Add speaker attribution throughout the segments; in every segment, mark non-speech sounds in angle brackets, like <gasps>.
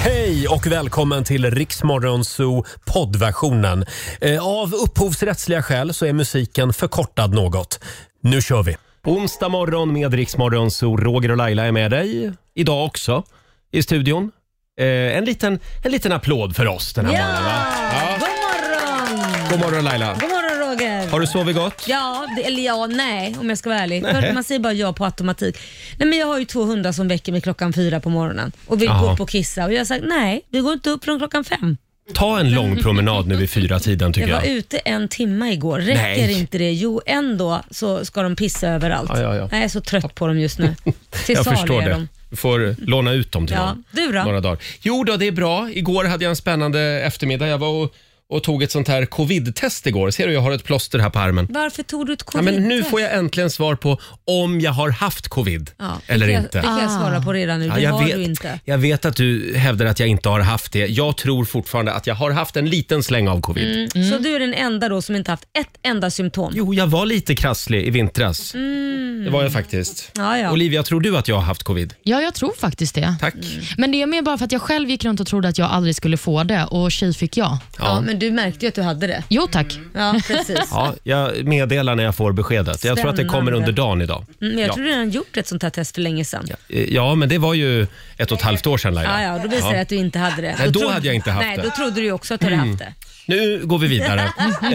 Speaker 1: Hej och välkommen till Riksmorgonzoo poddversionen. Eh, Av upphovsrättsliga skäl så är musiken förkortad något. Nu kör vi! Onsdag morgon med Riksmorgonzoo. Roger och Laila är med dig idag också i studion. Eh, En liten, en liten applåd för oss den här
Speaker 2: Ja!
Speaker 1: morgonen. Va?
Speaker 2: God morgon!
Speaker 1: God morgon Laila!
Speaker 2: God morgon Roger!
Speaker 1: Har du sovit gott?
Speaker 2: Ja, det, eller ja, nej om jag ska vara ärlig.
Speaker 1: Nej.
Speaker 2: För Man säger bara ja på automatik. Nej, men jag har ju två hundar som väcker mig klockan fyra på morgonen och vill
Speaker 1: Jaha.
Speaker 2: gå upp och kissa. Och jag har sagt nej, vi går inte upp från klockan fem.
Speaker 1: Ta en lång promenad nu vid fyra tiden
Speaker 2: Jag
Speaker 1: tycker
Speaker 2: var
Speaker 1: jag.
Speaker 2: ute en timme igår. Räcker
Speaker 1: Nej.
Speaker 2: inte det? Jo, ändå så ska de pissa överallt.
Speaker 1: Ja, ja, ja.
Speaker 2: Jag är så trött på dem just nu. Till
Speaker 1: <laughs> Jag
Speaker 2: salu
Speaker 1: förstår
Speaker 2: är
Speaker 1: det.
Speaker 2: de.
Speaker 1: Du får låna ut dem till
Speaker 2: Ja,
Speaker 1: någon.
Speaker 2: du då?
Speaker 1: Några dagar. Jo då, det är bra. Igår hade jag en spännande eftermiddag. Jag var och, och tog ett sånt här covid-test igår. Ser du, jag har ett plåster här på armen.
Speaker 2: Varför tog du ett
Speaker 1: Ja,
Speaker 2: covid
Speaker 1: men nu får jag äntligen svar på om jag har haft covid eller
Speaker 2: det kan
Speaker 1: inte.
Speaker 2: Jag, det kan jag svara på redan nu.
Speaker 1: Ja,
Speaker 2: det
Speaker 1: jag,
Speaker 2: har
Speaker 1: vet,
Speaker 2: du inte.
Speaker 1: jag vet att du hävdar att jag inte har haft det. Jag tror fortfarande att jag har haft en liten släng av covid.
Speaker 2: Mm. Så du är den enda då som inte haft ett enda symptom?
Speaker 1: Jo, jag var lite krasslig i vintras.
Speaker 2: Mm.
Speaker 1: Det var jag faktiskt.
Speaker 2: Ja, ja.
Speaker 1: Olivia, tror du att jag har haft covid?
Speaker 3: Ja, jag tror faktiskt det.
Speaker 1: Tack.
Speaker 2: Mm.
Speaker 3: Men det är mer bara för att jag själv gick runt och trodde att jag aldrig skulle få det och tji fick jag.
Speaker 2: Ja, men du märkte ju att du hade det.
Speaker 3: Jo tack.
Speaker 2: Ja, precis.
Speaker 1: <laughs> Ja, jag meddelar när jag får beskedet. Jag tror att det kommer
Speaker 2: Spännande.
Speaker 1: under dagen idag.
Speaker 2: Mm, jag
Speaker 1: ja.
Speaker 2: tror du redan gjort ett sånt här test för länge sedan. Ja,
Speaker 1: Eh, ja, men det var ju ett och ett halvt år sedan
Speaker 2: ja,
Speaker 1: Laila.
Speaker 2: då visar det
Speaker 1: Ja.
Speaker 2: att du inte hade det.
Speaker 1: Nej, då
Speaker 2: trodde-
Speaker 1: hade jag inte haft
Speaker 2: nej,
Speaker 1: det. Mm.
Speaker 2: Då trodde du ju också att du hade haft det.
Speaker 1: Nu går vi vidare.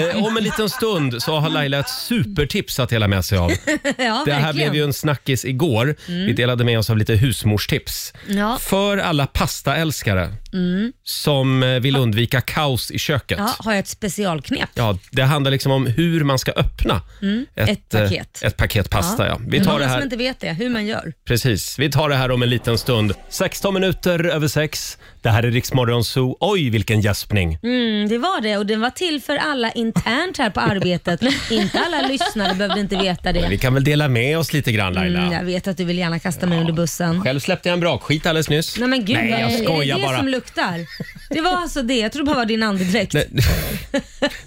Speaker 1: Eh, om en liten stund så har Laila ett supertips att dela med sig av.
Speaker 2: <laughs> ja,
Speaker 1: Det här
Speaker 2: verkligen. Mm.
Speaker 1: blev ju en snackis igår. Vi delade med oss av lite husmorstips.
Speaker 2: Ja.
Speaker 1: För alla pastaälskare
Speaker 2: Mm.
Speaker 1: som eh, vill undvika kaos i köket.
Speaker 2: ja, har jag ett specialknep?
Speaker 1: Ja, det handlar liksom om hur man ska öppna
Speaker 2: Mm. Ett,
Speaker 1: eh,
Speaker 2: paket. Mm.
Speaker 1: ett paket pasta. Ja. Vi
Speaker 2: det är
Speaker 1: tar
Speaker 2: många
Speaker 1: det här.
Speaker 2: som inte vet det, hur man gör.
Speaker 1: Precis. Vi tar det här om en liten stund. 16 minuter över 6. Det här är Riksmorgon Zoo. Oj, vilken gäspning.
Speaker 2: Mm, det var det och den var till för alla internt här
Speaker 1: <laughs>
Speaker 2: på arbetet. inte alla lyssnare behövde inte veta
Speaker 1: Men vi
Speaker 2: det.
Speaker 1: kan väl dela med oss lite grann Laila.
Speaker 2: Mm, jag vet att du vill gärna kasta mig under bussen.
Speaker 1: Själv släppte jag en brakskit alldeles nyss.
Speaker 2: Nej men gud,
Speaker 1: Nej, jag
Speaker 2: vad- är
Speaker 1: skojar
Speaker 2: det det
Speaker 1: bara.
Speaker 2: som luktar? Det var alltså det, jag trodde bara det var din andedräkt.
Speaker 1: Nej.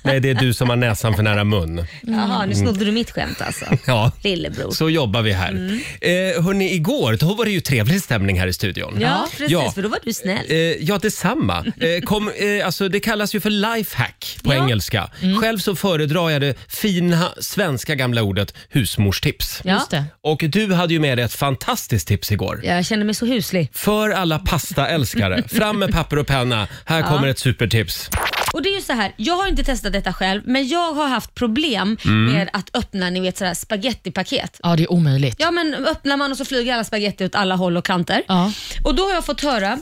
Speaker 1: Nej, det är du som har näsan för nära mun.
Speaker 2: Mm. Jaha, nu snodde du mitt skämt alltså.
Speaker 1: Mm. <laughs> Ja,
Speaker 2: Lillebror. Mm.
Speaker 1: så jobbar vi här. Eh, hörni, igår då var det ju trevlig stämning här i studion.
Speaker 2: Ja, precis,
Speaker 1: Ja.
Speaker 2: för då var du snäll.
Speaker 1: Eh, ja,
Speaker 2: <laughs>
Speaker 1: detsamma. Eh, kom, eh, alltså, det kallas ju för lifehack på engelska.
Speaker 2: Mm.
Speaker 1: Själv så föredrar jag det fina svenska gamla ordet husmorstips.
Speaker 2: Ja.
Speaker 3: Just det.
Speaker 1: Och du hade ju med dig ett fantastiskt tips igår.
Speaker 2: Jag känner mig så huslig.
Speaker 1: För alla
Speaker 2: <laughs>
Speaker 1: pastaälskare, fram med papper och penna. Här kommer ett supertips.
Speaker 2: Och det är ju så här, jag har inte testat detta själv, men jag har haft problem med att öppna ni vet sådär spagettipaket.
Speaker 3: Ja, det är omöjligt.
Speaker 2: Ja men öppnar man och så flyger alla spagetti åt alla håll och kanter.
Speaker 3: Ja.
Speaker 2: Och då har jag fått höra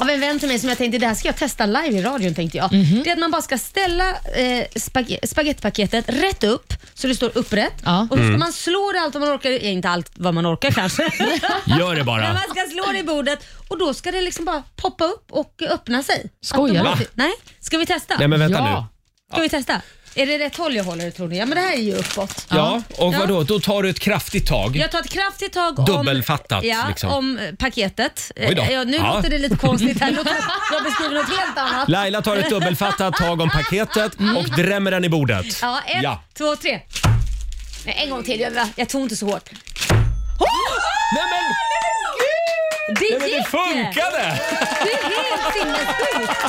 Speaker 2: av en vän till mig som jag tänkte, det här ska jag testa live i radion tänkte jag. Det är att man bara ska ställa eh, spag spagettipaketet rätt upp så det står upprätt.
Speaker 3: Ja.
Speaker 2: Och så ska
Speaker 1: Mm.
Speaker 2: man slå det allt vad man orkar, eh, inte allt vad man orkar kanske.
Speaker 1: <laughs> Gör det
Speaker 2: Men
Speaker 1: bara.
Speaker 2: man ska slå det i bordet och då ska det liksom bara poppa upp och öppna sig.
Speaker 3: Skojar du?
Speaker 2: Automatiskt. Nej, ska vi testa?
Speaker 1: Nej men vänta
Speaker 3: Ja.
Speaker 1: nu.
Speaker 2: Ska vi testa? Är det rätt håll jag håller tror ni? Ja men det här är ju uppåt.
Speaker 1: Ja, och
Speaker 2: Ja.
Speaker 1: vadå? Då tar du ett kraftigt tag.
Speaker 2: Jag tar ett kraftigt tag
Speaker 1: Dubbelfattat,
Speaker 2: om, ja,
Speaker 1: liksom.
Speaker 2: om eh, paketet.
Speaker 1: Oj då.
Speaker 2: Eh, Ja, nu
Speaker 1: Ja.
Speaker 2: låter det lite
Speaker 1: <laughs>
Speaker 2: konstigt här. Jag, jag beskriver något helt annat.
Speaker 1: Laila tar ett dubbelfattat tag om paketet och drämmer den i bordet.
Speaker 2: Mm. Ja, ett, två, tre. Nej, en gång till. Jag, jag tog inte så hårt.
Speaker 1: Nej men,
Speaker 2: Det
Speaker 1: nej, men det
Speaker 2: gick!
Speaker 1: funkade!
Speaker 2: Det är helt sinnessjukt.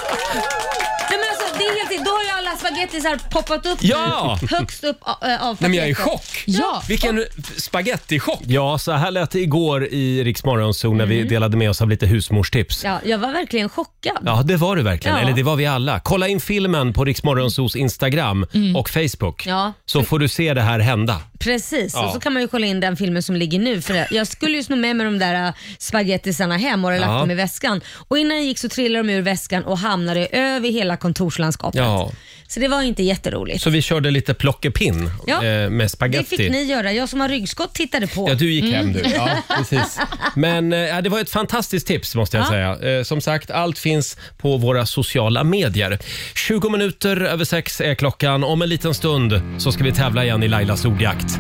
Speaker 2: Nej, men alltså, det är helt sin- Då har ju alla spagettisar poppat upp
Speaker 1: Ja.
Speaker 2: nu, högst upp av, av paketet.
Speaker 4: Nej, men jag är i chock.
Speaker 3: Ja.
Speaker 4: Vilken spagettichock.
Speaker 1: Ja, så här lät det igår i Rix Morgonzoo när
Speaker 2: Mm.
Speaker 1: vi delade med oss av lite husmorstips.
Speaker 2: Ja, jag var verkligen chockad.
Speaker 1: Ja, det var du verkligen.
Speaker 2: Ja.
Speaker 1: Eller det var vi alla. Kolla in filmen på Rix Morgonzoos Instagram och Facebook.
Speaker 2: Mm. Ja.
Speaker 1: Så får du se det här hända.
Speaker 2: Precis,
Speaker 1: Ja.
Speaker 2: och så kan man ju kolla in den filmen som ligger nu. För jag skulle ju sno med mig de där äh, spagettisarna hem och har
Speaker 1: Ja.
Speaker 2: lagt dem i väskan. Och innan jag gick så trillade de ur väskan och hamnade över hela kontorslandskapet.
Speaker 1: Ja.
Speaker 2: Så det var inte jätteroligt.
Speaker 1: Så vi körde lite plockepinn
Speaker 2: Ja.
Speaker 1: eh, med
Speaker 2: Det
Speaker 1: spaghetti.
Speaker 2: fick ni göra. Jag som har ryggskott tittade på. Mm.
Speaker 1: Ja, du gick hem du. Ja, precis. Men eh, ja, det var ett fantastiskt tips måste jag säga. Eh, Som sagt, allt finns på våra sociala medier. 20 minuter över sex är klockan. Om en liten stund så ska vi tävla igen i Lailas ordjakt.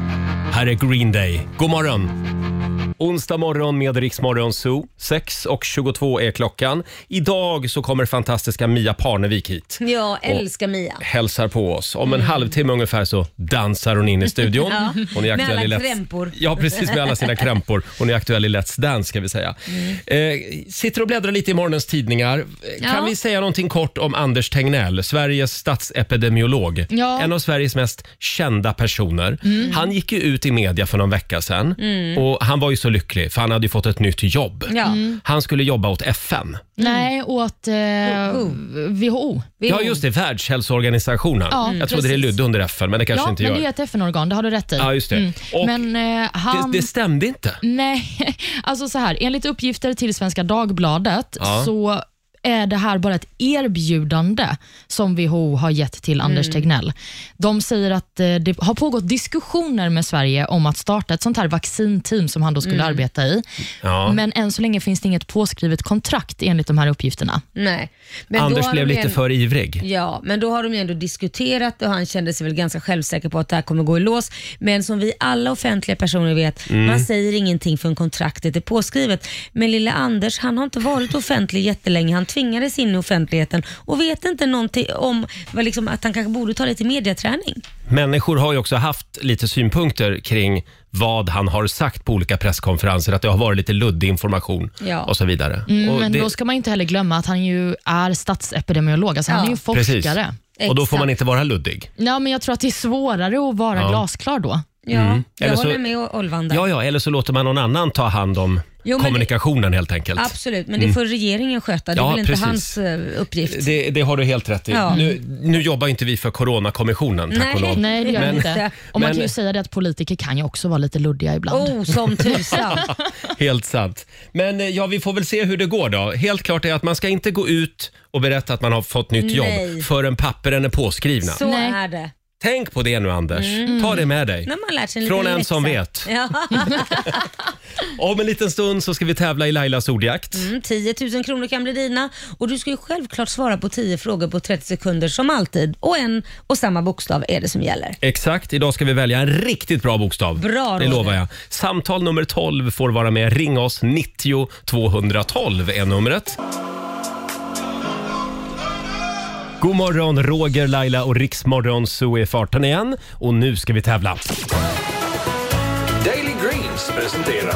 Speaker 1: Här är Green Day. God morgon! Onsdag morgon med Riksmorgon Zoo. 6.22 är klockan. Idag så kommer fantastiska Mia Parnevik hit.
Speaker 2: <laughs> Jag älskar Mia.
Speaker 1: hälsar på oss. Om en halvtimme ungefär så dansar hon in i studion.
Speaker 2: Mm. <laughs> Ja,
Speaker 1: Hon
Speaker 2: med alla
Speaker 1: Let's-
Speaker 2: krämpor.
Speaker 1: Ja, precis med alla sina krämpor. Hon är aktuell i Let's Dance ska vi säga. Eh, sitter och bläddrar lite i morgonens tidningar. Eh, Kan
Speaker 3: Ja.
Speaker 1: vi säga någonting kort om Anders Tegnell, Sveriges statsepidemiolog?
Speaker 3: Ja. Mm.
Speaker 1: En av Sveriges mest kända personer. Han gick ju ut i media för någon vecka sedan och han var ju så lycklig för han hade ju fått ett nytt jobb.
Speaker 2: Ja. Mm.
Speaker 1: Han skulle jobba åt FN.
Speaker 3: Mm. Nej, åt eh,
Speaker 2: WHO.
Speaker 3: WHO.
Speaker 2: Vill
Speaker 1: Ja,
Speaker 2: hon?
Speaker 1: just det. Världshälsoorganisationen.
Speaker 3: Ja,
Speaker 1: jag trodde det
Speaker 3: precis.
Speaker 1: lydde under FN, men det kanske
Speaker 3: ja,
Speaker 1: inte
Speaker 3: men
Speaker 1: gör.
Speaker 3: det är ett FN-organ, det har du rätt i.
Speaker 1: Ja, just det. Och-
Speaker 3: Men eh, han...
Speaker 1: Det, det stämde inte.
Speaker 3: Nej, <laughs> alltså så här. Enligt uppgifter till Svenska Dagbladet
Speaker 1: Ja.
Speaker 3: så är det här bara ett erbjudande som WHO har gett till
Speaker 1: Mm.
Speaker 3: Anders Tegnell. De säger att eh, det har pågått diskussioner med Sverige om att starta ett sånt här vaccinteam som han då skulle arbeta i.
Speaker 1: Mm. Ja.
Speaker 3: Men än så länge finns det inget påskrivet kontrakt enligt de här uppgifterna.
Speaker 2: <laughs> Nej. Men då
Speaker 1: Anders
Speaker 2: har
Speaker 1: blev
Speaker 2: de
Speaker 1: lite
Speaker 2: ju-
Speaker 1: för ivrig.
Speaker 2: Ja, men då har de ju ändå diskuterat och han kände sig väl ganska självsäker på att det här kommer gå i lås. Men som vi alla offentliga personer vet,
Speaker 1: Mm.
Speaker 2: man säger ingenting förrän kontraktet är påskrivet. Men lilla Anders, han har
Speaker 1: <laughs>
Speaker 2: inte varit offentlig jättelänge. Han tvingades in i offentligheten och vet inte någonting om vad liksom, att han kanske borde ta lite mediaträning.
Speaker 1: Människor har ju också haft lite synpunkter kring vad han har sagt på olika presskonferenser, att det har varit lite luddig information
Speaker 2: Ja.
Speaker 1: och så vidare. och
Speaker 3: Mm, Men
Speaker 1: det-
Speaker 3: då ska man inte heller glömma att han ju är statsepidemiolog, alltså
Speaker 2: Ja.
Speaker 3: han är ju
Speaker 1: precis.
Speaker 3: forskare.
Speaker 1: Och då får man
Speaker 2: Exakt.
Speaker 1: inte vara luddig.
Speaker 3: Ja, men jag tror att det är svårare att vara glasklar då.
Speaker 2: Ja, jag
Speaker 1: Mm. Eller så-
Speaker 2: håller med Olvan där.
Speaker 1: Ja, ja, eller så låter man någon annan ta hand om
Speaker 2: Jo, men
Speaker 1: kommunikationen helt enkelt.
Speaker 2: Absolut, men det får regeringen sköta. Det är
Speaker 1: Ja,
Speaker 2: väl inte
Speaker 1: precis.
Speaker 2: hans eh, uppgift.
Speaker 1: Det, det har du helt rätt i.
Speaker 2: Ja.
Speaker 1: Nu, nu jobbar inte vi för Coronakommissionen, tack och lov.
Speaker 3: Nej, det gör
Speaker 2: Men-
Speaker 1: <laughs>
Speaker 3: det inte. Och man
Speaker 1: men-
Speaker 3: kan ju säga det att politiker kan ju också vara lite luddiga ibland.
Speaker 2: Oh, som
Speaker 3: <laughs>
Speaker 2: tusan.
Speaker 1: Helt sant. Men eh, ja, vi får väl se hur det går då. Helt klart är att man ska inte gå ut och berätta att man har fått nytt
Speaker 2: Nej.
Speaker 1: jobb förrän papperen är påskrivna.
Speaker 2: Så
Speaker 3: Nej.
Speaker 2: är Mm. det.
Speaker 1: Tänk på det nu Anders. Ta det med dig.
Speaker 2: Nu har man lärt sig en
Speaker 1: Från
Speaker 2: liten
Speaker 1: en
Speaker 2: läxa.
Speaker 1: som vet.
Speaker 2: Ja.
Speaker 1: Om en liten stund så ska vi tävla i Lailas ordjakt.
Speaker 2: Mm, 10 000 kronor kan bli dina och du ska ju självklart svara på 10 frågor på 30 sekunder som alltid och en och samma bokstav är det som gäller.
Speaker 1: Exakt, idag ska vi välja en riktigt bra bokstav.
Speaker 2: Bra,
Speaker 1: det
Speaker 2: Roger.
Speaker 1: lovar jag. Samtal nummer 12 får vara med. Ring oss, 90 212 är numret. God morgon, Roger, Laila och Riksmorgon så är farten igen. Och nu ska vi tävla.
Speaker 5: Daily Greens presenterar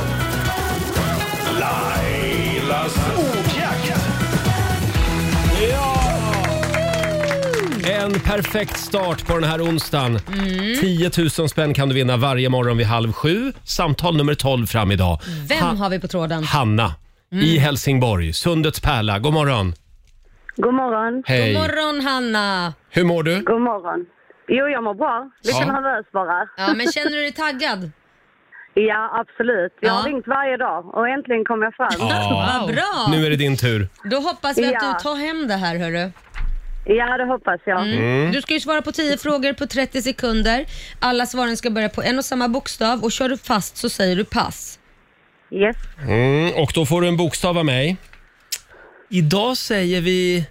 Speaker 5: Lailas ordjakt.
Speaker 1: En perfekt start på den här onsdagen.
Speaker 2: Mm.
Speaker 1: 10 000 spänn kan du vinna varje morgon vid halv sju. Samtal nummer 12 fram idag.
Speaker 2: Vem
Speaker 1: Ha-
Speaker 2: har Mm. vi på tråden?
Speaker 1: Hanna i Helsingborg, Sundets pärla. God morgon.
Speaker 6: God morgon.
Speaker 1: Hej.
Speaker 2: God morgon Hanna!
Speaker 1: Hur mår du?
Speaker 6: God morgon. Jo, jag mår bra. Lite
Speaker 1: Ja.
Speaker 6: nervös bara.
Speaker 2: Ja,
Speaker 6: <laughs>
Speaker 2: men känner du dig taggad?
Speaker 6: Ja, absolut. Jag har
Speaker 2: Ja.
Speaker 6: ringt varje dag och äntligen kom jag fram. Ja,
Speaker 1: Ja.
Speaker 2: Vad bra!
Speaker 1: Nu är det din tur.
Speaker 2: <laughs> Då hoppas vi att
Speaker 6: Ja.
Speaker 2: du tar hem det här hörru.
Speaker 6: det hoppas jag.
Speaker 2: Mm.
Speaker 1: Mm.
Speaker 2: Du ska ju svara på 10 frågor på 30 sekunder. Alla svaren ska börja på en och samma bokstav och kör du fast så säger du pass.
Speaker 6: Yes.
Speaker 1: Mm, och då får du en bokstav av mig. Idag säger vi...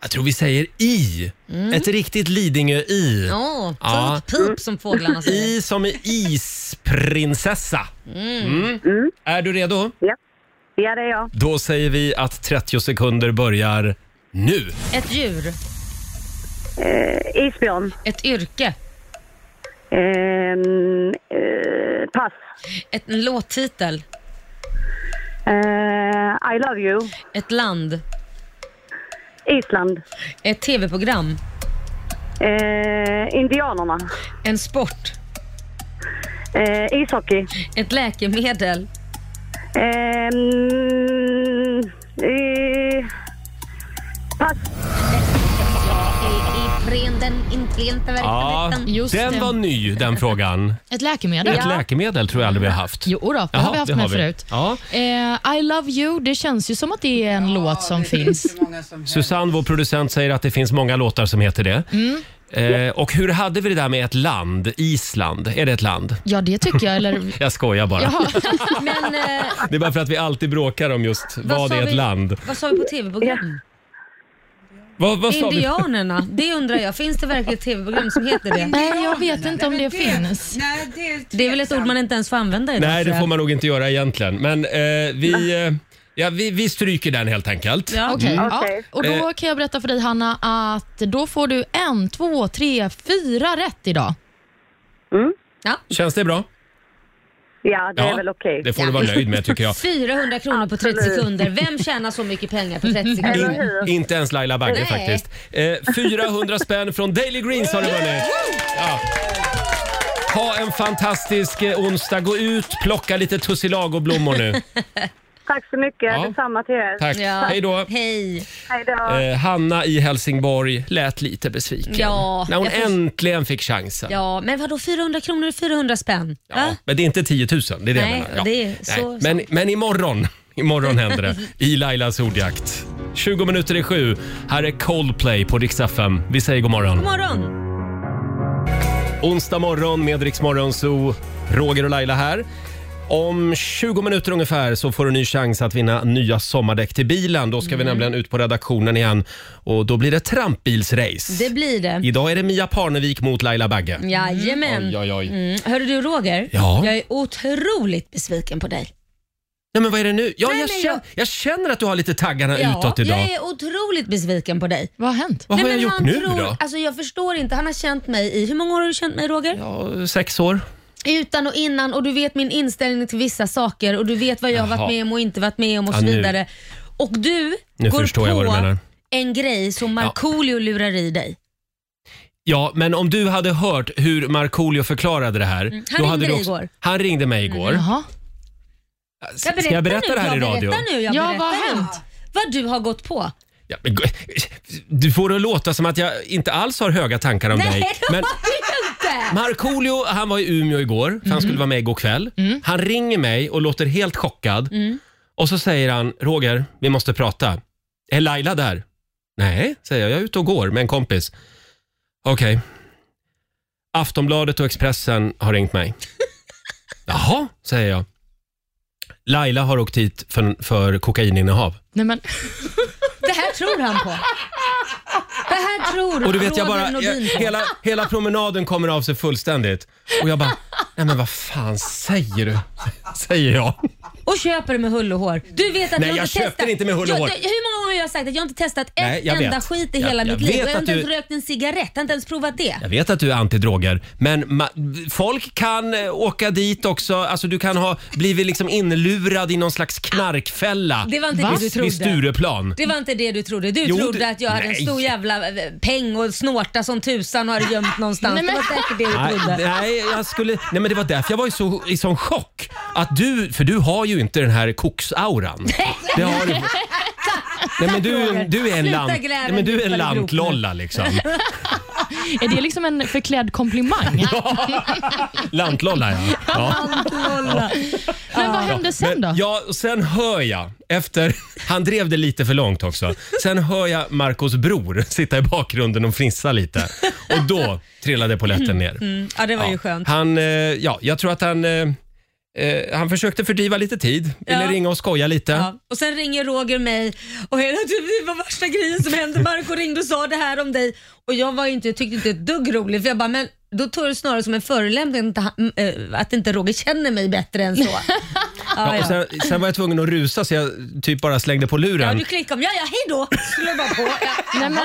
Speaker 1: Jag tror vi säger I. Ett riktigt Lidingö-I.
Speaker 2: Åh, oh,
Speaker 1: Ja.
Speaker 2: pip som fåglarna säger.
Speaker 1: I som i isprinsessa. Mm. Är du redo?
Speaker 6: Ja. ja, det är jag.
Speaker 1: Då säger vi att 30 sekunder börjar nu.
Speaker 2: Ett djur,
Speaker 6: Eh, isbjörn.
Speaker 2: ett yrke,
Speaker 6: Ehm, eh, pass.
Speaker 2: ett en låttitel,
Speaker 6: Eh, I love you.
Speaker 2: ett land,
Speaker 6: Island.
Speaker 2: ett tv-program,
Speaker 6: Eh, indianerna.
Speaker 2: en sport,
Speaker 6: Eh, ishockey. Eh,
Speaker 2: ett läkemedel,
Speaker 7: Mm,
Speaker 6: Ehm, eh, pass.
Speaker 1: Ja,
Speaker 3: Just
Speaker 1: den
Speaker 3: det.
Speaker 1: var ny den frågan.
Speaker 3: Ett läkemedel?
Speaker 1: Ett läkemedel tror jag aldrig vi har haft.
Speaker 3: Jo då, det
Speaker 1: Jaha,
Speaker 3: har vi haft
Speaker 1: det har
Speaker 3: med
Speaker 1: vi.
Speaker 3: förut.
Speaker 1: Ja.
Speaker 3: Eh, I love you, det känns ju som att det är en låt som finns.
Speaker 1: Susanne, vår producent, säger att det finns många låtar som heter det.
Speaker 3: Mm.
Speaker 1: Eh, och hur hade vi det där med ett land? Island, är det ett land?
Speaker 3: Ja, det tycker jag. Eller,
Speaker 1: Jag skojar <laughs> bara.
Speaker 3: jaha.
Speaker 2: <laughs> men... Eh,
Speaker 1: Det är bara för att vi alltid bråkar om just vad,
Speaker 2: sa
Speaker 1: är ett
Speaker 2: vi,
Speaker 1: land.
Speaker 2: Vad sa vi på tv-program?
Speaker 1: Vad, vad sa du?
Speaker 2: Indianerna, det undrar jag. Finns det verkligen ett tv-program som heter det?
Speaker 3: Nej, jag vet inte om det finns.
Speaker 8: Nej, det är,
Speaker 2: Det är väl ett ord man inte ens får använda idag?
Speaker 1: <laughs> Nej,
Speaker 2: tror
Speaker 1: det
Speaker 2: jag.
Speaker 1: får man nog inte göra egentligen. Men eh, vi, eh, ja, vi, vi stryker den helt enkelt. Mm.
Speaker 2: Ja.
Speaker 3: <laughs> Okej, Ah. ja.
Speaker 6: Okej.
Speaker 3: och
Speaker 1: Eh.
Speaker 3: då kan jag berätta för dig Hanna att då får du en, två, tre, fyra rätt idag.
Speaker 1: Känns det bra?
Speaker 6: Ja, det
Speaker 1: Ja,
Speaker 6: är väl okej.
Speaker 1: Det får du vara nöjd med tycker jag.
Speaker 2: 400 kronor på 30
Speaker 6: Absolut.
Speaker 2: sekunder. Vem tjänar så mycket pengar på 30 sekunder?
Speaker 1: In, inte ens Laila Bagge
Speaker 2: Nej.
Speaker 1: faktiskt. Eh, 400 spänn från Daily Greens har du vunnit. Ja. Ha en fantastisk eh, onsdag. Gå ut, plocka lite tussilago-blommor
Speaker 2: <laughs>
Speaker 1: nu.
Speaker 6: Tack så mycket.
Speaker 1: Ja.
Speaker 6: Detsamma till er.
Speaker 1: Tack.
Speaker 2: Ja.
Speaker 1: Hej då.
Speaker 2: Hej.
Speaker 6: Hej då.
Speaker 1: Eh, Hanna i Helsingborg lät lite besviken
Speaker 2: Ja,
Speaker 1: när hon
Speaker 2: jag får-
Speaker 1: äntligen fick chansen.
Speaker 2: Ja, men vadå 400 kronor är 400 spänn?
Speaker 1: Ja,
Speaker 2: Va?
Speaker 1: Men det är inte 10 000, det är det jag
Speaker 2: Nej,
Speaker 1: menar. Ja.
Speaker 2: det är så-
Speaker 1: Nej, Men, men imorgon, <laughs> imorgon händer
Speaker 2: <laughs>
Speaker 1: det i Lailas ordjakt. 20 minuter i sju. Här är Coldplay på Rix FM. Vi säger god morgon.
Speaker 2: God morgon.
Speaker 1: Onsdag morgon med Rix Morgon Zoo. Roger och Laila här. Om 20 minuter ungefär så får du ny chans att vinna nya sommardäck till bilen. Då ska
Speaker 2: Mm.
Speaker 1: vi nämligen ut på redaktionen igen och då blir det trampbilsrace.
Speaker 2: Det blir det.
Speaker 1: Idag är det Mia Parnevik mot Laila Bagge.
Speaker 2: Jajamän.
Speaker 1: Oj, oj, oj.
Speaker 2: Mm. Hörru du Roger,
Speaker 1: Ja.
Speaker 2: jag är otroligt besviken på dig.
Speaker 1: Nej, men vad är det nu? Ja,
Speaker 2: Nej,
Speaker 1: jag,
Speaker 2: men
Speaker 1: känner,
Speaker 2: jag-
Speaker 1: jag känner att du har lite taggarna utåt idag.
Speaker 2: jag är otroligt besviken på dig.
Speaker 3: Vad har hänt?
Speaker 1: Vad har jag
Speaker 2: men
Speaker 1: gjort
Speaker 2: han
Speaker 1: nu
Speaker 2: tror,
Speaker 1: då?
Speaker 2: Alltså jag förstår inte, han har känt mig i, hur många år har du känt mig Roger?
Speaker 1: Ja, sex år.
Speaker 2: Utan och innan och du vet min inställning till vissa saker och du vet vad jag har
Speaker 1: Jaha.
Speaker 2: varit med om och inte varit med om och
Speaker 1: Ja,
Speaker 2: så
Speaker 1: nu-
Speaker 2: vidare. Och du
Speaker 1: Nu
Speaker 2: går
Speaker 1: förstår
Speaker 2: på
Speaker 1: jag vad du menar.
Speaker 2: en grej som Markoolio lurar i dig.
Speaker 1: Ja, men om du hade hört hur Markoolio förklarade det här.
Speaker 2: Mm. han
Speaker 1: då
Speaker 2: ringde
Speaker 1: hade du
Speaker 2: dig
Speaker 1: också,
Speaker 2: igår. Mm.
Speaker 1: Han ringde mig igår.
Speaker 3: Jaha.
Speaker 1: Ska jag berätta
Speaker 2: nu,
Speaker 1: det här i
Speaker 2: jag
Speaker 1: radio?
Speaker 2: Berättar nu, jag
Speaker 3: Ja,
Speaker 2: berättar
Speaker 3: vad
Speaker 2: nu.
Speaker 3: har hänt?
Speaker 2: Vad du har gått på.
Speaker 1: Ja, men, gu- du får det att låta som att jag inte alls har höga tankar om dig.
Speaker 2: Nej, <laughs> det
Speaker 1: Men
Speaker 2: har du inte!
Speaker 1: Markoolio, han var i Umeå igår, för
Speaker 2: Mm.
Speaker 1: han skulle vara med igår kväll. Han ringer mig och låter helt chockad.
Speaker 2: Mm.
Speaker 1: Och så säger han, Roger, vi måste prata. Är Laila där? Nej, säger jag, jag är ute och går med en kompis. Okej. Aftonbladet och Expressen har ringt
Speaker 2: <laughs>
Speaker 1: mig. Jaha, säger jag. Laila har åkt hit för, för kokaininnehav.
Speaker 3: Nej, men,
Speaker 2: Det här tror han på. Det här tror
Speaker 1: Och du vet, jag
Speaker 2: Roger
Speaker 1: bara, jag,
Speaker 2: Nordin på.
Speaker 1: hela, hela promenaden kommer av sig fullständigt. Och jag bara, nej men vad fan säger du? <laughs> Säger jag.
Speaker 2: Och köper det med hull och hår. Du vet att
Speaker 1: Nej,
Speaker 2: har
Speaker 1: jag köper
Speaker 2: testat-
Speaker 1: inte med hull och
Speaker 2: Jag-
Speaker 1: hår.
Speaker 2: jag- Hur många gånger har jag sagt att jag har inte testat
Speaker 1: Nej,
Speaker 2: ett
Speaker 1: jag
Speaker 2: enda
Speaker 1: vet.
Speaker 2: skit i
Speaker 1: Jag-
Speaker 2: hela
Speaker 1: jag
Speaker 2: mitt liv.
Speaker 1: vet
Speaker 2: Och Jag har
Speaker 1: att
Speaker 2: inte ens
Speaker 1: du-
Speaker 2: rökt en cigarett, jag har inte ens provat det.
Speaker 1: Jag vet att du är antidroger, men ma- folk kan eh, åka dit också. Alltså du kan ha blivit liksom inlurad i någon slags knarkfälla.
Speaker 2: Det var inte
Speaker 3: Va?
Speaker 2: det du
Speaker 1: Vid
Speaker 2: trodde.
Speaker 1: Stureplan.
Speaker 2: Det var inte det du trodde. Du
Speaker 1: Jo,
Speaker 2: trodde
Speaker 1: det-
Speaker 2: att jag hade
Speaker 1: nej.
Speaker 2: en stor jävla eh, peng och snorta som tusan och hade gömt någonstans.
Speaker 3: Nej, men-
Speaker 2: Det var säkert det du
Speaker 1: Nej,
Speaker 2: trodde.
Speaker 1: nej, jag skulle, nej, men det var därför jag var i, så, i sån chock. Att du, för du har ju inte den här
Speaker 2: <laughs>
Speaker 1: koksauran. Det har du. Nej, men du, är en- du är en,
Speaker 2: Sluta
Speaker 1: lant,
Speaker 2: gräva
Speaker 1: nej, men du är
Speaker 2: djupare
Speaker 1: en
Speaker 2: grop nu.
Speaker 1: lantlolla liksom.
Speaker 3: är det liksom en förklädd komplimang?
Speaker 1: Lantlolla ja.
Speaker 2: <laughs>
Speaker 1: ja.
Speaker 2: Kolla.
Speaker 3: Men vad hände sen då?
Speaker 1: Men, ja, och sen hör jag, efter, <laughs> han drev det lite för långt också. Sen hör jag Marcos bror sitta i bakgrunden och frissa lite. Och då trillade polletten ner.
Speaker 2: Ja, Mm, det var ju
Speaker 1: Ja.
Speaker 2: skönt.
Speaker 1: Han, eh, ja, jag tror att han, eh, eh, han försökte fördriva lite tid, ville
Speaker 2: Ja.
Speaker 1: ringa och skoja lite.
Speaker 2: Ja. Och sen ringer Roger mig och hela tiden, det var värsta grejen som hände. Marco ringde och sa det här om dig och jag var ju inte, tyckte inte ett dugg rolig för jag bara, men då tog jag det snarare som en förolämpning att, han- eh, att inte Roger känner mig bättre
Speaker 3: <laughs>
Speaker 2: än så. ja,
Speaker 1: Ja, och
Speaker 2: ja.
Speaker 1: sen, sen var jag tvungen att rusa så jag typ bara slängde på
Speaker 2: ja,
Speaker 1: luren.
Speaker 2: du klickade om, ja ja hej då, skulle jag bara
Speaker 3: <laughs>
Speaker 2: på. Ja.
Speaker 3: Nej, men,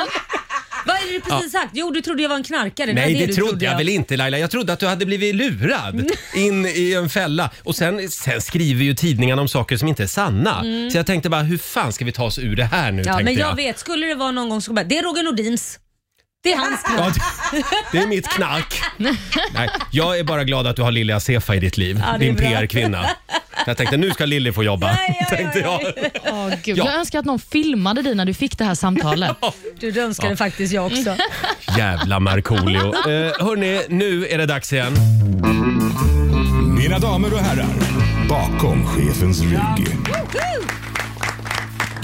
Speaker 2: Vad är det du precis sagt? Jo, du trodde jag var en knarkare. var
Speaker 1: Nej, det
Speaker 2: du
Speaker 1: trodde jag väl inte Laila. Jag trodde att du hade blivit lurad in i en fälla. Och sen, sen skriver ju tidningarna om saker som inte är sanna. Så jag tänkte bara, hur fan ska vi ta oss ur det här nu?
Speaker 2: Mm. Ja,
Speaker 1: tänkte
Speaker 2: men jag, vet, skulle det vara någon gång så skulle jag bara, det är Roger Nordins. Det är hans knark.
Speaker 1: Ja, det- det är mitt
Speaker 2: <laughs>
Speaker 1: knark. Nej, jag är bara glad att du har Lilja Sefa i ditt liv.
Speaker 2: det är
Speaker 1: din
Speaker 2: bra.
Speaker 1: PR-kvinna. Jag tänkte, nu ska Lilly få jobba.
Speaker 2: Aj, aj, aj,
Speaker 1: tänkte jag.
Speaker 3: åh, Gud.
Speaker 1: Ja.
Speaker 3: Jag önskar att någon filmade dig när du fick det här samtalet. Mm.
Speaker 2: Du, det önskade faktiskt jag också.
Speaker 1: Jävla Markoolio. Eh, hörni, nu är det dags igen.
Speaker 5: Mina damer och herrar, bakom chefens rygg.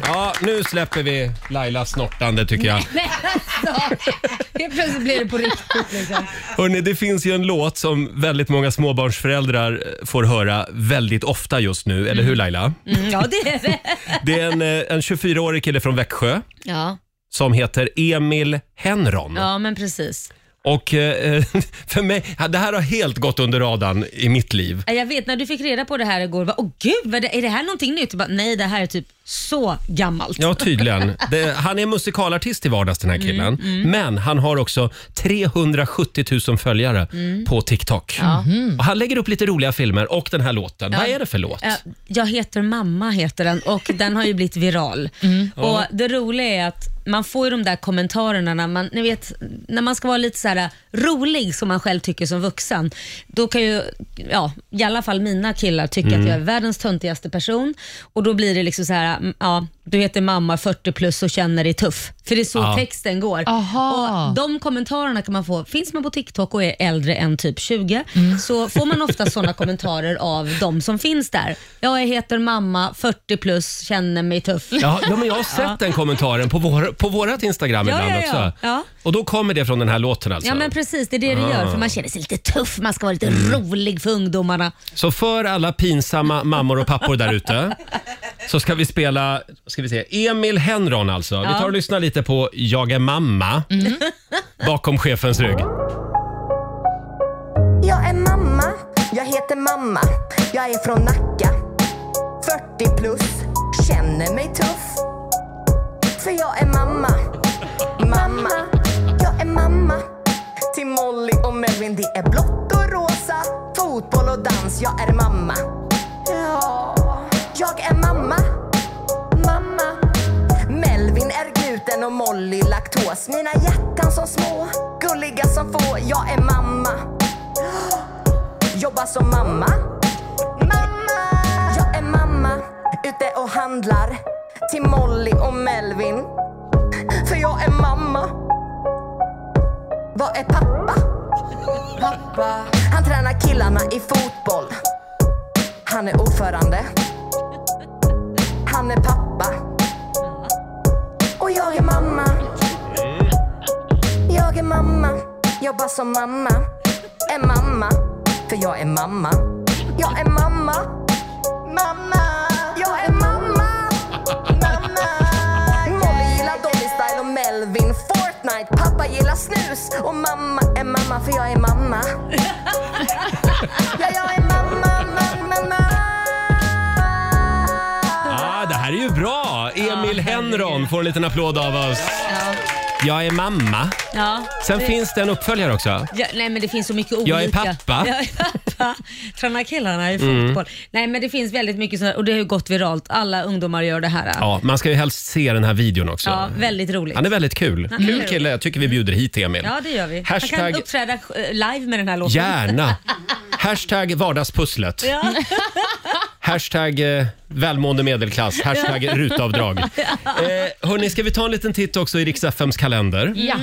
Speaker 1: Ja, nu släpper vi Lailas snortande tycker jag.
Speaker 2: <laughs> Nej, alltså. Helt plötsligt blir det på riktigt. Liksom.
Speaker 1: Hörrni, det finns ju en låt som väldigt många småbarnsföräldrar eh, får höra väldigt ofta just nu, eller hur Laila?
Speaker 2: Mm, ja, det är det.
Speaker 1: Det är en, eh, en 24-årig kille från Växjö
Speaker 2: Ja.
Speaker 1: som heter Emil Henron.
Speaker 2: Ja, men precis.
Speaker 1: Och eh, <laughs> för mig, det här har helt gått under radarn i mitt liv.
Speaker 2: Ja, Jag vet när du fick reda på det här igår, bara, åh gud, vad det, är det här någonting nytt? Jag Bara, Nej, det här är typ så gammalt.
Speaker 1: Ja, tydligen.
Speaker 2: <laughs>
Speaker 1: Det, han är musikalartist i vardags den här
Speaker 2: Mm,
Speaker 1: killen. Men han har också 370 000 följare
Speaker 2: Mm.
Speaker 1: på TikTok. Mm-hmm. Och han lägger upp lite roliga filmer och den här låten. Vad är det för låt?
Speaker 2: Ja, Jag heter mamma heter den och den har ju blivit viral.
Speaker 1: Mm.
Speaker 2: Och Det roliga är att man får ju de där kommentarerna när man, ni vet, när man ska vara lite så här äh, rolig som man själv tycker som vuxen. Då kan ju, ja, i alla fall mina killar tycka att jag är världens töntigaste person och då blir det liksom så här, mm, ja, du heter mamma 40 plus och känner dig tuff. För det är så
Speaker 1: Ja.
Speaker 2: texten går.
Speaker 3: Aha.
Speaker 2: Och de kommentarerna kan man få, finns man på TikTok och är äldre än typ 20 så får man ofta sådana kommentarer av de som finns där. Ja, Jag heter mamma, 40 plus, känner mig tuff.
Speaker 1: Ja, ja, men jag har sett den kommentaren på, vår, på vårat Instagram
Speaker 2: Ja,
Speaker 1: ibland
Speaker 2: ja, ja.
Speaker 1: också.
Speaker 2: Ja.
Speaker 1: Och då kommer det från den här låten alltså. Mm.
Speaker 2: Ja men precis, det är det det gör. För man känner sig lite tuff, man ska vara lite rolig för ungdomarna.
Speaker 1: Så för alla pinsamma mammor och pappor där ute så ska vi spela ska vi se, Emil Henron alltså. Vi tar och lyssnar lite på Jag är mamma
Speaker 2: Mm.
Speaker 1: bakom chefens rygg.
Speaker 8: Jag är mamma, jag heter mamma, jag är från Nacka 40 plus, känner mig tuff För jag är mamma, mamma Jag är mamma till Molly och Melvin Det är blått och rosa, fotboll och dans Jag är mamma Ja, jag är mamma, mamma Melvin är gluten och Molly laktos Mina hjärtan som små, gulliga som få Jag är mamma jobbar som mamma. Mamma! Jag är mamma, ute och handlar till Molly och Melvin. För jag är mamma. Vad är pappa? Pappa. Han tränar killarna i fotboll. Han är ordförande. Han är pappa. Och jag är mamma. Mm. Jag är mamma. Jobbar som mamma. Är mamma. För jag är mamma. Jag är mamma. Mamma. Jag är mamma. Mamma. Molly gillar Dolly Style och Melvin Fortnite. Pappa gillar snus. Och mamma är mamma för jag är mamma. <laughs> ja, jag är mamma, mamma, mamma.
Speaker 1: Ah, det här är ju bra! Emil Henron får en liten applåd av oss.
Speaker 2: Ja.
Speaker 1: Jag är mamma.
Speaker 2: Ja.
Speaker 1: Sen finns det en uppföljare också.
Speaker 2: Ja, nej men det finns så mycket olika.
Speaker 1: Jag är pappa. Mm.
Speaker 2: Jag är pappa. Tränar killarna i fotboll. Nej men det finns väldigt mycket sånt och det har ju gått viralt. Alla ungdomar gör det här. Ja,
Speaker 1: Ja, man ska ju helst se den här videon också.
Speaker 2: väldigt roligt.
Speaker 1: Han är väldigt kul.
Speaker 2: Han är
Speaker 1: Kul
Speaker 2: kul.
Speaker 1: kille. Jag tycker vi bjuder hit Emil.
Speaker 2: Ja det gör vi. Han
Speaker 1: Hashtag-
Speaker 2: kan uppträda eh, live med den här låten.
Speaker 1: Gärna.
Speaker 2: <laughs>
Speaker 1: Hashtag vardagspusslet.
Speaker 2: Ja.
Speaker 1: Hashtag eh, välmående medelklass. Hashtag
Speaker 2: <laughs>
Speaker 1: rutavdrag. Eh, hörni, ska vi ta en liten titt också i Rix FMs kalender?
Speaker 2: Mm.
Speaker 3: Ja.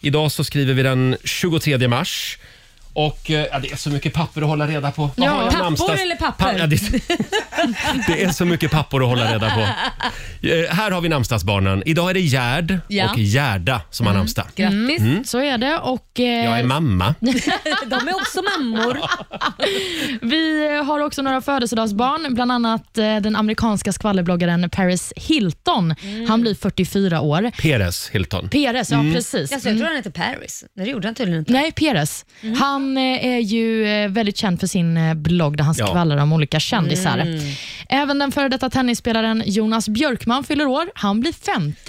Speaker 1: Idag så skriver vi den 23 mars. Och eh, ja, det är så mycket papper att hålla reda på. Vad
Speaker 3: Ja,
Speaker 1: har jag
Speaker 2: pappor
Speaker 1: namnsdags-
Speaker 2: eller papper?
Speaker 1: Pa- ja, det, det <laughs> är så mycket pappor att hålla reda på. Eh, här har vi namnsdagsbarnen. Idag är det Gerd
Speaker 2: Ja. Mm.
Speaker 1: och Gerda som har namnsdag. Mm.
Speaker 2: Grattis. Mm.
Speaker 3: Så är det. Och, eh,
Speaker 1: Jag är mamma.
Speaker 2: <laughs> De är också mammor.
Speaker 3: Vi har också några födelsedagsbarn, bland annat eh, den amerikanska skvallerbloggaren Paris Hilton.
Speaker 2: Mm.
Speaker 3: Han blir 44 år.
Speaker 1: Peres Hilton.
Speaker 3: Peres,
Speaker 1: Mm.
Speaker 3: ja precis. Mm.
Speaker 2: Alltså, jag tror han heter Paris. Nej, det gjorde han tydligen inte. Mm.
Speaker 3: Nej, Peres. Han eh, är ju eh, väldigt känd för sin eh, blogg där han
Speaker 1: Ja.
Speaker 3: skvallrar om olika kändisar.
Speaker 2: Mm.
Speaker 3: Även den före detta tennisspelaren Jonas Björkman fyller år. Han blir 50.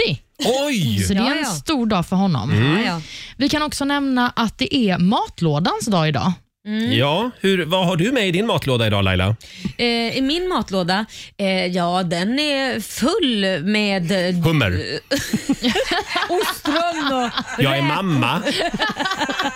Speaker 1: Oj!
Speaker 3: Så det
Speaker 2: Ja,
Speaker 3: är en
Speaker 2: ja. Mm.
Speaker 3: stor dag för honom.
Speaker 2: Ja, ja.
Speaker 3: Vi kan också nämna att det är matlådans dag idag.
Speaker 2: Mm.
Speaker 1: Ja, hur, vad har du med i din matlåda idag Laila?
Speaker 2: Eh, I min matlåda, eh, ja den är full med eh,
Speaker 1: Hummer.
Speaker 2: <laughs> ostron och
Speaker 1: Jag är mamma.
Speaker 2: <laughs>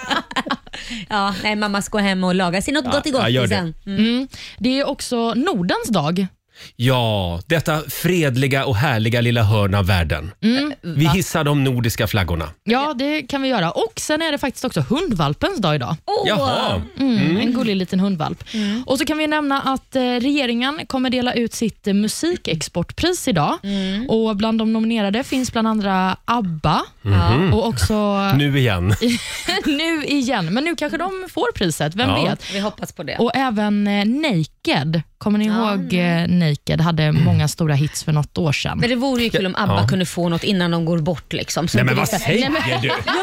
Speaker 2: Ja, nej, mamma ska hem och laga sig något gott i
Speaker 1: ja, gör
Speaker 2: gott
Speaker 1: det.
Speaker 2: sen. Mm.
Speaker 3: Det är också Nordens dag.
Speaker 1: Ja, detta fredliga och härliga lilla hörn av världen.
Speaker 2: Mm.
Speaker 1: Vi hissar de nordiska flaggorna.
Speaker 3: Ja, det kan vi göra. Och Sen är det faktiskt också hundvalpens dag idag.
Speaker 2: Åh!
Speaker 1: Jaha.
Speaker 3: Mm, En gullig liten hundvalp. Och så kan vi nämna att eh, regeringen kommer dela ut sitt eh, musikexportpris idag.
Speaker 2: Mm.
Speaker 3: Och Bland de nominerade finns bland andra ABBA och också
Speaker 1: Mhm. Nu
Speaker 3: <laughs>
Speaker 1: igen.
Speaker 3: nu igen, men nu kanske de får priset, vem
Speaker 1: Ja.
Speaker 3: vet?
Speaker 2: Vi hoppas på det.
Speaker 3: Och även eh, Naked, kommer ni ihåg eh, Naked? Hade många stora hits för något år sedan.
Speaker 2: Men det vore ju kul om ABBA
Speaker 1: Ja.
Speaker 2: kunde få något innan de går bort. Liksom, så
Speaker 1: Nej men
Speaker 2: inte
Speaker 1: vad
Speaker 2: det-
Speaker 1: säger du?
Speaker 2: Ja, men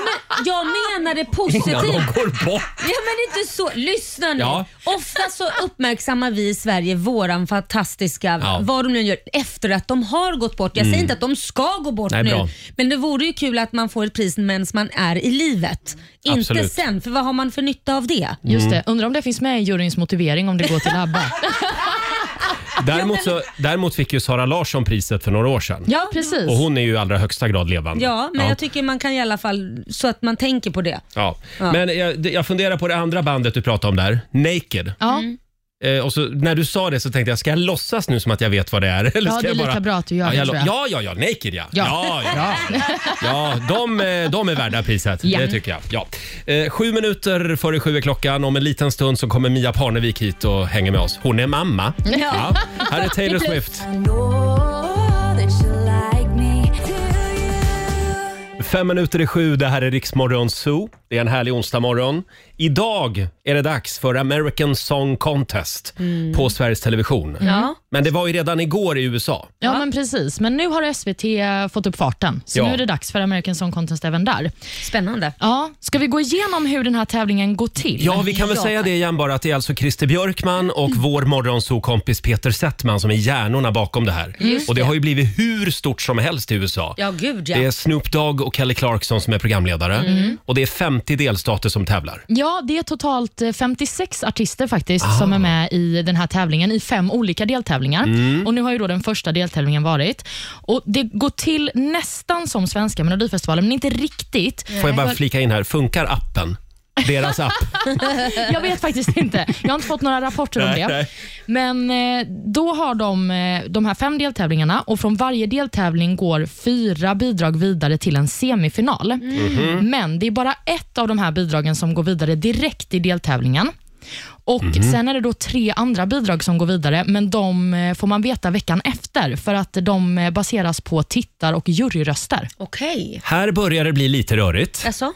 Speaker 2: jag menade
Speaker 1: Innan de
Speaker 2: positivt.
Speaker 1: går bort.
Speaker 2: Ja men inte så. Lyssna nu.
Speaker 1: Ja.
Speaker 2: Ofta så uppmärksammar vi i Sverige våran fantastiska,
Speaker 1: Ja. Mm.
Speaker 2: vad de nu gör, efter att de har gått bort. Jag säger inte att de ska gå bort
Speaker 1: Nej,
Speaker 2: nu.
Speaker 1: bra.
Speaker 2: Men det vore ju kul att man får ett pris medan man är i livet. Inte
Speaker 1: Absolut. Mm.
Speaker 2: sen, för vad har man för nytta av det?
Speaker 3: Just det, undrar om det finns med i juryns motivering om det går till ABBA. <laughs>
Speaker 1: Däremot, så, däremot fick ju Sara Larsson priset för några år sedan.
Speaker 3: ja, precis.
Speaker 1: Och hon är ju i allra högsta grad levande.
Speaker 2: Ja, men jag tycker man kan i alla fall, så att man tänker på det.
Speaker 1: Ja.
Speaker 2: Ja.
Speaker 1: Men jag, det- jag funderar på det andra bandet du pratade om där, Naked.
Speaker 3: Ja,
Speaker 2: Mm.
Speaker 1: Eh, och så, när du sa det så tänkte jag, ska jag låtsas nu som att jag vet vad det är? <laughs> Eller
Speaker 3: ja
Speaker 1: ska
Speaker 3: det är
Speaker 1: jag
Speaker 3: lika
Speaker 1: bara...
Speaker 3: bra att du gör
Speaker 1: Ja,
Speaker 3: det
Speaker 1: jag,
Speaker 3: tror
Speaker 1: lo-
Speaker 3: jag.
Speaker 1: ja, ja, ja, Naked ja. Ja,
Speaker 3: Ja.
Speaker 1: ja. ja de, eh, de är värda priset,
Speaker 3: Ja.
Speaker 1: det tycker jag. Ja. Eh, sju minuter före sju är klockan. Om en liten stund så kommer Mia Parnevik hit och hänger med oss. Hon är mamma. Ja. Här är Taylor Swift.
Speaker 2: Mm. <laughs>
Speaker 1: Fem minuter i sju, det här är Riksmorgon Zoo. Det är en härlig onsdagmorgon. Idag är det dags för American Song Contest
Speaker 2: Mm.
Speaker 3: Mm.
Speaker 1: på Sveriges Television.
Speaker 2: Ja.
Speaker 1: Men det var ju redan igår i USA.
Speaker 3: Ja, Mm. men precis. Men nu har SVT fått upp farten, så
Speaker 1: Ja.
Speaker 3: nu är det dags för American Song Contest även där.
Speaker 2: Spännande.
Speaker 3: Ja, ska vi gå igenom hur den här tävlingen går till?
Speaker 1: Ja, vi kan väl
Speaker 2: Ja. Mm.
Speaker 1: säga det igen bara att det är alltså Christer Björkman och vår morgonsokompis Peter Settman som är hjärnorna bakom det här. och det, har ju blivit hur stort som helst i USA.
Speaker 2: Ja, gud
Speaker 1: Det är
Speaker 2: ja. Mm.
Speaker 1: Snoop Dogg och Kelly Clarkson som är programledare och det är 50 delstater som tävlar.
Speaker 3: Ja, det är totalt eh, 56 artister faktiskt
Speaker 1: Ah.
Speaker 3: som är med i den här tävlingen i fem olika deltävlingar.
Speaker 1: Mm.
Speaker 3: Och Nu har ju då den första deltävlingen varit. Och Det går till nästan som svenska Melodifestivalen, men inte riktigt. Eh,
Speaker 1: Får
Speaker 2: Eh,
Speaker 1: jag bara flika in här, funkar appen? Deras app.
Speaker 3: <laughs> Jag vet faktiskt inte. Jag har inte fått några rapporter om
Speaker 1: Nej,
Speaker 3: det.
Speaker 1: nej.
Speaker 3: Men eh, då har de eh, de här fem deltävlingarna och från varje deltävling går fyra bidrag vidare till en semifinal.
Speaker 1: Mhm.
Speaker 3: Men det är bara ett av de här bidragen som går vidare direkt i deltävlingen. Och
Speaker 1: Mhm.
Speaker 3: Sen är det då tre andra bidrag som går vidare, men de eh, får man veta veckan efter för att de eh, baseras på tittar och juryröster.
Speaker 2: Okej. Okay.
Speaker 1: Här börjar det bli lite rörigt.
Speaker 2: Alltså?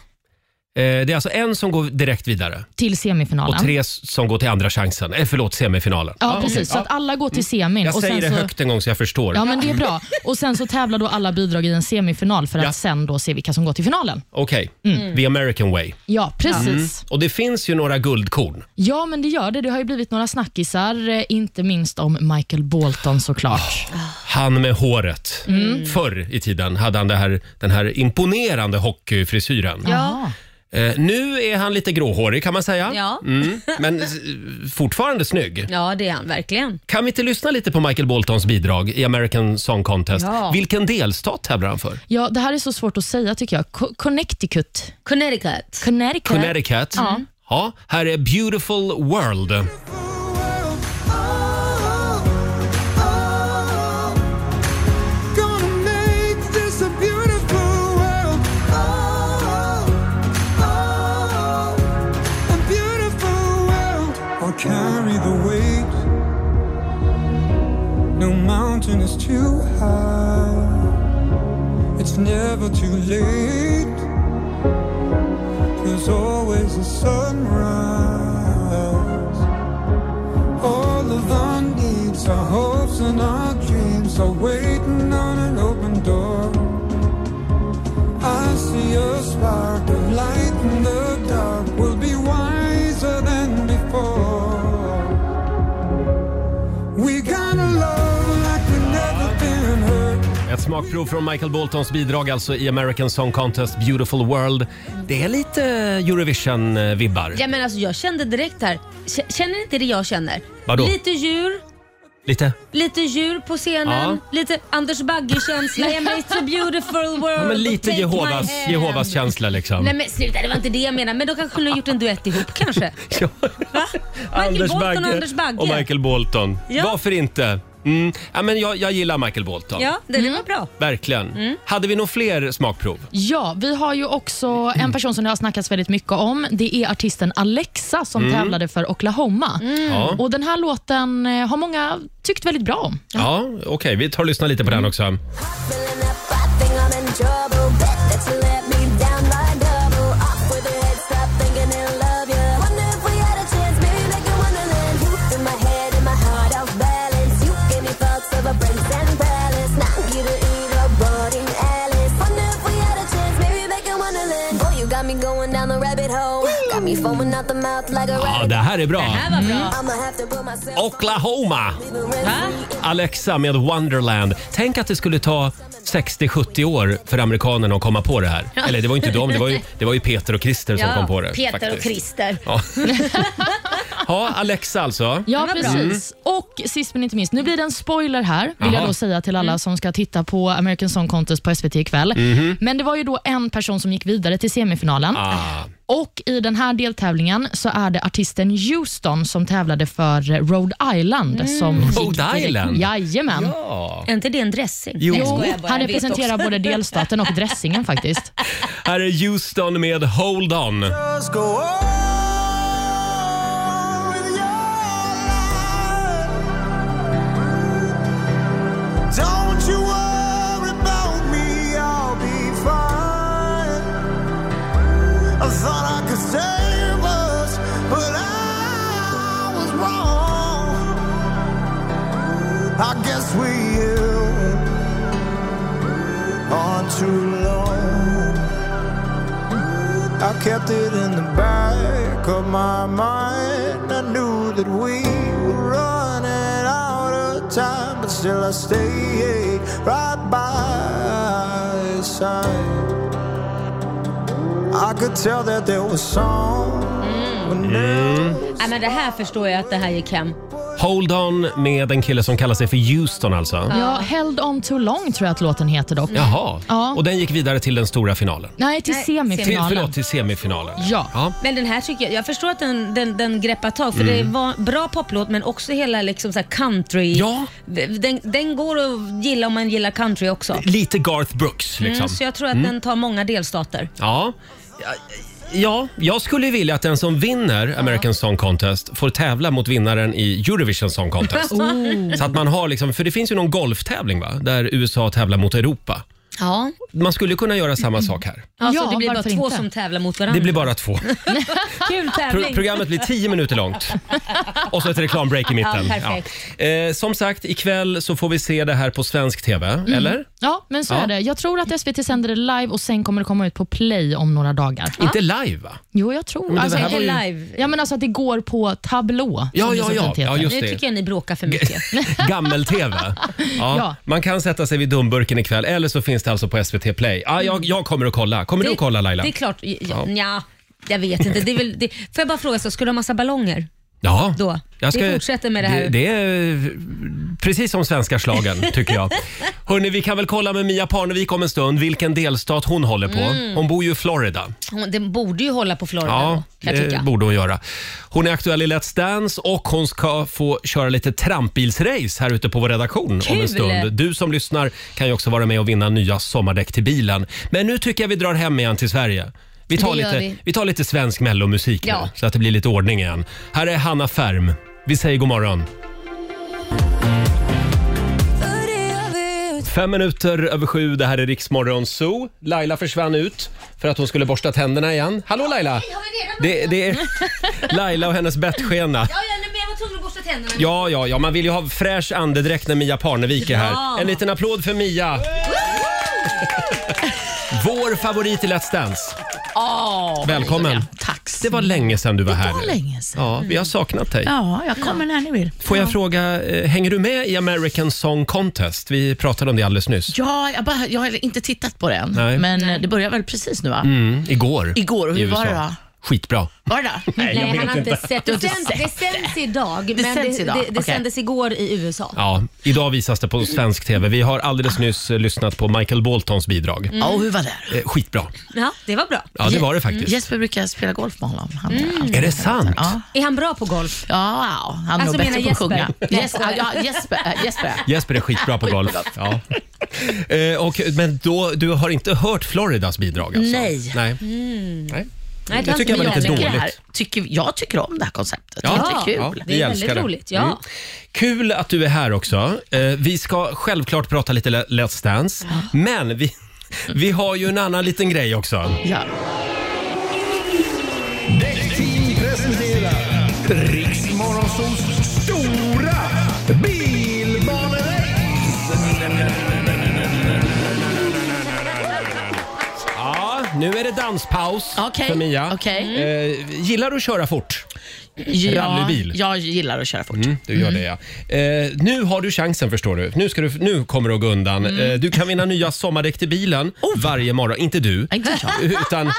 Speaker 1: Eh, Det är alltså en som går direkt vidare
Speaker 3: Till semifinalen.
Speaker 1: och tre s- som går till andra chansen. Eh, Förlåt, semifinalen.
Speaker 3: Ja, precis. Så att alla går till semin.
Speaker 1: Mm. Jag
Speaker 3: och
Speaker 1: säger
Speaker 3: sen
Speaker 1: det
Speaker 3: så...
Speaker 1: högt en gång så jag förstår.
Speaker 3: Ja, men det är bra. Och Sen så tävlar då alla bidrag i en semifinal för att
Speaker 1: Ja.
Speaker 3: sen då se vilka som går till finalen.
Speaker 1: <laughs> Okej, the American way.
Speaker 3: Mm.
Speaker 1: Mm.
Speaker 3: Ja, precis.
Speaker 1: Och det finns ju några guldkorn.
Speaker 3: Ja, men det gör det. Det har ju blivit några snackisar, eh, inte minst om Michael Bolton såklart.
Speaker 1: Han med håret.
Speaker 3: Mm.
Speaker 1: Förr i tiden hade han det här, den här imponerande hockeyfrisyren.
Speaker 3: Ja.
Speaker 1: Eh, nu är han lite gråhårig kan man säga.
Speaker 2: Ja.
Speaker 1: Mm, men s- fortfarande snygg.
Speaker 2: Ja, det är han verkligen.
Speaker 1: Kan vi inte lyssna lite på Michael Boltons bidrag i American Song Contest?
Speaker 2: Ja.
Speaker 1: Vilken delstat tävlar han för?
Speaker 3: ja, det här är så svårt att säga tycker jag. Co- Connecticut.
Speaker 2: Connecticut.
Speaker 3: Connecticut.
Speaker 1: Connecticut?
Speaker 3: Ja.
Speaker 1: Ja, här är Beautiful World.
Speaker 9: Carry the weight. No mountain is too high. It's never too late. There's always a sunrise. All of our needs, our hopes, and our dreams are waiting on an open door. I see a spark of light in the dark. We'll be wiser than before. We got a love like we've never been hurt.
Speaker 1: Ett smakprov från Michael Boltons bidrag alltså i American Song Contest Beautiful World. Det är lite Eurovision-vibbar.
Speaker 2: Ja, men alltså, jag kände direkt här, K- känner inte det jag känner?
Speaker 1: Vadå?
Speaker 2: Lite djur,
Speaker 1: Lite.
Speaker 2: lite djur på scenen,
Speaker 1: Ja.
Speaker 2: lite Anders
Speaker 1: <laughs>
Speaker 2: Bagge-känsla. Jag menar, it's a beautiful world.
Speaker 1: Ja, men lite
Speaker 2: Take my
Speaker 1: Jehovas,
Speaker 2: hand.
Speaker 1: Jehovas känsla liksom.
Speaker 2: Nej men sluta, det var inte det jag menade. Men då kanske kunde ha gjort en duett
Speaker 1: <laughs>
Speaker 2: ihop kanske.
Speaker 1: Ja.
Speaker 2: Michael Bolton och Anders Bagge.
Speaker 1: och Michael Bolton.
Speaker 2: Ja.
Speaker 1: Varför inte? Mm. Ja, men jag, jag gillar Michael Bolton.
Speaker 2: Ja, Mm. det,
Speaker 3: Mm.
Speaker 2: det var bra.
Speaker 1: Verkligen. Hade vi nog fler smakprov?
Speaker 3: Ja, vi har ju också en person som det har snackats väldigt mycket om. Det är artisten Alexa som tävlade för Oklahoma.
Speaker 1: Mm.
Speaker 2: Mm.
Speaker 1: Ja,
Speaker 3: Och Den här låten eh, har många tyckt väldigt bra om.
Speaker 1: ja okej. Vi tar och lyssnar lite på
Speaker 2: Mm.
Speaker 1: den också.
Speaker 8: Feeling that bad thing, I'm in trouble. Bet that you let me down by double. Off with your head, stop thinking and love you. Wonder if we had a chance, maybe make a wonderland. You in my head, in my You foam another mouth like a Mm-hmm.
Speaker 1: Ja, det här är bra. Mm.
Speaker 2: Det här var bra.
Speaker 8: I'ma have to put myself
Speaker 1: Oklahoma!
Speaker 2: Va?
Speaker 1: Alexa med Wonderland. Tänk att det skulle ta 60-70 år för amerikanerna att komma på det här. Eller det var inte de, det
Speaker 2: <laughs>
Speaker 1: var ju, det var ju Peter och Christer som kom på det.
Speaker 2: Peter och
Speaker 1: faktiskt.
Speaker 2: Christer. <laughs>
Speaker 1: Ja. ja, Alexa alltså.
Speaker 3: Ja,
Speaker 2: var bra. Mm.
Speaker 3: precis. Och sist men inte minst, nu blir det en spoiler här,
Speaker 1: Jaha.
Speaker 3: vill jag då säga till
Speaker 2: Mm.
Speaker 3: alla som ska titta på American Song Contest på SVT ikväll.
Speaker 2: Mhm.
Speaker 3: Men det var ju då en person som gick vidare till semifinalen.
Speaker 1: Ah.
Speaker 3: Och I den här deltävlingen så är det artisten Houston som tävlade för Rhode Island.
Speaker 2: Mm.
Speaker 3: Som gick
Speaker 1: Rhode
Speaker 3: direkt-
Speaker 1: Island?
Speaker 3: Jajamän.
Speaker 1: Ja.
Speaker 2: Är inte det en dressing?
Speaker 1: Jo.
Speaker 2: Nej, jag
Speaker 3: Jo,
Speaker 2: skojar bara,
Speaker 3: han
Speaker 2: jag vet
Speaker 3: representerar
Speaker 2: också.
Speaker 3: både delstaten och dressingen faktiskt.
Speaker 1: Här är Houston med Hold On.
Speaker 10: I guess we are too long. I kept it in the back of my mind. I knew that we were running out of time, but still I stayed right by his side. I could tell that there was someone else.
Speaker 2: Nej, men det här förstår jag att det här gick hem.
Speaker 1: Mm. Hold On med en kille som kallar sig för Houston alltså.
Speaker 3: Ja, Held on too long tror jag att låten heter dock.
Speaker 1: Jaha,
Speaker 3: Mm. Ja.
Speaker 1: och den gick vidare till den stora finalen.
Speaker 3: Nej, till
Speaker 2: Nej,
Speaker 1: Till,
Speaker 3: semifinalen.
Speaker 1: förlåt, till semifinalen.
Speaker 3: Ja.
Speaker 2: Men den här tycker jag, jag förstår att den, den, den greppar tag för
Speaker 1: Mm.
Speaker 2: det var bra poplåt men också hela liksom så här country.
Speaker 1: Ja.
Speaker 2: Den, den går att gilla om man gillar country också.
Speaker 1: Lite Garth Brooks liksom.
Speaker 2: Mm, så jag tror att den tar många delstater.
Speaker 1: Ja. Ja, jag skulle vilja att den som vinner American Song Contest får tävla mot vinnaren i Eurovision Song
Speaker 2: <laughs>
Speaker 1: Contest.
Speaker 2: Oh.
Speaker 1: Så att man har liksom, för det finns ju någon golftävling va? Där USA tävlar mot Europa.
Speaker 2: Ja,
Speaker 1: Man skulle kunna göra samma sak här.
Speaker 2: alltså,
Speaker 3: Ja,
Speaker 2: det blir bara
Speaker 3: varför
Speaker 2: två
Speaker 3: inte?
Speaker 2: som tävlar mot varandra.
Speaker 1: Det blir bara
Speaker 3: <laughs>
Speaker 1: två.
Speaker 2: Kul
Speaker 1: Pro
Speaker 2: tävling!
Speaker 1: programmet blir tio minuter
Speaker 2: <laughs>
Speaker 1: långt. Och så ett reklambreak i mitten.
Speaker 2: Ja, perfekt.
Speaker 1: Eh, som sagt, ikväll så får vi se det här på svensk TV,
Speaker 2: Mm.
Speaker 1: eller?
Speaker 3: Mm. Ja, men så
Speaker 1: Ja.
Speaker 3: är det. Jag tror att SVT sänder det live och sen kommer det komma ut på play om några dagar.
Speaker 1: Inte live va?
Speaker 3: Jo, jag tror
Speaker 1: det
Speaker 3: alltså,
Speaker 1: här var ju-
Speaker 2: live.
Speaker 3: Ja, men alltså att det går på tablå.
Speaker 1: Ja,
Speaker 3: som det
Speaker 1: ja,
Speaker 3: så
Speaker 1: ja.
Speaker 3: fint heter.
Speaker 1: Ja, just
Speaker 2: Nu
Speaker 1: det.
Speaker 2: tycker jag ni bråkar för
Speaker 3: <laughs>
Speaker 2: mycket. <laughs>
Speaker 1: Gammel-TV. Ja.
Speaker 3: Ja.
Speaker 1: Man kan sätta sig vid dumburken ikväll eller så finns det alltså på SVT Play. Ja, jag, jag kommer att kolla. Kommer du att kolla Laila?
Speaker 2: Mm. Det är klart, ja, nja, jag vet inte. Det är väl, det, får jag bara fråga, så, ska du ha massa ballonger?
Speaker 1: Ja.
Speaker 2: Då. Vi fortsätter med det här.
Speaker 1: Det, det är eh, precis som svenska
Speaker 2: <laughs>
Speaker 1: slagen tycker jag. Hörni, vi kan väl kolla med Mia Parnevik om en stund vilken delstat hon håller på.
Speaker 2: Mm.
Speaker 1: Hon bor ju i Florida.
Speaker 2: Hon- Den borde ju hålla på Florida
Speaker 1: Ja, eh,
Speaker 2: då, kan jag
Speaker 1: det
Speaker 2: tycka.
Speaker 1: borde hon göra. Hon är aktuell i Let's Dance och hon ska få köra lite trampbilsrace här ute på vår redaktion om en
Speaker 2: Kul!
Speaker 1: stund. Du som lyssnar kan ju också vara med och vinna nya sommardäck till bilen. Men nu tycker jag vi drar hem igen till Sverige. Vi tar,
Speaker 2: Det gör
Speaker 1: lite, vi.
Speaker 2: vi.
Speaker 1: tar lite svensk mellomusik nu,
Speaker 2: Ja.
Speaker 1: så att det blir lite ordning igen. Här är Hanna Färm. Vi säger god morgon. Fem minuter över sju, det här är Riksmorgon Zoo. Laila försvann ut för att hon skulle borsta tänderna igen. Hallå Laila! Det, det är
Speaker 2: <laughs>
Speaker 1: Laila och hennes bettskena.
Speaker 2: Ja, ja, nej, men jag var tvungen att borsta tänderna.
Speaker 1: Ja, ja, ja, man vill ju ha fräsch andedräkt när Mia Parnevik är här.
Speaker 2: Ja.
Speaker 1: En liten applåd för Mia! Vår favorit i Let's Dance.
Speaker 11: Åh,
Speaker 1: Välkommen!
Speaker 11: tack.
Speaker 1: Det var länge sedan du var här. nu.
Speaker 11: länge sedan.
Speaker 1: Ja, vi har saknat dig.
Speaker 11: Ja, jag kommer när ni vill.
Speaker 1: Får jag fråga, eh, hänger du med i American Song Contest? Vi pratade om det alldeles nyss.
Speaker 11: Ja, jag, bara, jag har inte tittat på den,
Speaker 1: Nej.
Speaker 11: men eh, det börjar väl precis nu va?
Speaker 1: Mm, igår.
Speaker 11: Igår, och hur
Speaker 1: i USA.
Speaker 11: var det då?
Speaker 1: Skitbra.
Speaker 11: Var det det?
Speaker 2: Nej, han har inte sett. Det sänds, det sänds idag, men det,
Speaker 11: sänds idag,
Speaker 2: det, det,
Speaker 11: okej.
Speaker 2: sändes igår i USA.
Speaker 1: Ja, idag visas det på svensk TV. Vi har alldeles nyss eh, lyssnat på Michael Boltons bidrag.
Speaker 11: Mm. Ja, och hur var det?
Speaker 1: Eh, Skitbra.
Speaker 2: Ja, det var bra. Mm.
Speaker 1: Ja, det var det faktiskt. Mm.
Speaker 11: Jesper brukar spela golf med honom. Han, han,
Speaker 1: Är det sant?
Speaker 11: Ja.
Speaker 2: Är han bra på golf?
Speaker 11: Ja, wow. han är
Speaker 2: Alltså,
Speaker 11: nog bättre på
Speaker 2: menar
Speaker 11: att sjunga.
Speaker 2: Jesper?
Speaker 11: Yes, ja, Jesper, äh, Jesper.
Speaker 1: Jesper är skitbra på golf. Ja. Eh, och, men då, du har inte hört Floridas bidrag alltså?
Speaker 11: Nej.
Speaker 1: Nej. Nej.
Speaker 2: Mm. Nej,
Speaker 1: Det
Speaker 2: har
Speaker 1: tycker jag
Speaker 2: inte
Speaker 1: var lite
Speaker 2: med.
Speaker 11: tycker, det
Speaker 1: dåligt.
Speaker 11: här, tycker, jag tycker om
Speaker 2: <laughs>
Speaker 11: det här konceptet.
Speaker 1: Ja.
Speaker 11: Ja. Det är kul.
Speaker 2: Det är
Speaker 1: vi
Speaker 2: väldigt
Speaker 1: älskar Mm.
Speaker 2: roligt, ja.
Speaker 1: Kul att du är här också. Eh, vi ska självklart prata lite Le- Let's Dance, men vi, vi har ju en annan liten grej också.
Speaker 11: Ja.
Speaker 5: Däckteam presenterar Riksmorgonsols stora bilbanerace.
Speaker 1: Ja, nu är det danspaus
Speaker 11: Okej,
Speaker 1: för Mia.
Speaker 11: okej.
Speaker 1: Eh, gillar du att köra fort? Rallybil?
Speaker 11: Jag gillar att köra fort.
Speaker 1: Mm, du gör det ja. Eh, nu har du chansen förstår du. Nu, ska du, nu kommer du att gå undan.
Speaker 11: Mm. Oh.
Speaker 1: Eh, du kan vinna nya sommardäck till bilen varje morgon. Inte du,
Speaker 11: Inte jag.
Speaker 1: <laughs> utan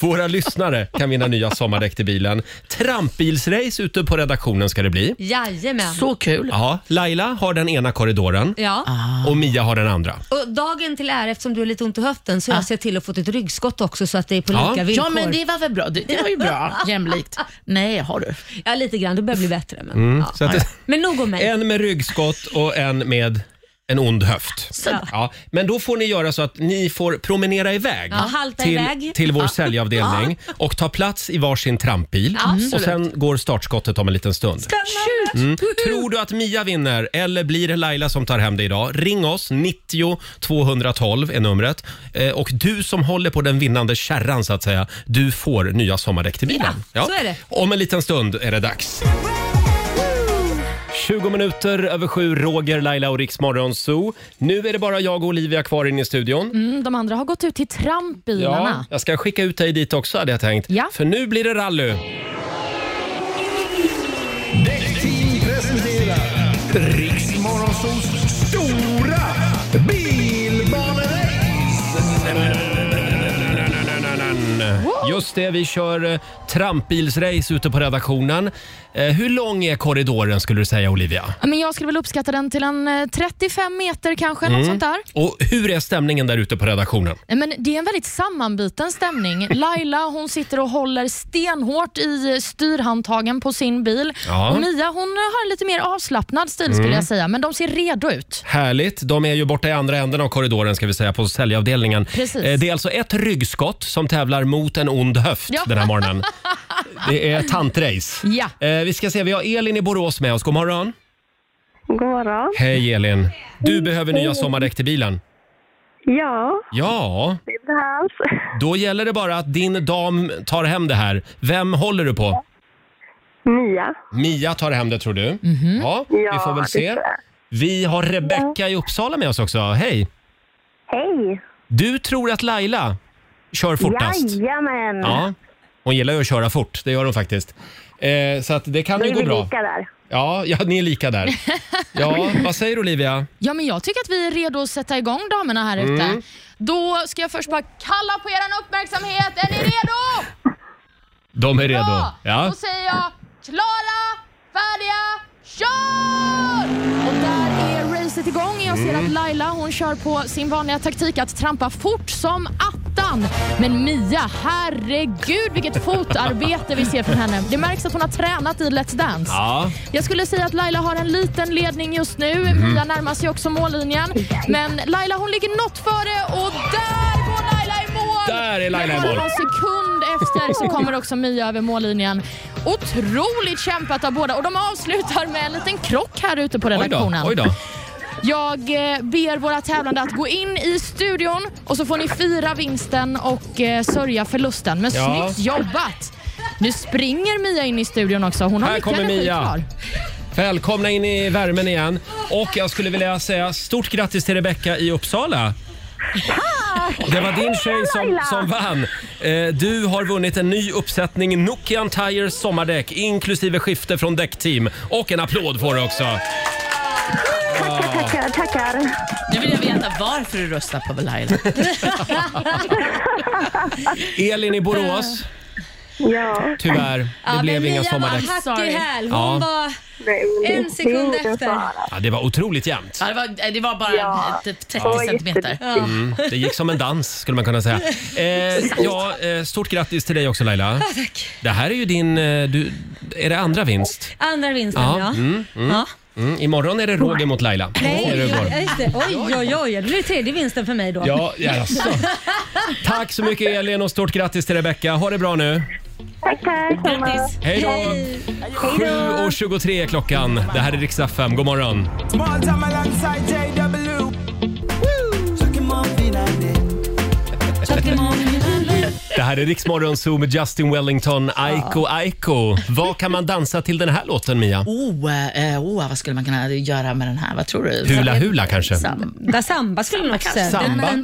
Speaker 1: våra lyssnare kan vinna nya sommardäck till bilen. Trampbilsrace ute på redaktionen ska det bli.
Speaker 2: Jajamän.
Speaker 1: Ja, Laila har den ena korridoren
Speaker 2: Ja.
Speaker 1: och Mia har den andra.
Speaker 2: Och dagen till ära, eftersom du har lite ont i höften, så har jag sett till att få ett ryggskott också så att det är på
Speaker 1: Ja.
Speaker 2: lika villkor.
Speaker 1: Ja, men det
Speaker 11: var väl bra? Det, det var
Speaker 2: <laughs>
Speaker 11: ju bra. Jämlikt. Nej, har du?
Speaker 2: Ja, lite grann. Det börjar bli bättre. Men,
Speaker 1: Mm,
Speaker 2: ja.
Speaker 1: så att det-
Speaker 2: men nog om mig.
Speaker 1: En med ryggskott och en med en ond höft.
Speaker 2: Ja.
Speaker 1: Ja, men då får ni göra så att ni får promenera iväg,
Speaker 2: Ja, halta
Speaker 1: till,
Speaker 2: iväg.
Speaker 1: till vår
Speaker 2: Ja.
Speaker 1: säljavdelning och ta plats i varsin trampbil.
Speaker 2: Ja, absolut.
Speaker 1: och sen går startskottet om en liten stund.
Speaker 2: Spännande!
Speaker 1: Mm. Tror du att Mia vinner eller blir det Laila som tar hem det idag? Ring oss, 90 212 är numret. Eh, och du som håller på den vinnande kärran så att säga, du får nya sommardäck till bilen.
Speaker 5: Ja, så är det.
Speaker 1: Om en liten stund är det dags. 20 minuter över sju, Roger, Laila och Riks Morgonzoo. Nu är det bara jag och Olivia kvar inne i studion.
Speaker 3: Mm, de andra har gått ut till trampbilarna.
Speaker 1: jag ska skicka ut dig dit också hade jag tänkt. För nu blir det rally.
Speaker 5: Däckteam presenterar Riks Morgonzoos stora bilbanerace.
Speaker 1: Just det, vi kör eh, trampbilsrace ute på redaktionen. Eh, Hur lång är korridoren skulle du säga Olivia?
Speaker 3: Ja, Men jag skulle väl uppskatta den till en eh, 35 meter kanske, något
Speaker 1: Mm.
Speaker 3: sånt där.
Speaker 1: Och hur är stämningen där ute på redaktionen?
Speaker 3: Nej, Men det är en väldigt sammanbiten
Speaker 1: <laughs>
Speaker 3: stämning. Laila hon sitter och håller stenhårt i styrhandtagen på sin bil.
Speaker 1: Ja.
Speaker 3: Och Mia hon har en lite mer avslappnad stil skulle
Speaker 1: Mm.
Speaker 3: jag säga, men de ser redo ut.
Speaker 1: Härligt. De är ju borta i andra änden av korridoren ska vi säga på säljavdelningen.
Speaker 3: Precis.
Speaker 1: Eh, Det är alltså ett ryggskott som tävlar mot en ond höft
Speaker 3: Ja.
Speaker 1: den här morgonen. Det är tantrace.
Speaker 3: Ja.
Speaker 1: Eh, Vi ska se, vi har Elin i Borås med oss. God morgon.
Speaker 6: God morgon.
Speaker 1: Hej Elin. Du behöver nya sommardäck till bilen.
Speaker 6: Ja,
Speaker 1: Ja,
Speaker 6: det behövs.
Speaker 1: då gäller det bara att din dam tar hem det här. Vem håller du på?
Speaker 6: Mia.
Speaker 1: Mia tar hem det tror du. Ja, vi får väl
Speaker 6: det
Speaker 1: se.
Speaker 6: tror jag.
Speaker 1: Vi har Rebecka i Uppsala med oss också. Hej!
Speaker 6: Hej!
Speaker 1: Du tror att Laila kör fortast?
Speaker 6: Jajamän!
Speaker 1: Ja, hon gillar ju att köra fort. Det gör hon faktiskt. Eh, så att det kan
Speaker 6: Då
Speaker 1: ju
Speaker 6: är
Speaker 1: gå
Speaker 6: vi
Speaker 1: bra.
Speaker 6: lika där.
Speaker 1: Ja, ja, ni är lika
Speaker 6: <laughs>
Speaker 1: där. Ja, vad säger du Olivia?
Speaker 3: <laughs> Ja, men jag tycker att vi är redo att sätta igång damerna här
Speaker 1: Mm.
Speaker 3: ute. Då ska jag först bara kalla på er uppmärksamhet. Är ni redo?
Speaker 1: De är redo. Ja.
Speaker 3: Då säger jag klara, färdiga, kör! Och där är racet igång. Jag ser
Speaker 5: Mm.
Speaker 3: att Laila hon kör på sin vanliga taktik att trampa fort som attan. Men Mia,
Speaker 5: <laughs>
Speaker 3: herregud vilket fotarbete vi ser från henne. Det märks att hon har tränat i Let's Dance.
Speaker 5: Ja.
Speaker 3: Jag skulle säga att Laila har en liten ledning just nu.
Speaker 5: Mhm.
Speaker 3: Mia närmar sig
Speaker 5: <laughs>
Speaker 3: också mållinjen. Men Laila hon ligger något före och där går Laila i mål!
Speaker 5: Där är Laila i
Speaker 3: Men bara
Speaker 5: mål.
Speaker 3: En sekund efter så kommer också Mia över mållinjen. Otroligt kämpat av båda och de avslutar med en liten krock här ute på
Speaker 5: Oj då,
Speaker 3: redaktionen.
Speaker 5: oj då.
Speaker 3: Jag eh, ber våra tävlande att gå in i studion och så får ni fira vinsten och eh, sörja förlusten. Men
Speaker 5: Ja.
Speaker 3: snyggt jobbat! Nu springer Mia in i studion också. Hon har
Speaker 1: Här
Speaker 3: mycket
Speaker 1: kommer
Speaker 3: energi
Speaker 1: Mia.
Speaker 3: kvar.
Speaker 1: Välkomna in i värmen igen. Och jag skulle vilja säga stort grattis till Rebecka i Uppsala. Det var din tjej som, som vann. Eh, du har vunnit en ny uppsättning Nokian Tires sommardäck inklusive skifte från däckteam. Och en applåd får du också.
Speaker 6: Tackar, tackar.
Speaker 11: Nu vill jag veta varför du röstar på Laila.
Speaker 1: <laughs> Elin i Borås.
Speaker 6: Ja.
Speaker 1: Tyvärr, det blev inga sommardäck.
Speaker 2: Mia var hack i häl. Hon
Speaker 1: Ja.
Speaker 2: var en sekund efter.
Speaker 1: Ja, det var otroligt jämnt.
Speaker 11: Ja, det, var, eh, det var bara
Speaker 2: Ja.
Speaker 11: typ 30
Speaker 2: Ja,
Speaker 11: centimeter.
Speaker 2: <laughs>
Speaker 1: Mm, det gick som en dans skulle man kunna säga. Eh, ja, eh, stort grattis till dig också Laila. Det här är ju din, eh, du, är det andra vinst?
Speaker 2: Andra vinsten ja.
Speaker 1: Mm, mm,
Speaker 2: Ja.
Speaker 1: mm. Imorgon är det Roger mot Laila.
Speaker 2: Nej,
Speaker 1: Är det
Speaker 2: jag,
Speaker 1: igår.
Speaker 2: jag, just det. oj, oj, oj, oj. Det blir tredje vinsten för mig då.
Speaker 1: Ja, alltså.
Speaker 2: <laughs>
Speaker 1: jaså. Tack så mycket Elin och stort grattis till Rebecka. Ha det bra nu.
Speaker 6: Tackar.
Speaker 1: Hej då. 7.23 är klockan. Det här är riksdag 5. God morgon.
Speaker 5: Small time alongside JW. Woo! Chuck him on Vinande.
Speaker 1: Det här är Riksmorgon Zoo med Justin Wellington, Aiko Aiko. Vad kan man dansa till den här låten, Mia?
Speaker 11: Oh, eh, oh, vad skulle man kunna göra med den här? Vad tror du?
Speaker 1: Hula hula kanske?
Speaker 2: Där samba skulle nog också...
Speaker 1: Samba.
Speaker 11: eh,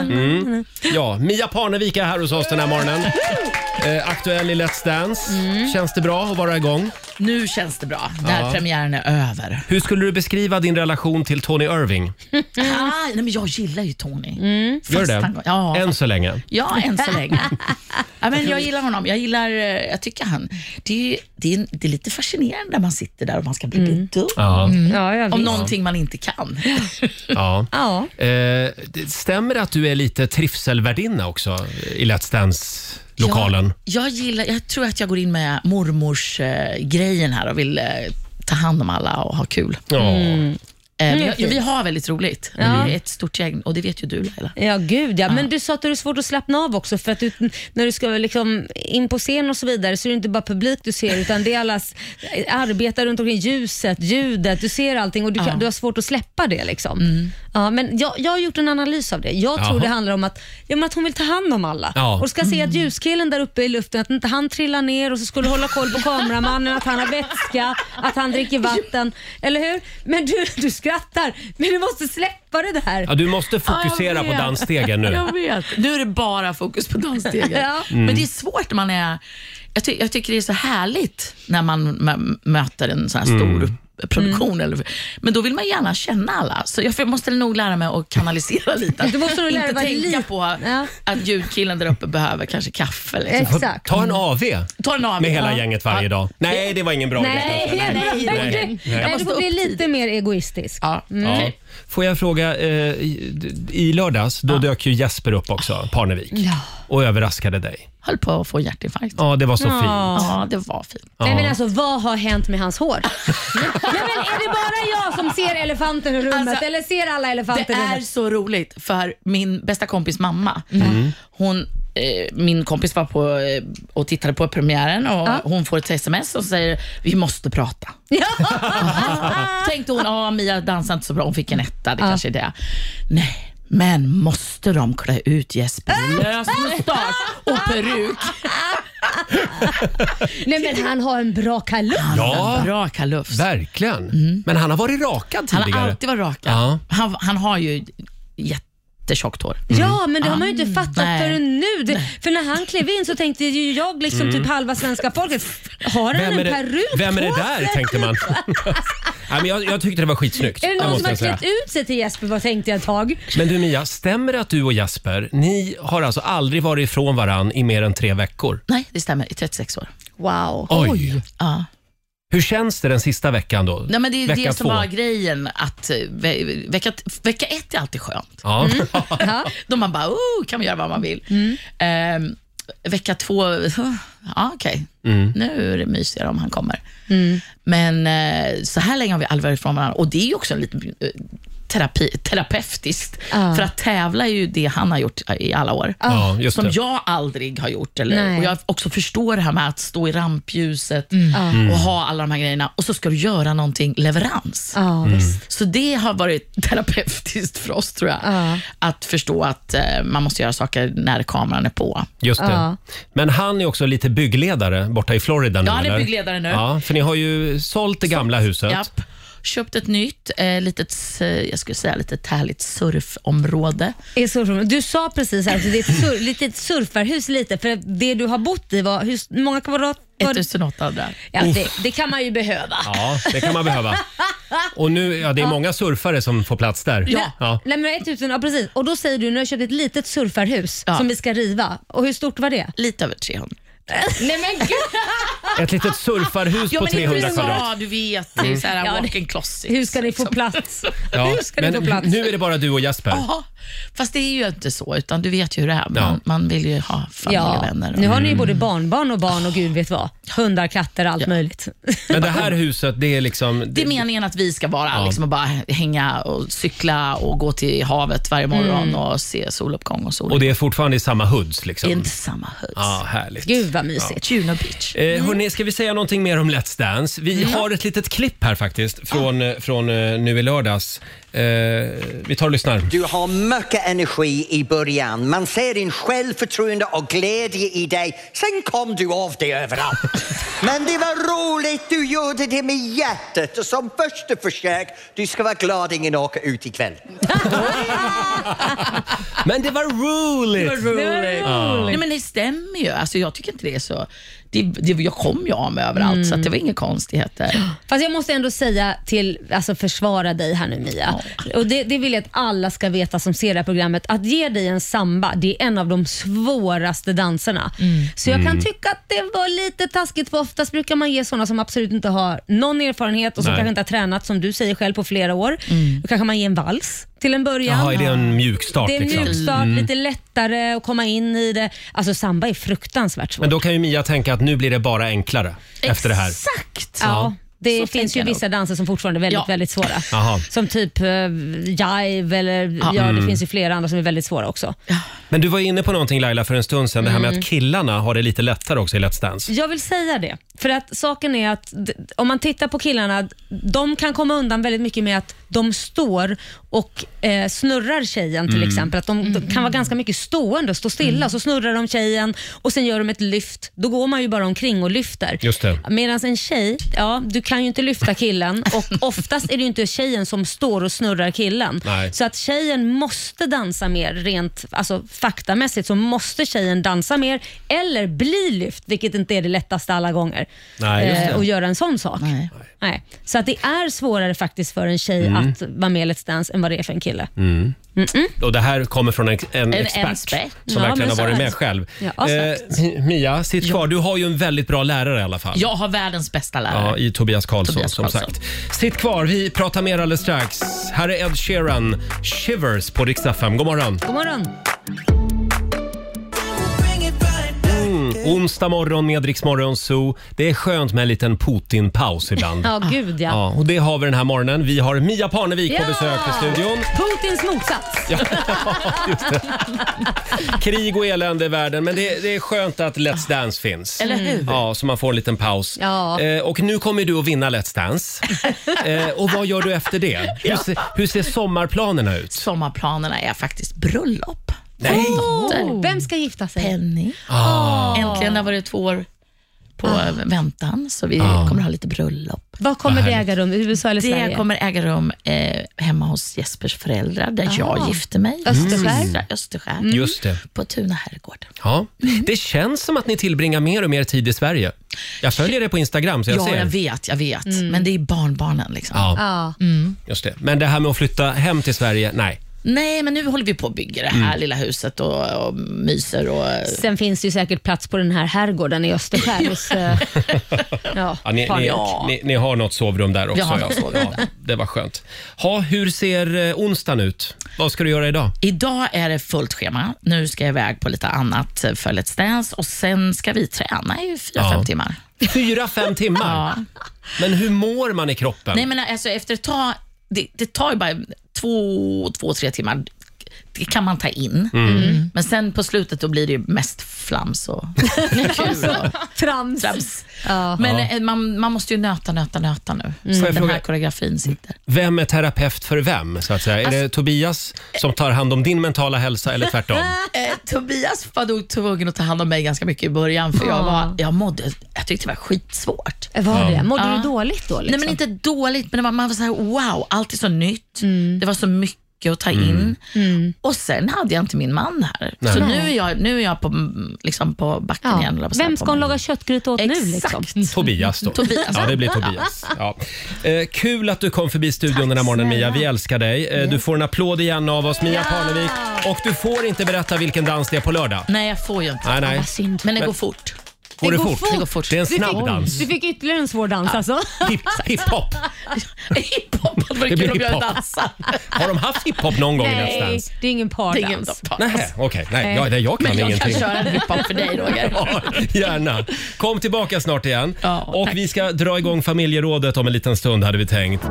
Speaker 1: Mm. Ja, Mia Parnevik är här hos oss den här morgonen. Eh, aktuell i Let's Dance. Känns det bra att vara igång?
Speaker 11: Mm. Nu känns det bra, när
Speaker 1: Ja.
Speaker 11: premiären är över.
Speaker 1: Hur skulle du beskriva din relation till Tony Irving?
Speaker 11: Ah, nej, men jag gillar ju Tony.
Speaker 2: Mm.
Speaker 1: Gör du
Speaker 11: Fast
Speaker 1: det?
Speaker 11: han- Ja,
Speaker 1: Än så länge.
Speaker 11: Ja, än så
Speaker 2: <laughs>
Speaker 11: länge. ja, men jag gillar honom. Jag gillar, eh, jag tycker han, det är, ju- det är, det är lite fascinerande när man sitter där och man ska bli lite dum.
Speaker 1: Ja. Mm.
Speaker 2: Ja,
Speaker 11: Om
Speaker 1: visst.
Speaker 11: någonting man inte kan.
Speaker 1: Ja.
Speaker 2: Ja.
Speaker 1: Eh, det stämmer det att du är lite trivselvärdinna också i Let's Dance-lokalen?
Speaker 11: Jag, jag, gillar, jag tror att jag går in med mormors eh, grejen här och vill eh, ta hand om alla och ha kul.
Speaker 1: Ja. Mm.
Speaker 11: Eh, men
Speaker 2: Mm,
Speaker 11: jag,
Speaker 2: fint.
Speaker 11: vi har väldigt roligt.
Speaker 2: Ja.
Speaker 11: Vi är ett stort gäng och det vet ju du Laila.
Speaker 2: Ja, gud ja. Men du sa att det är svårt att slappna av också för att du, när du ska liksom in på scen och så vidare så är det inte bara publik du ser utan det är allas arbetare runt omkring, ljuset, ljudet, du ser allting och du, kan, du har svårt att släppa det. Liksom. Ja, men jag, jag har gjort en analys av det. Jag tror
Speaker 1: Mm. Jaha.
Speaker 2: det handlar om att, ja, men att hon vill ta hand om alla
Speaker 1: Ja. Mm.
Speaker 2: och ska se att ljuskillen där uppe i luften, att inte han trillar ner och så skulle hålla koll på kameramannen, att han har vätska, att han dricker vatten. Eller hur? Men du, du skrattar, men du måste släppa det där.
Speaker 1: Ja, du måste fokusera
Speaker 11: Ja, jag
Speaker 1: på
Speaker 11: vet.
Speaker 1: dansstegen nu.
Speaker 11: <laughs> Jag vet. Nu är det bara fokus på
Speaker 2: <laughs>
Speaker 11: dansstegen.
Speaker 2: Ja.
Speaker 1: Mm.
Speaker 11: Men det är svårt när man är... Jag, ty- jag tycker det är så härligt när man mö- möter en sån här stor
Speaker 1: Mm.
Speaker 11: produktion. Eller, men då vill man gärna känna alla. Så jag f- måste nog lära mig att kanalisera <laughs> lite. Att
Speaker 2: Du måste nog lära
Speaker 11: inte
Speaker 2: dig
Speaker 11: tänka
Speaker 2: lite.
Speaker 11: på att ljudkillen där uppe behöver kanske kaffe. Liksom.
Speaker 2: Exakt.
Speaker 1: Ta en AV
Speaker 11: Ta en av
Speaker 1: med hela
Speaker 11: Ja.
Speaker 1: gänget varje
Speaker 11: Ja.
Speaker 1: dag. Nej, det var ingen bra idé.
Speaker 2: Nej,
Speaker 1: kanske.
Speaker 2: nej,
Speaker 1: nej,
Speaker 2: nej.
Speaker 1: nej.
Speaker 2: nej. Du får bli lite mer egoistisk.
Speaker 11: Ja.
Speaker 2: Mm.
Speaker 1: Ja. Får jag fråga, eh, i- i lördags då dök ju Jesper upp också, Parnevik,
Speaker 11: Ah. Ja.
Speaker 1: och överraskade dig.
Speaker 11: Höll på att få hjärtinfarkt.
Speaker 1: Ja, det var så
Speaker 2: Ja.
Speaker 1: fint.
Speaker 11: Ja, det var fint.
Speaker 1: Ja.
Speaker 2: Nej, men alltså, vad har hänt med hans
Speaker 11: <laughs>
Speaker 2: hår? Nej, men är det bara jag som ser elefanten i rummet
Speaker 11: Alltså,
Speaker 2: eller ser alla elefanter
Speaker 11: Det
Speaker 2: i
Speaker 11: är
Speaker 2: rummet?
Speaker 11: så roligt för min bästa kompis mamma,
Speaker 5: Mm.
Speaker 3: Mm.
Speaker 11: hon, eh, min kompis var på eh, och tittade på premiären och hon får ett sms och säger vi måste prata. <laughs> Tänkte hon, ja Mia dansar inte så bra, hon fick en etta, det kanske är det. Nej, men måste de klä ut Jesper i lös mustasch och peruk?
Speaker 2: <laughs> Nej men han har en bra kalufs.
Speaker 1: Ja.
Speaker 11: Bra kalufs.
Speaker 1: Verkligen.
Speaker 11: Mm.
Speaker 1: Men han har varit rakad
Speaker 11: Han
Speaker 1: tidigare.
Speaker 11: har alltid varit rakad.
Speaker 1: Ja.
Speaker 11: Han, han har ju jättetjockt hår.
Speaker 2: Ja, men det har man ju inte fattat
Speaker 11: Mm. Nej.
Speaker 2: förrän nu. Det, för när han klev in så tänkte ju jag, liksom typ halva svenska folket, har han
Speaker 1: Mm. Vem är
Speaker 2: en
Speaker 1: det,
Speaker 2: peruk
Speaker 1: vem är det
Speaker 2: på
Speaker 1: där,
Speaker 2: sig?
Speaker 1: tänkte
Speaker 11: <laughs>
Speaker 1: man. Nej, men jag, jag tyckte det var skitsnyggt.
Speaker 2: Är det någon
Speaker 1: måste
Speaker 2: som har
Speaker 1: jag säga.
Speaker 2: klätt ut sig till Jesper? Vad tänkte jag ett tag.
Speaker 1: Men du Mia, stämmer det att du och Jesper, ni har alltså aldrig varit ifrån varann i mer än tre veckor?
Speaker 11: Nej, det stämmer. I 36 år.
Speaker 2: Wow.
Speaker 1: Oj!
Speaker 11: Ja.
Speaker 1: Hur känns det den sista veckan då?
Speaker 11: Nej, men det är
Speaker 1: Vecka
Speaker 11: det som
Speaker 1: två.
Speaker 11: var grejen. Att eh, ve vecka, vecka ett är alltid skönt.
Speaker 1: Ja.
Speaker 2: Ja.
Speaker 11: Då Mm. man bara, oh, kan man göra vad man vill. Ehm, vecka två, "Huh, ja okej,
Speaker 1: Mm.
Speaker 11: nu är det mysigare om han kommer.
Speaker 2: Mm.
Speaker 11: Men eh, så här länge har vi aldrig varit ifrån varandra. Och det är ju också en liten eh, terapi, terapeutiskt.
Speaker 2: Ja.
Speaker 11: För att tävla är ju det han har gjort i alla år.
Speaker 1: Ja, just
Speaker 11: som
Speaker 1: det.
Speaker 11: jag aldrig har gjort. Eller,
Speaker 2: Nej.
Speaker 11: och jag också förstår det här med att stå i rampljuset
Speaker 2: Mm.
Speaker 1: Mm.
Speaker 11: och ha alla de här grejerna och så ska du göra någonting leverans.
Speaker 2: Ja,
Speaker 1: Mm.
Speaker 2: visst.
Speaker 11: Så det har varit <laughs> terapeutiskt för oss tror jag.
Speaker 2: Ja.
Speaker 11: Att förstå att eh, man måste göra saker när kameran är på.
Speaker 1: Just det.
Speaker 2: Ja.
Speaker 1: Men han är också lite byggledare borta i Florida nu
Speaker 11: Ja, han är
Speaker 1: eller?
Speaker 11: byggledare nu.
Speaker 1: Ja, för ni har ju sålt det gamla huset.
Speaker 11: Japp. Köpt ett nytt, eh, litet, s- eh, jag skulle säga litet härligt surfområde.
Speaker 2: Är surfrum. Du sa precis att det är ett sur, <laughs> litet surfarhus lite, för att det du har bott i var, hur s- många kvadrat var det?
Speaker 11: 1800.
Speaker 2: Ja, det, det kan man ju behöva.
Speaker 1: Ja, det kan man
Speaker 2: <laughs>
Speaker 11: <laughs>
Speaker 1: behöva. Och nu, ja, det är många surfare som får plats där.
Speaker 11: Ja.
Speaker 1: ja.
Speaker 2: Nej, men 1000, ja, precis. Och då säger du, nu har jag köpt ett litet surfarhus
Speaker 11: Ja.
Speaker 2: som vi ska riva. Och hur stort var det?
Speaker 11: Lite över 300. Nej men gud!
Speaker 1: Ett litet surfarhus
Speaker 11: Ja,
Speaker 1: på
Speaker 11: men det är
Speaker 1: 300 kvadrat.
Speaker 11: USA, du vet. Det är så här
Speaker 2: Mm. Ja, det-
Speaker 11: walk-in closet. liksom.
Speaker 2: Hur ska ni få
Speaker 11: <laughs>
Speaker 2: plats?
Speaker 1: Ja,
Speaker 2: Hur ska ni
Speaker 1: men
Speaker 2: få plats?
Speaker 1: nu är det bara du och Jesper.
Speaker 11: Ja, fast det är ju inte så, utan du vet ju hur det är. Man,
Speaker 1: Ja.
Speaker 11: man vill ju ha familj och
Speaker 2: Ja,
Speaker 11: vänner. Och...
Speaker 2: nu har ni ju både barnbarn och barn och gud vet vad. Hundar, katter, allt möjligt.
Speaker 1: Men det här huset, det är liksom...
Speaker 11: Det är meningen att vi ska vara liksom, och bara hänga och cykla och gå till havet varje morgon
Speaker 2: Mm.
Speaker 11: och se soluppgång och sol.
Speaker 1: Och det är fortfarande i samma hoods
Speaker 11: det är
Speaker 1: liksom?
Speaker 11: inte samma hus.
Speaker 1: Ja, härligt.
Speaker 2: Gud vad mysigt.
Speaker 11: Juno Beach.
Speaker 1: Eh,
Speaker 2: Mm.
Speaker 1: hörni, ska vi säga någonting mer om Let's Dance? Vi har ett litet klipp här faktiskt från, eh, från eh, nu i lördags. Eh, Eh, vi tar och lyssnar.
Speaker 12: Du har mycket energi i början. Man ser en självförtroende och glädje i dig. Sen kom du av dig överallt. Men det var roligt. Du gjorde det med hjärtat. Och som första försök, du ska vara glad ingen åker ut ikväll.
Speaker 1: Men det var roligt!
Speaker 11: Det var roligt.
Speaker 1: Ja.
Speaker 11: Nej, men det stämmer ju. Alltså, jag tycker inte det är så... Det, det, jag kom ju av mig överallt,
Speaker 2: Mm.
Speaker 11: så att det var inga konstigheter.
Speaker 2: Fast jag måste ändå säga till, alltså försvara dig här nu Mia. Och det, det vill jag att alla ska veta som ser det här programmet. Att ge dig en samba, det är en av de svåraste danserna. Så jag
Speaker 13: Mm.
Speaker 2: kan tycka att det var lite taskigt för oftast brukar man ge sådana som absolut inte har någon erfarenhet och som
Speaker 1: Nej.
Speaker 2: kanske inte har tränat som du säger själv på flera år. Då kanske man ger en vals till en början.
Speaker 1: Jaha, är det en mjukstart?
Speaker 2: det är
Speaker 1: liksom?
Speaker 2: mjukstart,
Speaker 1: Mm.
Speaker 2: lite lättare att komma in i det. Alltså samba är fruktansvärt svårt.
Speaker 1: Men då kan ju Mia tänka att nu blir det bara enklare efter det här.
Speaker 2: Exakt! Ja, det finns ju vissa danser som fortfarande är väldigt, väldigt svåra.
Speaker 1: Jaha.
Speaker 2: Som typ eh, jive eller
Speaker 13: Ah,
Speaker 2: ja, det
Speaker 1: Mm.
Speaker 2: finns ju flera andra som är väldigt svåra också.
Speaker 1: Men du var inne på någonting Laila för en stund sedan, det här med
Speaker 2: Mm.
Speaker 1: att killarna har det lite lättare också i Let's Dance.
Speaker 2: Jag vill säga det, för att saken är att d- om man tittar på killarna, de kan komma undan väldigt mycket med att de står och eh, snurrar tjejen till
Speaker 13: Mm.
Speaker 2: exempel. Att de, de kan vara ganska mycket stående och stå stilla, så snurrar de tjejen och sen gör de ett lyft. Då går man ju bara omkring och lyfter.
Speaker 13: Just det.
Speaker 2: Medan en tjej, ja, du kan ju inte lyfta killen och oftast är det ju inte tjejen som står och snurrar killen.
Speaker 13: Nej.
Speaker 2: Så att tjejen måste dansa mer rent alltså, faktamässigt, så måste tjejen dansa mer eller bli lyft, vilket inte är det lättaste alla gånger. eh,
Speaker 13: Nej, just det.
Speaker 2: och göra en sån sak. Nej. Så att det är svårare faktiskt för en tjej
Speaker 1: Mm.
Speaker 2: att vara med i Let's Dance än vad det är för en kille.
Speaker 1: Mm.
Speaker 2: Mm-mm.
Speaker 1: Och det här kommer från en, en,
Speaker 2: En
Speaker 1: expert,
Speaker 2: expert.
Speaker 1: som
Speaker 2: Ja,
Speaker 1: verkligen
Speaker 2: men
Speaker 1: har
Speaker 2: så
Speaker 1: varit
Speaker 2: är
Speaker 1: med
Speaker 2: det.
Speaker 1: själv.
Speaker 2: Ja, exakt.
Speaker 1: Eh, Mia, sitt kvar. Du har ju en väldigt bra lärare i alla fall.
Speaker 11: Jag har världens bästa lärare.
Speaker 1: Ja, i Tobias Karlsson,
Speaker 11: Tobias
Speaker 1: som
Speaker 11: Karlsson.
Speaker 1: sagt. Sitt kvar, vi pratar mer alldeles strax. Här är Ed Sheeran, Shivers på Rix FM. God morgon!
Speaker 2: God morgon.
Speaker 1: Mm. Onsdag morgon med Rix Morgon Zoo. Det är skönt med en liten Putin-paus ibland.
Speaker 2: <laughs> Ja, gud ja.
Speaker 1: Ja, och det har vi den här morgonen. Vi har Mia Parnevik på
Speaker 2: Ja!
Speaker 1: besök i studion.
Speaker 2: Putins motsats.
Speaker 1: Krig och elände i världen, men det, det är skönt att Let's Dance finns.
Speaker 2: Eller hur?
Speaker 1: Ja, så man får en liten paus.
Speaker 2: Ja.
Speaker 1: Eh, och nu kommer du att vinna Let's Dance.
Speaker 11: <laughs>
Speaker 1: Eh, och vad gör du efter det? Hur, se, hur ser sommarplanerna ut?
Speaker 11: Sommarplanerna är faktiskt bröllop. Mm.
Speaker 1: Nej!
Speaker 2: Oh, vem ska gifta sig?
Speaker 11: Penny.
Speaker 1: Ah.
Speaker 11: Äntligen, det har varit två år på väntan, så vi kommer ha lite bröllop.
Speaker 2: Var Ah. kommer det äga rum? I USA eller
Speaker 11: det
Speaker 2: Sverige?
Speaker 11: kommer äga rum eh, hemma hos Jespers föräldrar, där
Speaker 2: Ah.
Speaker 11: jag gifte mig.
Speaker 2: Österskär.
Speaker 11: Mm. Österskär.
Speaker 1: Just det.
Speaker 11: På Tuna herrgård.
Speaker 1: Ja. Det känns som att ni tillbringar mer och mer tid i Sverige. Jag följer det på Instagram så jag
Speaker 11: ja,
Speaker 1: ser.
Speaker 11: jag vet, jag vet.
Speaker 2: Mm.
Speaker 11: Men det är barnbarnen. Liksom.
Speaker 1: Ja.
Speaker 2: Ah.
Speaker 11: Mm.
Speaker 1: Just det. Men det här med att flytta hem till Sverige, nej.
Speaker 11: Nej, men nu håller vi på att bygga det här
Speaker 1: Mm.
Speaker 11: lilla huset och, och myser. Och,
Speaker 2: Sen finns det ju säkert plats på den här herrgården i Österskär
Speaker 11: <laughs>
Speaker 2: hos eh, ja,
Speaker 1: Ja, ni, ni,
Speaker 2: paret.
Speaker 1: ni, ni har något sovrum där också.
Speaker 2: Vi har
Speaker 1: ja.
Speaker 2: något sovrum
Speaker 1: Ja, det var skönt. Ha, hur ser eh, onsdagen ut? Vad ska du göra idag?
Speaker 11: Idag är det fullt schema. Nu ska jag iväg på lite annat eh, för Let's Dance och sen ska vi träna i fyra,
Speaker 1: Ja.
Speaker 11: fem timmar.
Speaker 1: Fyra, fem timmar? Men hur mår man i kroppen?
Speaker 11: Nej, men alltså, efter ett tag, det, det tar ju bara två, två, tre timmar. Det kan man ta in.
Speaker 1: Mm. Mm.
Speaker 11: Men sen på slutet då blir det ju mest
Speaker 1: <laughs>
Speaker 11: flams och Alltså,
Speaker 2: Trams.
Speaker 11: Men
Speaker 1: Ja.
Speaker 11: eh, man, man måste ju nöta, nöta, nöta nu.
Speaker 1: jag
Speaker 11: Så att Mm, den
Speaker 1: fråga-
Speaker 11: här koreografin sitter.
Speaker 1: Vem är terapeut för vem? Så att säga? är det
Speaker 11: Alltså-
Speaker 1: Tobias som tar hand om din mentala hälsa eller tvärtom?
Speaker 11: <laughs> Eh, Tobias var nog tvungen att ta hand om mig ganska mycket i början för jag,
Speaker 2: Ja. Eh,
Speaker 11: var, jag, mådde, jag tyckte det var skitsvårt.
Speaker 2: Var
Speaker 1: Ja. det?
Speaker 2: Mådde du dåligt då,
Speaker 11: Nej,
Speaker 2: liksom?
Speaker 11: men inte dåligt, men det var, man var så här, wow, allt är så nytt.
Speaker 2: Mm.
Speaker 11: Det var så mycket att ta
Speaker 1: Mm.
Speaker 11: in. Och sen hade jag inte min man här.
Speaker 2: Nej.
Speaker 11: Så
Speaker 2: Nej.
Speaker 11: nu är jag, nu är jag på, mm, liksom på backen
Speaker 2: Ja.
Speaker 11: igen. höll jag på att säga,
Speaker 2: Vem
Speaker 11: på
Speaker 2: ska hon
Speaker 11: måndag.
Speaker 2: laga köttgryta åt nu? Liksom?
Speaker 1: Tobias då.
Speaker 11: Tobias.
Speaker 1: Ja, det blir Tobias. Ja. Eh, kul att du kom förbi studion den här morgonen Mia. Vi älskar dig. Eh, Du får en applåd igen av oss, Mia Parnevik. Och du får inte berätta vilken dans det är på lördag.
Speaker 11: Nej, jag får ju inte.
Speaker 1: Nej, nej.
Speaker 11: Vad synd. Men det går fort.
Speaker 1: Går det, fort? Det är en snabb dans.
Speaker 2: Du fick ytterligare en svår dans alltså. <laughs>
Speaker 1: Hiphop.
Speaker 11: <laughs> hiphop hade varit
Speaker 1: Det blir
Speaker 11: kul om jag
Speaker 1: hiphop.
Speaker 11: dansade.
Speaker 1: Har de haft hiphop någon gång i Let's
Speaker 2: Nej,
Speaker 1: Dance?
Speaker 2: det är ingen
Speaker 11: Det är ingen
Speaker 2: pardans.
Speaker 1: Nej, okej. Nej, jag, nej, jag kan
Speaker 11: Eh, Men jag
Speaker 1: ingenting.
Speaker 11: kan köra en hiphop för dig Roger.
Speaker 1: <laughs> Ja, gärna. Kom tillbaka snart igen. och vi ska dra igång familjerådet om en liten stund hade vi tänkt.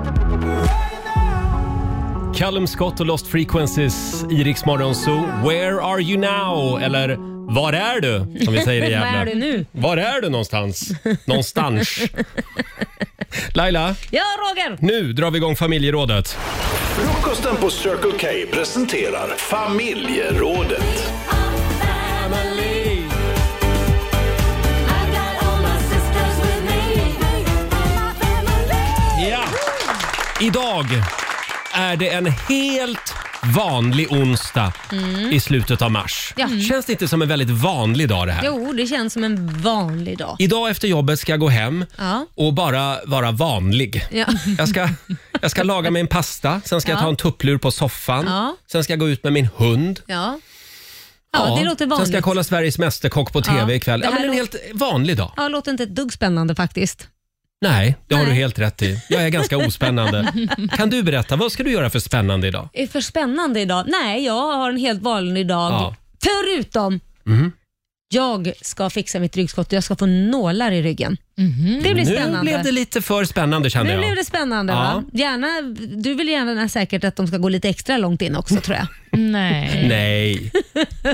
Speaker 1: Callum Scott och Lost Frequencies i Rix Morgon Zoo. Where are you now? Eller var är
Speaker 11: <laughs>
Speaker 1: du? Som vi säger i
Speaker 2: Var
Speaker 1: Gävle.
Speaker 2: är du nu?
Speaker 11: <laughs>
Speaker 1: Var är du någonstans? Någonstans. Laila,
Speaker 2: Ja, Roger!
Speaker 1: nu drar vi igång familjerådet.
Speaker 13: Frukosten på Circle K presenterar Familjerådet.
Speaker 1: Ja! Idag är det en helt vanlig onsdag
Speaker 2: Mm.
Speaker 1: i slutet av mars.
Speaker 2: Ja. Mm.
Speaker 1: Känns det inte som en väldigt vanlig dag det här?
Speaker 2: Jo, det känns som en vanlig dag.
Speaker 1: Idag efter jobbet ska jag gå hem
Speaker 2: Ja.
Speaker 1: och bara vara vanlig.
Speaker 2: Ja.
Speaker 1: Jag ska, jag ska laga mig en pasta, sen ska jag
Speaker 2: Ja.
Speaker 1: ta en tupplur på soffan,
Speaker 2: Ja.
Speaker 1: sen ska jag gå ut med min hund.
Speaker 2: Ja. Ja, det låter
Speaker 1: Sen
Speaker 2: vanligt.
Speaker 1: ska jag kolla Sveriges Mästerkock på TV
Speaker 2: Ja.
Speaker 1: ikväll.
Speaker 2: Det
Speaker 1: Ja,
Speaker 2: här
Speaker 1: men en helt
Speaker 2: låter-
Speaker 1: vanlig dag.
Speaker 2: Ja, låter inte ett dugg spännande faktiskt.
Speaker 1: Nej, det har du helt rätt i. Jag är ganska
Speaker 2: <laughs>
Speaker 1: ospännande. Kan du berätta, vad ska du göra för spännande idag?
Speaker 2: Är för spännande idag? Nej, jag har en helt vanlig dag.
Speaker 1: Ja.
Speaker 2: Förutom
Speaker 1: Mhm.
Speaker 2: jag ska fixa mitt ryggskott och jag ska få nålar i ryggen.
Speaker 1: Mhm.
Speaker 2: Det blir spännande.
Speaker 1: Nu blev det lite för spännande kände
Speaker 2: nu
Speaker 1: jag.
Speaker 2: blev det spännande
Speaker 1: Ja.
Speaker 2: va? Gärna, du vill gärna säkert att de ska gå lite extra långt in också tror jag.
Speaker 1: <laughs>
Speaker 2: Nej. <laughs>
Speaker 1: Nej,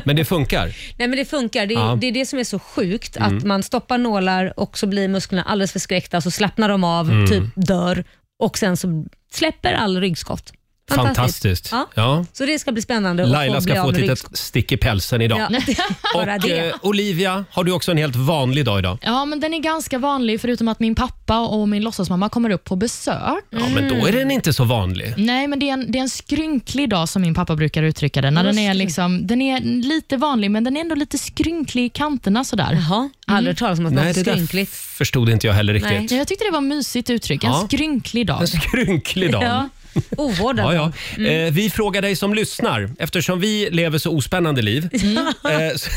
Speaker 1: men det funkar.
Speaker 2: Nej men det funkar. Det är,
Speaker 1: Ja.
Speaker 2: det, är det som är så sjukt. Att
Speaker 1: Mm.
Speaker 2: man stoppar nålar och så blir musklerna alldeles förskräckta, så slappnar de av,
Speaker 1: Mm.
Speaker 2: typ dör och sen så släpper all ryggskott.
Speaker 1: Fantastiskt.
Speaker 2: Ja.
Speaker 1: Ja.
Speaker 2: Så det ska bli spännande att
Speaker 1: Laila
Speaker 2: få bli
Speaker 1: ska
Speaker 2: av
Speaker 1: få ett
Speaker 2: med
Speaker 1: litet
Speaker 2: ryggskott.
Speaker 1: stick i pälsen idag.
Speaker 2: Ja. <laughs> Bara
Speaker 1: Och,
Speaker 2: det.
Speaker 1: eh, Olivia, har du också en helt vanlig dag idag?
Speaker 3: Ja, men den är ganska vanlig förutom att min pappa och min låtsasmamma kommer upp på besök.
Speaker 1: Ja, men
Speaker 2: Mm.
Speaker 1: då är den inte så vanlig.
Speaker 3: Nej, men det är, en, det är en skrynklig dag som min pappa brukar uttrycka det. När den, är liksom, den är lite vanlig, men den är ändå lite skrynklig i kanterna. Sådär.
Speaker 2: Jaha, aldrig hört talas om att vara
Speaker 1: Nej, det där
Speaker 2: skrynklig.
Speaker 1: Förstod inte jag heller
Speaker 3: Nej.
Speaker 1: riktigt.
Speaker 3: Jag tyckte det var mysigt uttryck. En
Speaker 1: Ja.
Speaker 3: skrynklig dag.
Speaker 1: En skrynklig dag.
Speaker 2: Ja. Ovårdad.
Speaker 1: Ja, ja.
Speaker 2: Mm.
Speaker 1: Eh, vi frågar dig som lyssnar, eftersom vi lever så ospännande liv,
Speaker 2: Mm.
Speaker 1: eh, så,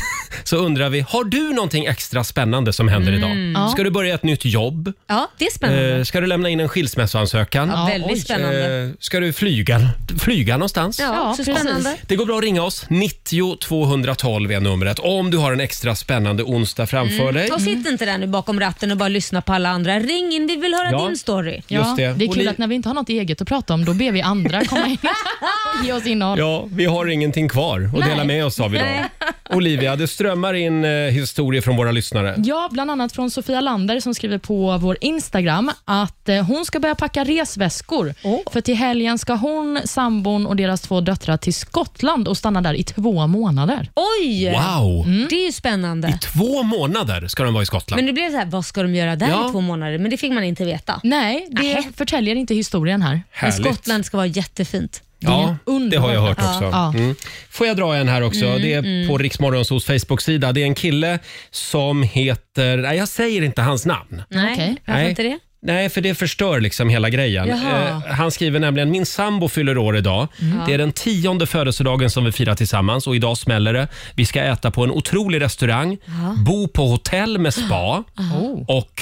Speaker 1: så undrar vi, har du någonting extra spännande som händer
Speaker 2: Mm. Ja.
Speaker 1: idag? Ska du börja ett nytt jobb?
Speaker 2: Ja, det är spännande.
Speaker 1: Eh, ska du lämna in en skilsmässoansökan?
Speaker 2: Ja, väldigt Oj. spännande.
Speaker 1: Eh, ska du flyga, flyga någonstans?
Speaker 2: Ja, Ja, så precis. spännande.
Speaker 1: Det går bra att ringa oss. 90 212 är numret om du har en extra spännande onsdag framför
Speaker 2: Mm.
Speaker 1: dig.
Speaker 2: Och sitt inte där nu bakom ratten och bara lyssna på alla andra. Ring in, vi vill höra
Speaker 1: Ja,
Speaker 2: din story.
Speaker 1: Ja, just det.
Speaker 3: Det är kul
Speaker 1: Oli-
Speaker 3: att när vi inte har något eget att prata om, då ber vi andra
Speaker 2: <laughs>
Speaker 3: komma in och ge oss innehåll.
Speaker 1: Eh. Ja, vi har ingenting kvar att
Speaker 3: Nej.
Speaker 1: dela med oss av idag.
Speaker 3: Nej.
Speaker 1: Olivia, det strömmar in eh, historier från våra
Speaker 2: Äh.
Speaker 1: lyssnare.
Speaker 3: Ja, bland annat från Sofia Lander som skriver på vår Instagram att eh, hon ska börja packa resväskor. För till helgen ska hon, sambon och deras två döttrar till Skottland och stanna där i två månader.
Speaker 2: Oj! Mm.
Speaker 1: Wow.
Speaker 2: Det är ju spännande.
Speaker 1: Två månader ska de vara i Skottland.
Speaker 2: Men nu blev det så här, vad ska de göra där
Speaker 1: Ja.
Speaker 2: i två månader? Men det fick man inte veta.
Speaker 3: Nej, det förtäljer inte historien här.
Speaker 1: Härligt.
Speaker 2: Men Skottland ska vara jättefint.
Speaker 1: Ja, det har jag hört också.
Speaker 2: Ja.
Speaker 1: Mm. Får jag dra en här också?
Speaker 2: Mm,
Speaker 1: det är
Speaker 2: mm.
Speaker 1: på Riksmorgonsos Facebook-sida. Det är en kille som heter... Nej, jag säger inte hans namn.
Speaker 2: Nej, varför
Speaker 1: Nej. <gasps>
Speaker 2: inte det?
Speaker 1: Nej, för det förstör liksom hela grejen.
Speaker 2: Jaha.
Speaker 1: Eh, han skriver nämligen, min sambo fyller år idag.
Speaker 2: Mm.
Speaker 1: Det är den tionde födelsedagen som vi firar tillsammans och idag smäller det. Vi ska äta på en otrolig restaurang,
Speaker 2: Ja.
Speaker 1: bo på hotell med spa
Speaker 2: Oh.
Speaker 1: och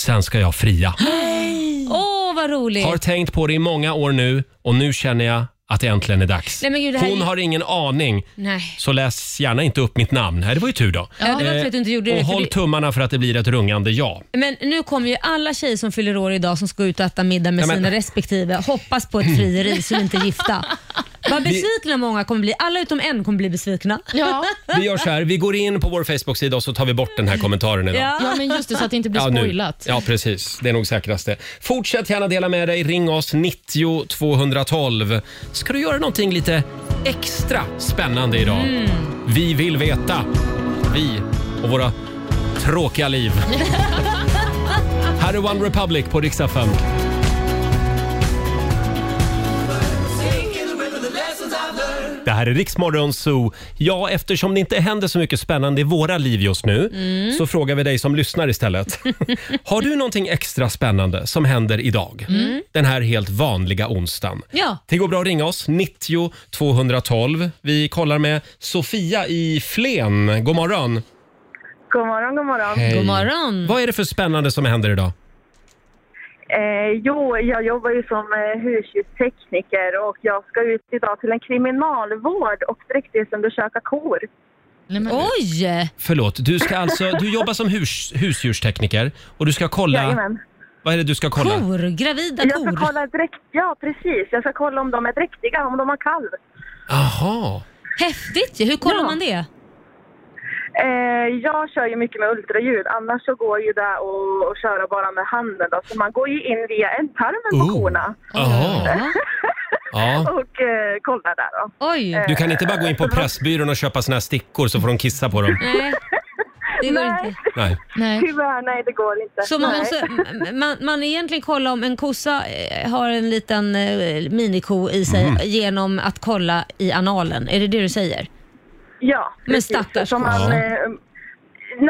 Speaker 1: sen ska jag fria.
Speaker 2: Åh, vad roligt!
Speaker 1: Har tänkt på det i många år nu och nu känner jag att det äntligen är dags.
Speaker 2: Nej, men gud, det här
Speaker 1: Hon
Speaker 2: är-
Speaker 1: har ingen aning.
Speaker 2: Nej.
Speaker 1: Så läs gärna inte upp mitt namn. Nej, det var ju tur då.
Speaker 2: Ja, det var tur
Speaker 1: Eh,
Speaker 2: att du inte gjorde det,
Speaker 1: och
Speaker 2: för
Speaker 1: håll
Speaker 2: det-
Speaker 1: tummarna för att det blir ett rungande ja.
Speaker 2: Men nu kommer ju alla tjejer som fyller år idag som ska ut och äta middag med
Speaker 1: Ja, men-
Speaker 2: sina respektive hoppas på ett frieri så de inte är gifta. Vad
Speaker 1: Vi-
Speaker 2: besvikna många kommer bli. Alla utom en kommer bli besvikna.
Speaker 3: Ja,
Speaker 1: Vi gör så här, vi går in på vår Facebook-sida och så tar vi bort den här kommentaren idag.
Speaker 3: ja. men just det, så att det inte blir
Speaker 1: Ja, nu.
Speaker 3: spoilat.
Speaker 1: Ja, precis. Det är nog säkraste. Fortsätt gärna dela med dig. Ring oss 90 212. Ska du göra någonting lite extra spännande idag?
Speaker 5: Mm.
Speaker 1: Vi vill veta. Vi och våra tråkiga liv. här är One Republic på riksdag 5. Det här är Riksmorgon Zoo. Ja, eftersom det inte händer så mycket spännande i våra liv just nu
Speaker 5: Mm.
Speaker 1: så frågar vi dig som lyssnar istället. Har du någonting extra spännande som händer idag?
Speaker 5: Mm.
Speaker 1: Den här helt vanliga onsdagen.
Speaker 5: Ja.
Speaker 1: Det går bra att ringa oss, 90 212. Vi kollar med Sofia i Flen. God morgon!
Speaker 6: God morgon, god morgon.
Speaker 1: Hej. Vad är det för spännande som händer idag?
Speaker 6: Eh, jo, jag jobbar ju som eh, husdjurstekniker och jag ska ut idag till en kriminalvård och dräktighetsundersöka kor.
Speaker 2: Oj!
Speaker 1: Förlåt, du, ska alltså, du jobbar som hus, husdjurstekniker och du ska kolla...
Speaker 6: Jajamän.
Speaker 1: Vad är det du ska kolla?
Speaker 2: Kor, gravida
Speaker 6: jag ska Kolla dräkt, ja, precis. Jag ska kolla om de är dräktiga, om de har kalv.
Speaker 1: Aha.
Speaker 2: Häftigt ju. Hur kollar man det?
Speaker 6: Eh, jag kör ju mycket med ultraljud, annars så går ju det och, och köra bara med handen. Då. Så man går ju in via ändtarmen på
Speaker 1: Oh.
Speaker 6: korna.
Speaker 1: Jaha. Ja.
Speaker 6: och eh, kollar där då. Eh.
Speaker 2: Oj!
Speaker 1: Du kan inte bara gå in på Pressbyrån och köpa såna här stickor så får de kissa på dem.
Speaker 2: Nej, det går inte.
Speaker 1: Nej.
Speaker 6: <laughs>
Speaker 2: Nej.
Speaker 6: Tyvärr, nej det går inte.
Speaker 2: Så man,
Speaker 6: Nej.
Speaker 2: måste, man, man egentligen kollar om en kossa eh, har en liten eh, miniko i sig
Speaker 1: Mm.
Speaker 6: Mhm.
Speaker 2: genom att kolla i analen. Är det det du säger?
Speaker 6: Ja,
Speaker 2: Men
Speaker 6: precis.
Speaker 2: stackars
Speaker 6: Som man,
Speaker 2: kossa.
Speaker 6: eh,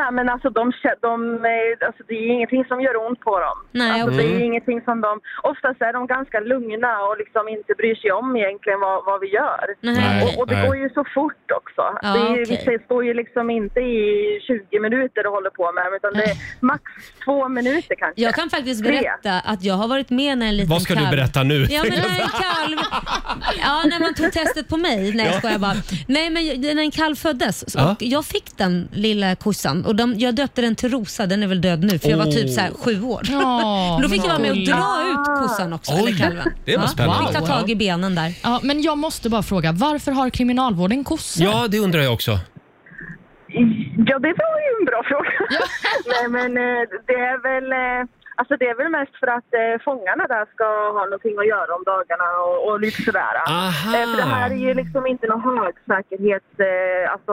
Speaker 6: Nej men alltså de, kä- de, eh, alltså det är ingenting som gör ont på dem.
Speaker 2: Nej,
Speaker 6: alltså, Det är
Speaker 2: okej.
Speaker 6: ingenting som de, oftast är de ganska lugna och liksom inte bryr sig om egentligen vad, vad vi gör.
Speaker 5: Nej,
Speaker 6: och, och det
Speaker 5: nej.
Speaker 6: går ju så fort också.
Speaker 5: Ja,
Speaker 6: det, är,
Speaker 5: okej.
Speaker 6: det står ju liksom inte i 20 minuter och håller på med dem utan det är max två minuter kanske.
Speaker 2: Jag kan faktiskt
Speaker 6: Tre.
Speaker 2: berätta att jag har varit med när en liten
Speaker 1: Vad ska du
Speaker 2: kalv-
Speaker 1: berätta nu?
Speaker 2: Ja,
Speaker 1: <laughs>
Speaker 2: men när en kalv... Ja, när man tog testet på mig. Nej,
Speaker 1: Ja.
Speaker 2: ja. jag bara. Nej, men jag- när en kalv föddes så,
Speaker 1: Ja.
Speaker 2: och jag fick den lilla kossan och de, jag döpte den till Rosa. Den är väl död nu för jag var
Speaker 1: Åh.
Speaker 2: typ så här sju år.
Speaker 3: Ja,
Speaker 2: Men <laughs> då fick jag vara med och
Speaker 3: gulligt.
Speaker 2: dra ut kossan också,
Speaker 3: Oj,
Speaker 2: eller kalven.
Speaker 3: det var
Speaker 2: Ja,
Speaker 3: spännande.
Speaker 2: Fick ta
Speaker 3: Wow.
Speaker 2: tag i benen där.
Speaker 3: Ja, men jag måste bara fråga, varför har kriminalvården kossor?
Speaker 1: Ja, det undrar jag också.
Speaker 6: Ja, det var ju en bra fråga. <laughs> Nej, men eh, det är väl... eh, Alltså det är väl mest för att eh, fångarna där ska ha någonting att göra om dagarna och, och lite sådär.
Speaker 5: Aha.
Speaker 6: Eh, för det här är ju liksom inte någon högsäkerhets... Eh, alltså,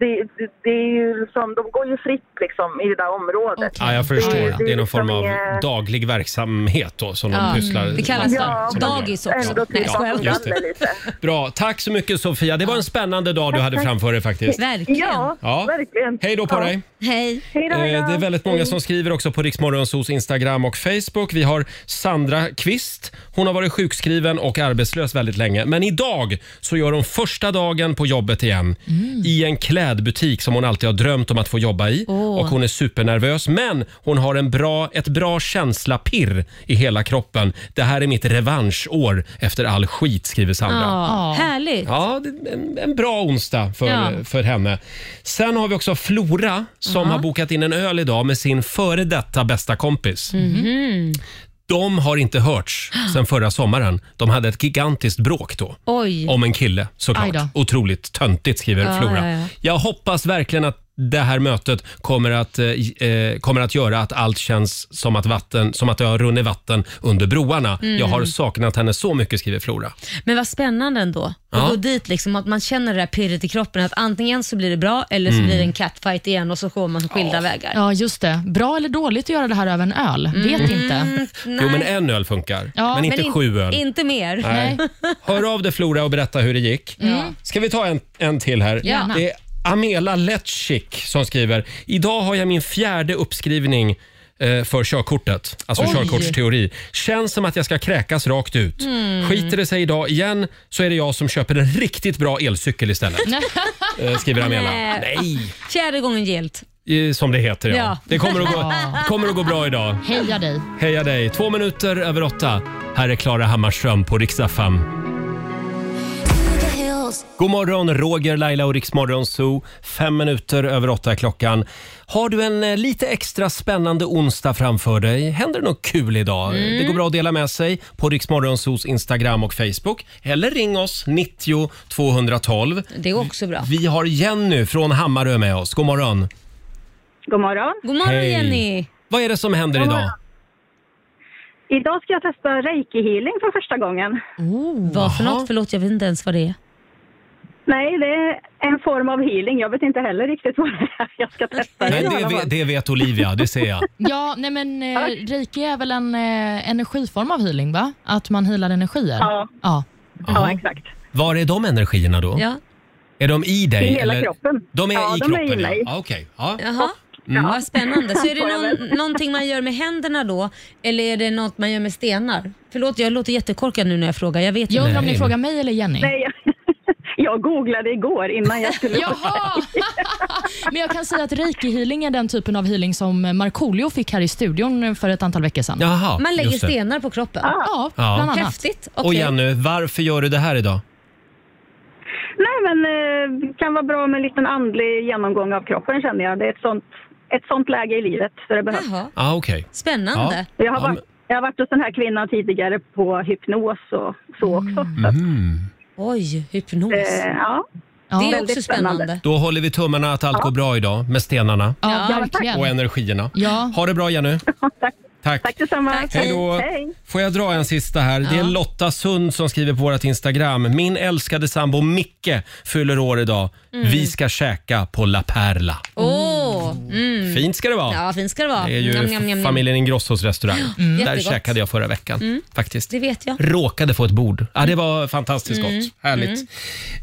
Speaker 6: det, det, det är ju som, de går ju fritt liksom i det där området.
Speaker 1: Ja, jag förstår. Det är någon form av
Speaker 6: liksom är-
Speaker 1: daglig verksamhet då, som
Speaker 2: Ja.
Speaker 1: de pysslar
Speaker 2: Det kallas
Speaker 1: som de gör.
Speaker 2: dagis också.
Speaker 6: Ändå
Speaker 2: Nej, jag skojar.
Speaker 1: Ja, just det. Bra. Tack så mycket Sofia. Det var en spännande dag du
Speaker 2: Tack,
Speaker 1: hade
Speaker 2: tack.
Speaker 1: framför dig faktiskt.
Speaker 2: Verkligen.
Speaker 1: Ja.
Speaker 6: verkligen.
Speaker 1: Hej då på dig.
Speaker 2: Hej.
Speaker 1: Eh, Det är väldigt
Speaker 2: Mm.
Speaker 1: många som skriver också på Riksmorgonsos Instagram och Facebook. Vi har Sandra Kvist. Hon har varit sjukskriven och arbetslös väldigt länge. Men idag så gör hon första dagen på jobbet igen i en klädbutik som hon alltid har drömt om att få jobba i.
Speaker 5: Åh.
Speaker 1: Och hon är supernervös, men hon har en bra, ett bra känsla pirr i hela kroppen. Det här är mitt revanschår efter all skit, skriver Sandra.
Speaker 2: Ja, härligt.
Speaker 1: Ja, det- en, en bra onsdag för,
Speaker 2: Ja.
Speaker 1: för henne. Sen har vi också Flora som
Speaker 2: Jaha.
Speaker 1: har bokat in en öl idag med sin före detta bästa kompis.
Speaker 2: Mhm.
Speaker 1: De har inte
Speaker 2: <gasps>
Speaker 1: hörts sen förra sommaren. De hade ett gigantiskt bråk då.
Speaker 2: Oj.
Speaker 1: Om en kille
Speaker 2: Aj
Speaker 1: såklart.
Speaker 2: då.
Speaker 1: Otroligt töntigt skriver
Speaker 2: Ja,
Speaker 1: Flora.
Speaker 2: ja, ja.
Speaker 1: Jag hoppas verkligen att det här mötet kommer att, eh, eh, kommer att göra att allt känns som att, vatten, som att det har runnit vatten under broarna.
Speaker 2: Mm.
Speaker 1: Jag har saknat henne så mycket skriver Flora.
Speaker 2: Men vad spännande ändå att
Speaker 1: Ja.
Speaker 2: gå dit, liksom, att man känner det där pirret i kroppen. Att antingen så blir det bra eller så
Speaker 1: Mm.
Speaker 2: blir det en catfight igen och så går man skilda vägar.
Speaker 3: Ja, just det. Bra eller dåligt att göra det här över en öl? Vet
Speaker 2: Mm.
Speaker 3: inte.
Speaker 1: Jo, men en öl funkar,
Speaker 3: Ja,
Speaker 1: men inte
Speaker 3: men in-
Speaker 1: sju öl.
Speaker 2: Inte mer.
Speaker 1: Nej. <laughs> Hör av dig Flora och berätta hur det gick.
Speaker 2: Mm.
Speaker 1: Ska vi ta en, en till här?
Speaker 2: Gärna.
Speaker 1: Det är Amela Letschik som skriver. Idag har jag min fjärde uppskrivning eh, för körkortet, alltså
Speaker 5: Oj.
Speaker 1: körkortsteori. Känns som att jag ska kräkas rakt ut.
Speaker 5: Mm.
Speaker 1: Skiter det sig idag igen så är det jag som köper en riktigt bra elcykel istället. <laughs> eh, skriver Amela.
Speaker 2: Nej.
Speaker 1: Nej,
Speaker 2: Fjärde gången gillt.
Speaker 1: eh, som det heter ja.
Speaker 2: Ja.
Speaker 1: Det kommer att, gå, kommer att gå bra idag.
Speaker 3: Heja dig.
Speaker 1: Heja dig! Två minuter över åtta. Här är Klara Hammarström på riksdag 5. God morgon, Roger, Laila och Riksmorgon Zoo. Fem minuter över åtta är klockan. Har du en eh, lite extra spännande onsdag framför dig? Händer det något kul idag?
Speaker 5: Mm.
Speaker 1: Det går bra att dela med sig på Riksmorgon Zoos Instagram och Facebook. Eller ring oss, 90 212.
Speaker 2: Det är också bra.
Speaker 1: Vi har Jenny från Hammarö med oss. God morgon!
Speaker 14: God morgon.
Speaker 2: God morgon
Speaker 1: Hej.
Speaker 2: Jenny.
Speaker 1: Vad är det som händer idag?
Speaker 14: Idag ska jag testa reiki-healing för första gången.
Speaker 1: Oh.
Speaker 2: Vad för något? Förlåt, jag vet inte ens vad det är.
Speaker 14: Nej, det är en form av healing. Jag vet inte heller riktigt vad det är jag ska testa.
Speaker 1: Men det, ve- det vet Olivia, det ser jag.
Speaker 3: Ja, nej men eh, reiki är väl en eh, energiform av healing, va? Att man healar energier?
Speaker 14: Ja.
Speaker 3: Ja,
Speaker 14: ja exakt.
Speaker 1: Var är de energierna då?
Speaker 2: Ja.
Speaker 1: Är de i dig?
Speaker 14: I hela
Speaker 1: eller?
Speaker 14: kroppen.
Speaker 1: De är
Speaker 14: Ja,
Speaker 1: i
Speaker 14: de är
Speaker 1: kroppen,
Speaker 14: i mig.
Speaker 1: ja. Ah, Okej. Ja.
Speaker 2: Jaha.
Speaker 1: Mm.
Speaker 2: Vad spännande. Så är det
Speaker 14: Får jag
Speaker 2: någon, någonting man gör med händerna då eller är det något man gör med stenar? Förlåt, jag låter jättekorkad nu när jag frågar. Jag vet
Speaker 3: Jag undrar om
Speaker 2: inte.
Speaker 3: ni frågar mig eller Jenny?
Speaker 14: Nej, jag, jag googlade igår innan jag
Speaker 2: <laughs>
Speaker 14: skulle...
Speaker 3: Jaha! Men jag kan säga att reiki-healing är den typen av healing som Markoolio fick här i studion för ett antal veckor sedan.
Speaker 1: Jaha,
Speaker 2: Man lägger
Speaker 1: just det.
Speaker 2: stenar på kroppen?
Speaker 3: Ja, bland annat.
Speaker 2: Häftigt.
Speaker 1: Och
Speaker 2: Okej.
Speaker 1: Jenny, varför gör du det här idag?
Speaker 14: Nej, men eh, det kan vara bra med en liten andlig genomgång av kroppen känner jag. Det är ett sånt, ett sånt läge i livet så det behövs.
Speaker 1: Ah, okej.
Speaker 2: Spännande.
Speaker 1: Ja.
Speaker 14: Jag, har
Speaker 1: Ja,
Speaker 14: varit, jag har varit hos den här kvinnan tidigare på hypnos och så också.
Speaker 1: Mm.
Speaker 2: Oj, hypnos.
Speaker 14: Eh, ja.
Speaker 2: Det är
Speaker 15: Väldigt
Speaker 2: också spännande.
Speaker 1: Då håller vi tummarna att allt går bra idag med stenarna
Speaker 15: Ja, Ja, tack. verkligen.
Speaker 1: och energierna.
Speaker 15: Ja.
Speaker 1: Ha det bra Jenny.
Speaker 14: <laughs>
Speaker 1: Tack. Tack
Speaker 15: detsamma.
Speaker 1: Hej då. Får jag dra en sista här? Det är Lotta Sund som skriver på vårt Instagram. Min älskade sambo Micke fyller år idag.
Speaker 2: Mm.
Speaker 1: Vi ska käka på La Perla.
Speaker 2: Åh! mm.
Speaker 1: Fint ska det vara.
Speaker 2: Ja, fint ska det vara.
Speaker 1: Det är ju
Speaker 2: Njam, njam, njam.
Speaker 1: familjen Ingrossos restaurang.
Speaker 2: <gasps> Mm.
Speaker 1: Där
Speaker 2: Jättegott.
Speaker 1: käkade jag förra veckan
Speaker 2: Mm.
Speaker 1: faktiskt.
Speaker 2: Det vet jag.
Speaker 1: Råkade få ett bord. Ja, det var fantastiskt
Speaker 2: Mm.
Speaker 1: gott. Härligt.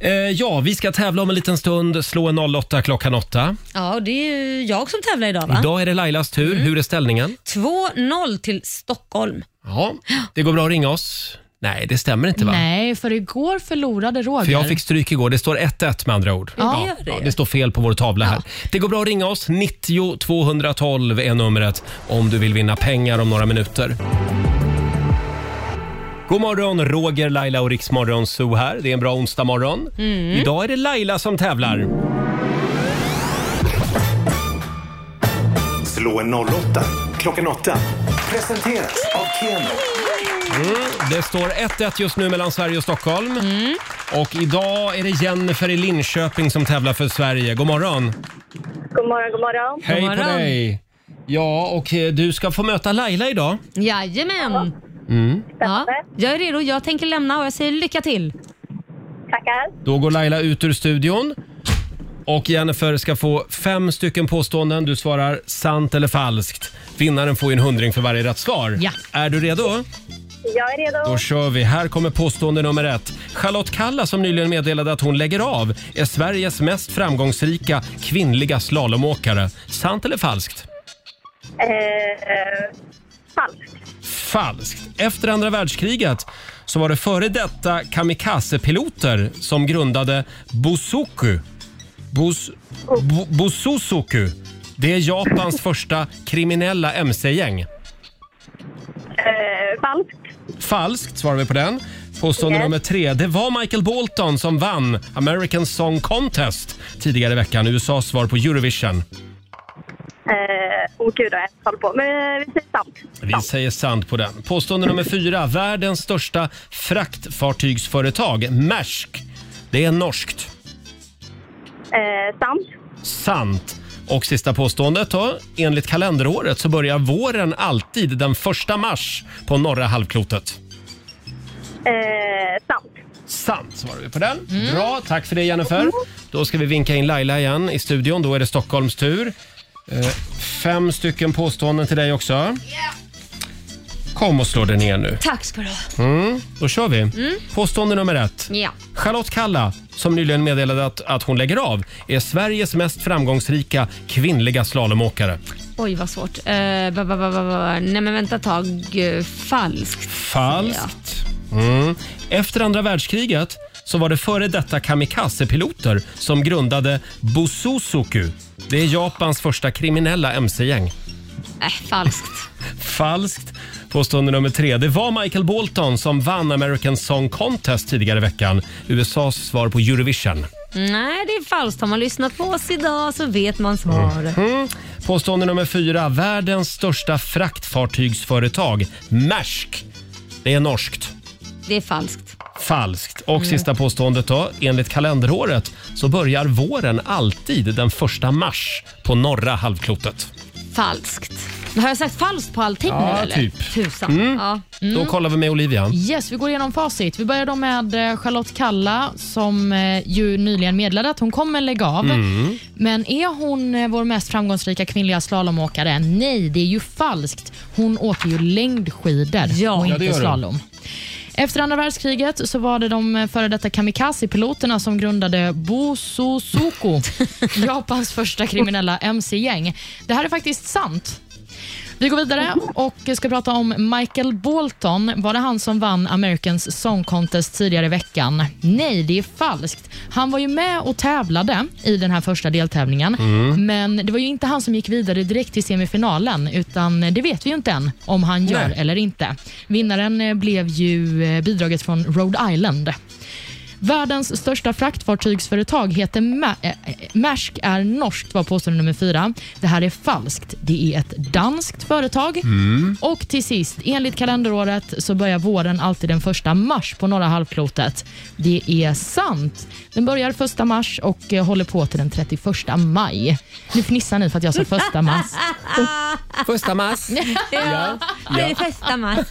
Speaker 1: Eh, ja, vi ska tävla om en liten stund. Slå en 08 klockan 8.
Speaker 2: Ja, och det är ju jag som tävlar idag va? Mm.
Speaker 1: Idag är det Lailas tur. Hur är ställningen?
Speaker 2: 2-0 till Stockholm.
Speaker 1: Ja, det går bra att ringa oss. Nej, det stämmer inte va?
Speaker 3: Nej, för igår förlorade Roger.
Speaker 1: För jag fick stryk igår. Det står 1-1 med andra ord.
Speaker 3: Ja, det gör det.
Speaker 1: det. står fel på vår tavla här. Det går bra att ringa oss. 90 212 är numret om du vill vinna pengar om några minuter. God morgon, Roger, Laila och Riksmorgon Zoo här. Det är en bra onsdag morgon.
Speaker 11: Mm.
Speaker 1: Idag är det Laila som tävlar.
Speaker 3: Mm.
Speaker 5: Slå en 08 klockan 8. Presenteras av Keno.
Speaker 1: Mm, det står 1-1 just nu mellan Sverige och Stockholm.
Speaker 3: Mm.
Speaker 1: Och idag är det Jennifer i Linköping som tävlar för Sverige. God morgon!
Speaker 6: God morgon, god morgon.
Speaker 1: Hej på dig! Ja, och eh, du ska få möta Laila idag.
Speaker 2: Jajamän!
Speaker 1: Mm.
Speaker 2: Ja, jag är redo. Jag tänker lämna och jag säger lycka till.
Speaker 6: Tackar.
Speaker 1: Då går Laila ut ur studion. Och Jennifer ska få fem stycken påståenden. Du svarar sant eller falskt. Vinnaren får ju en hundring för varje rätt svar.
Speaker 6: Ja.
Speaker 1: Är du redo?
Speaker 6: Jag är redo.
Speaker 1: Då kör vi. Här kommer påstående nummer ett. Charlotte Kalla som nyligen meddelade att hon lägger av är Sveriges mest framgångsrika kvinnliga slalomåkare. Sant eller falskt?
Speaker 6: Eh, eh, falskt.
Speaker 1: Falskt. Efter andra världskriget så var det före detta kamikazepiloter som grundade Bosoku. Bos, bo, Bososoku. Det är Japans första kriminella mc-gäng.
Speaker 6: Eh, falskt.
Speaker 1: Falskt svarar vi på den. Påstående
Speaker 6: Yes.
Speaker 1: nummer tre. Det var Michael Bolton som vann American Song Contest tidigare i veckan. USAs svar på Eurovision.
Speaker 6: Eh, oh, gud, vad jag håller på. Men eh, vi säger sant.
Speaker 1: Vi säger sant på den. Påstående nummer fyra. Världens största fraktfartygsföretag, Maersk. Det är norskt.
Speaker 6: Eh, sant.
Speaker 1: Sant. Och sista påståendet då. Enligt kalenderåret så börjar våren alltid den första mars på norra halvklotet.
Speaker 6: Eh, sant.
Speaker 1: Sant svarar vi på den.
Speaker 2: Mm.
Speaker 1: Bra, tack för det Jennifer. Då ska vi vinka in Laila igen i studion. Då är det Stockholms tur. Eh, Fem stycken påståenden till dig också. Kom och slå dig ner nu.
Speaker 2: Tack ska du ha.
Speaker 1: Mm, då kör vi.
Speaker 2: Mm.
Speaker 1: Påstående nummer ett.
Speaker 2: Ja.
Speaker 1: Charlotte Kalla, som nyligen meddelade att, att hon lägger av, är Sveriges mest framgångsrika kvinnliga slalomåkare.
Speaker 2: Oj, vad svårt. Eh, ba, ba, ba, ba, ba. Nej, men vänta ett tag. Eh, Falskt.
Speaker 1: Falskt. Mm. Efter andra världskriget så var det före detta kamikazepiloter som grundade Bososoku. Det är Japans första kriminella mc-gäng.
Speaker 2: Äh, falskt.
Speaker 1: Falskt. Påstående nummer tre. Det var Michael Bolton som vann American Song Contest tidigare i veckan. USAs svar på Eurovision.
Speaker 2: Nej, det är falskt. Har man lyssnat på oss idag så vet man svaret.
Speaker 1: Mm. Påstående nummer fyra. Världens största fraktfartygsföretag, Maersk. Det är norskt.
Speaker 2: Det är falskt.
Speaker 1: Falskt. Och
Speaker 2: Mm.
Speaker 1: sista påståendet då. Enligt kalenderåret så börjar våren alltid den första mars på norra halvklotet.
Speaker 2: Falskt. Men Har jag sagt falskt på allting nu
Speaker 1: Ja,
Speaker 2: eller?
Speaker 1: typ.
Speaker 2: Tusan.
Speaker 1: Mm.
Speaker 2: Ja.
Speaker 1: Då kollar vi med Olivia.
Speaker 3: Yes, vi går igenom facit. Vi börjar då med eh, Charlotte Kalla som eh, ju nyligen meddelade att hon kommer lägga av.
Speaker 11: Mm.
Speaker 3: Men är hon eh, vår mest framgångsrika kvinnliga slalomåkare? Nej, det är ju falskt. Hon åker ju längdskidor och
Speaker 11: Ja,
Speaker 3: inte
Speaker 11: det gör hon.
Speaker 3: slalom. Efter andra världskriget så var det de eh, före detta kamikazepiloterna som grundade Bososuko, Japans första kriminella mc-gäng. Det här är faktiskt sant. Vi går vidare och ska prata om Michael Bolton. Var det han som vann Americans Song Contest tidigare i veckan? Nej, det är falskt. Han var ju med och tävlade i den här första deltävlingen,
Speaker 11: Mm.
Speaker 3: men det var ju inte han som gick vidare direkt till semifinalen, utan det vet vi ju inte än om han gör
Speaker 11: Nej.
Speaker 3: eller inte. Vinnaren eh, blev ju eh, bidraget från Rhode Island. Världens största fraktfartygsföretag heter Ma- eh, eh, Maersk är norskt, var påstående nummer fyra. Det här är falskt. Det är ett danskt företag.
Speaker 5: Mm.
Speaker 3: Och till sist, enligt kalenderåret så börjar våren alltid den första mars på norra halvklotet. Det är sant. Den börjar första mars och eh, håller på till den 31 maj. Nu fnissar ni för att jag sa första mars.
Speaker 1: Första mars.
Speaker 2: <laughs> Ja, det är första mars.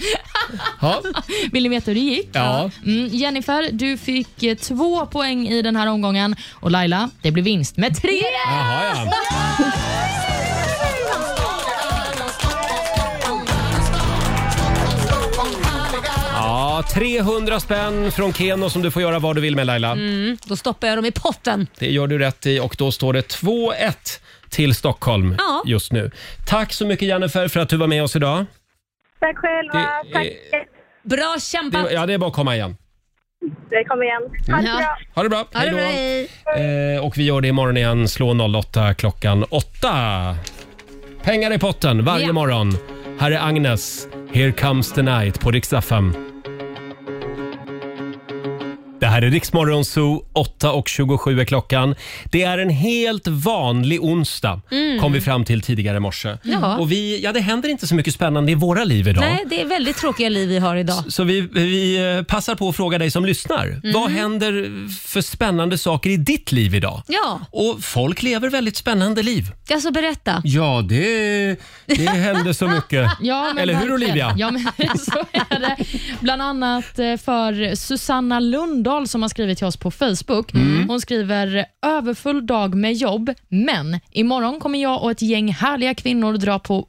Speaker 1: Ja.
Speaker 3: Vill ni veta hur det gick?
Speaker 1: Ja.
Speaker 3: Mm, Jennifer, du fick eh, två poäng i den här omgången och Laila, det blev vinst med tre.
Speaker 1: Jaha, ja. Ja, 300 spänn från Keno som du får göra vad du vill med Laila.
Speaker 2: Mm, då stoppar jag dem i potten.
Speaker 1: Det gör du rätt i och då står det 2-1 till Stockholm
Speaker 2: Ja.
Speaker 1: just nu. Tack så mycket Jennifer för att du var med oss idag.
Speaker 16: Tack själva.
Speaker 1: Det-
Speaker 16: Tack.
Speaker 2: Bra
Speaker 1: Det,
Speaker 2: kämpat.
Speaker 1: ja, det är bara att komma igen.
Speaker 16: Det kommer igen. Ha det bra.
Speaker 1: Ha det bra.
Speaker 2: Ha det bra,
Speaker 1: Hej då. Eh, och vi gör det imorgon igen. Slå 08 klockan 8. Pengar i potten varje
Speaker 5: Ja.
Speaker 1: morgon. Här är Agnes. Here comes the night på riksdag 5. Det här är Riksmorgon Zoo. 8.27 är klockan. Det är en helt vanlig onsdag,
Speaker 2: Mm.
Speaker 1: kom vi fram till tidigare i morse.
Speaker 2: Ja.
Speaker 1: Och vi, ja, det händer inte så mycket spännande i våra liv idag.
Speaker 2: Nej, det är väldigt tråkiga liv vi har idag.
Speaker 1: Så vi, vi eh, passar på att fråga dig som lyssnar.
Speaker 2: Mm.
Speaker 1: Vad händer för spännande saker i ditt liv idag?
Speaker 2: Ja,
Speaker 1: Och folk lever väldigt spännande liv.
Speaker 2: alltså berätta.
Speaker 1: Ja, det, det händer så mycket.
Speaker 3: <laughs> Ja, men
Speaker 1: Eller hur
Speaker 3: verkligen.
Speaker 1: Olivia?
Speaker 3: Ja, men <laughs> så är det. Bland annat eh, för Susanna Lundahl som har skrivit till oss på Facebook.
Speaker 1: Mm.
Speaker 3: Hon skriver “Överfull dag med jobb, men imorgon kommer jag och ett gäng härliga kvinnor dra på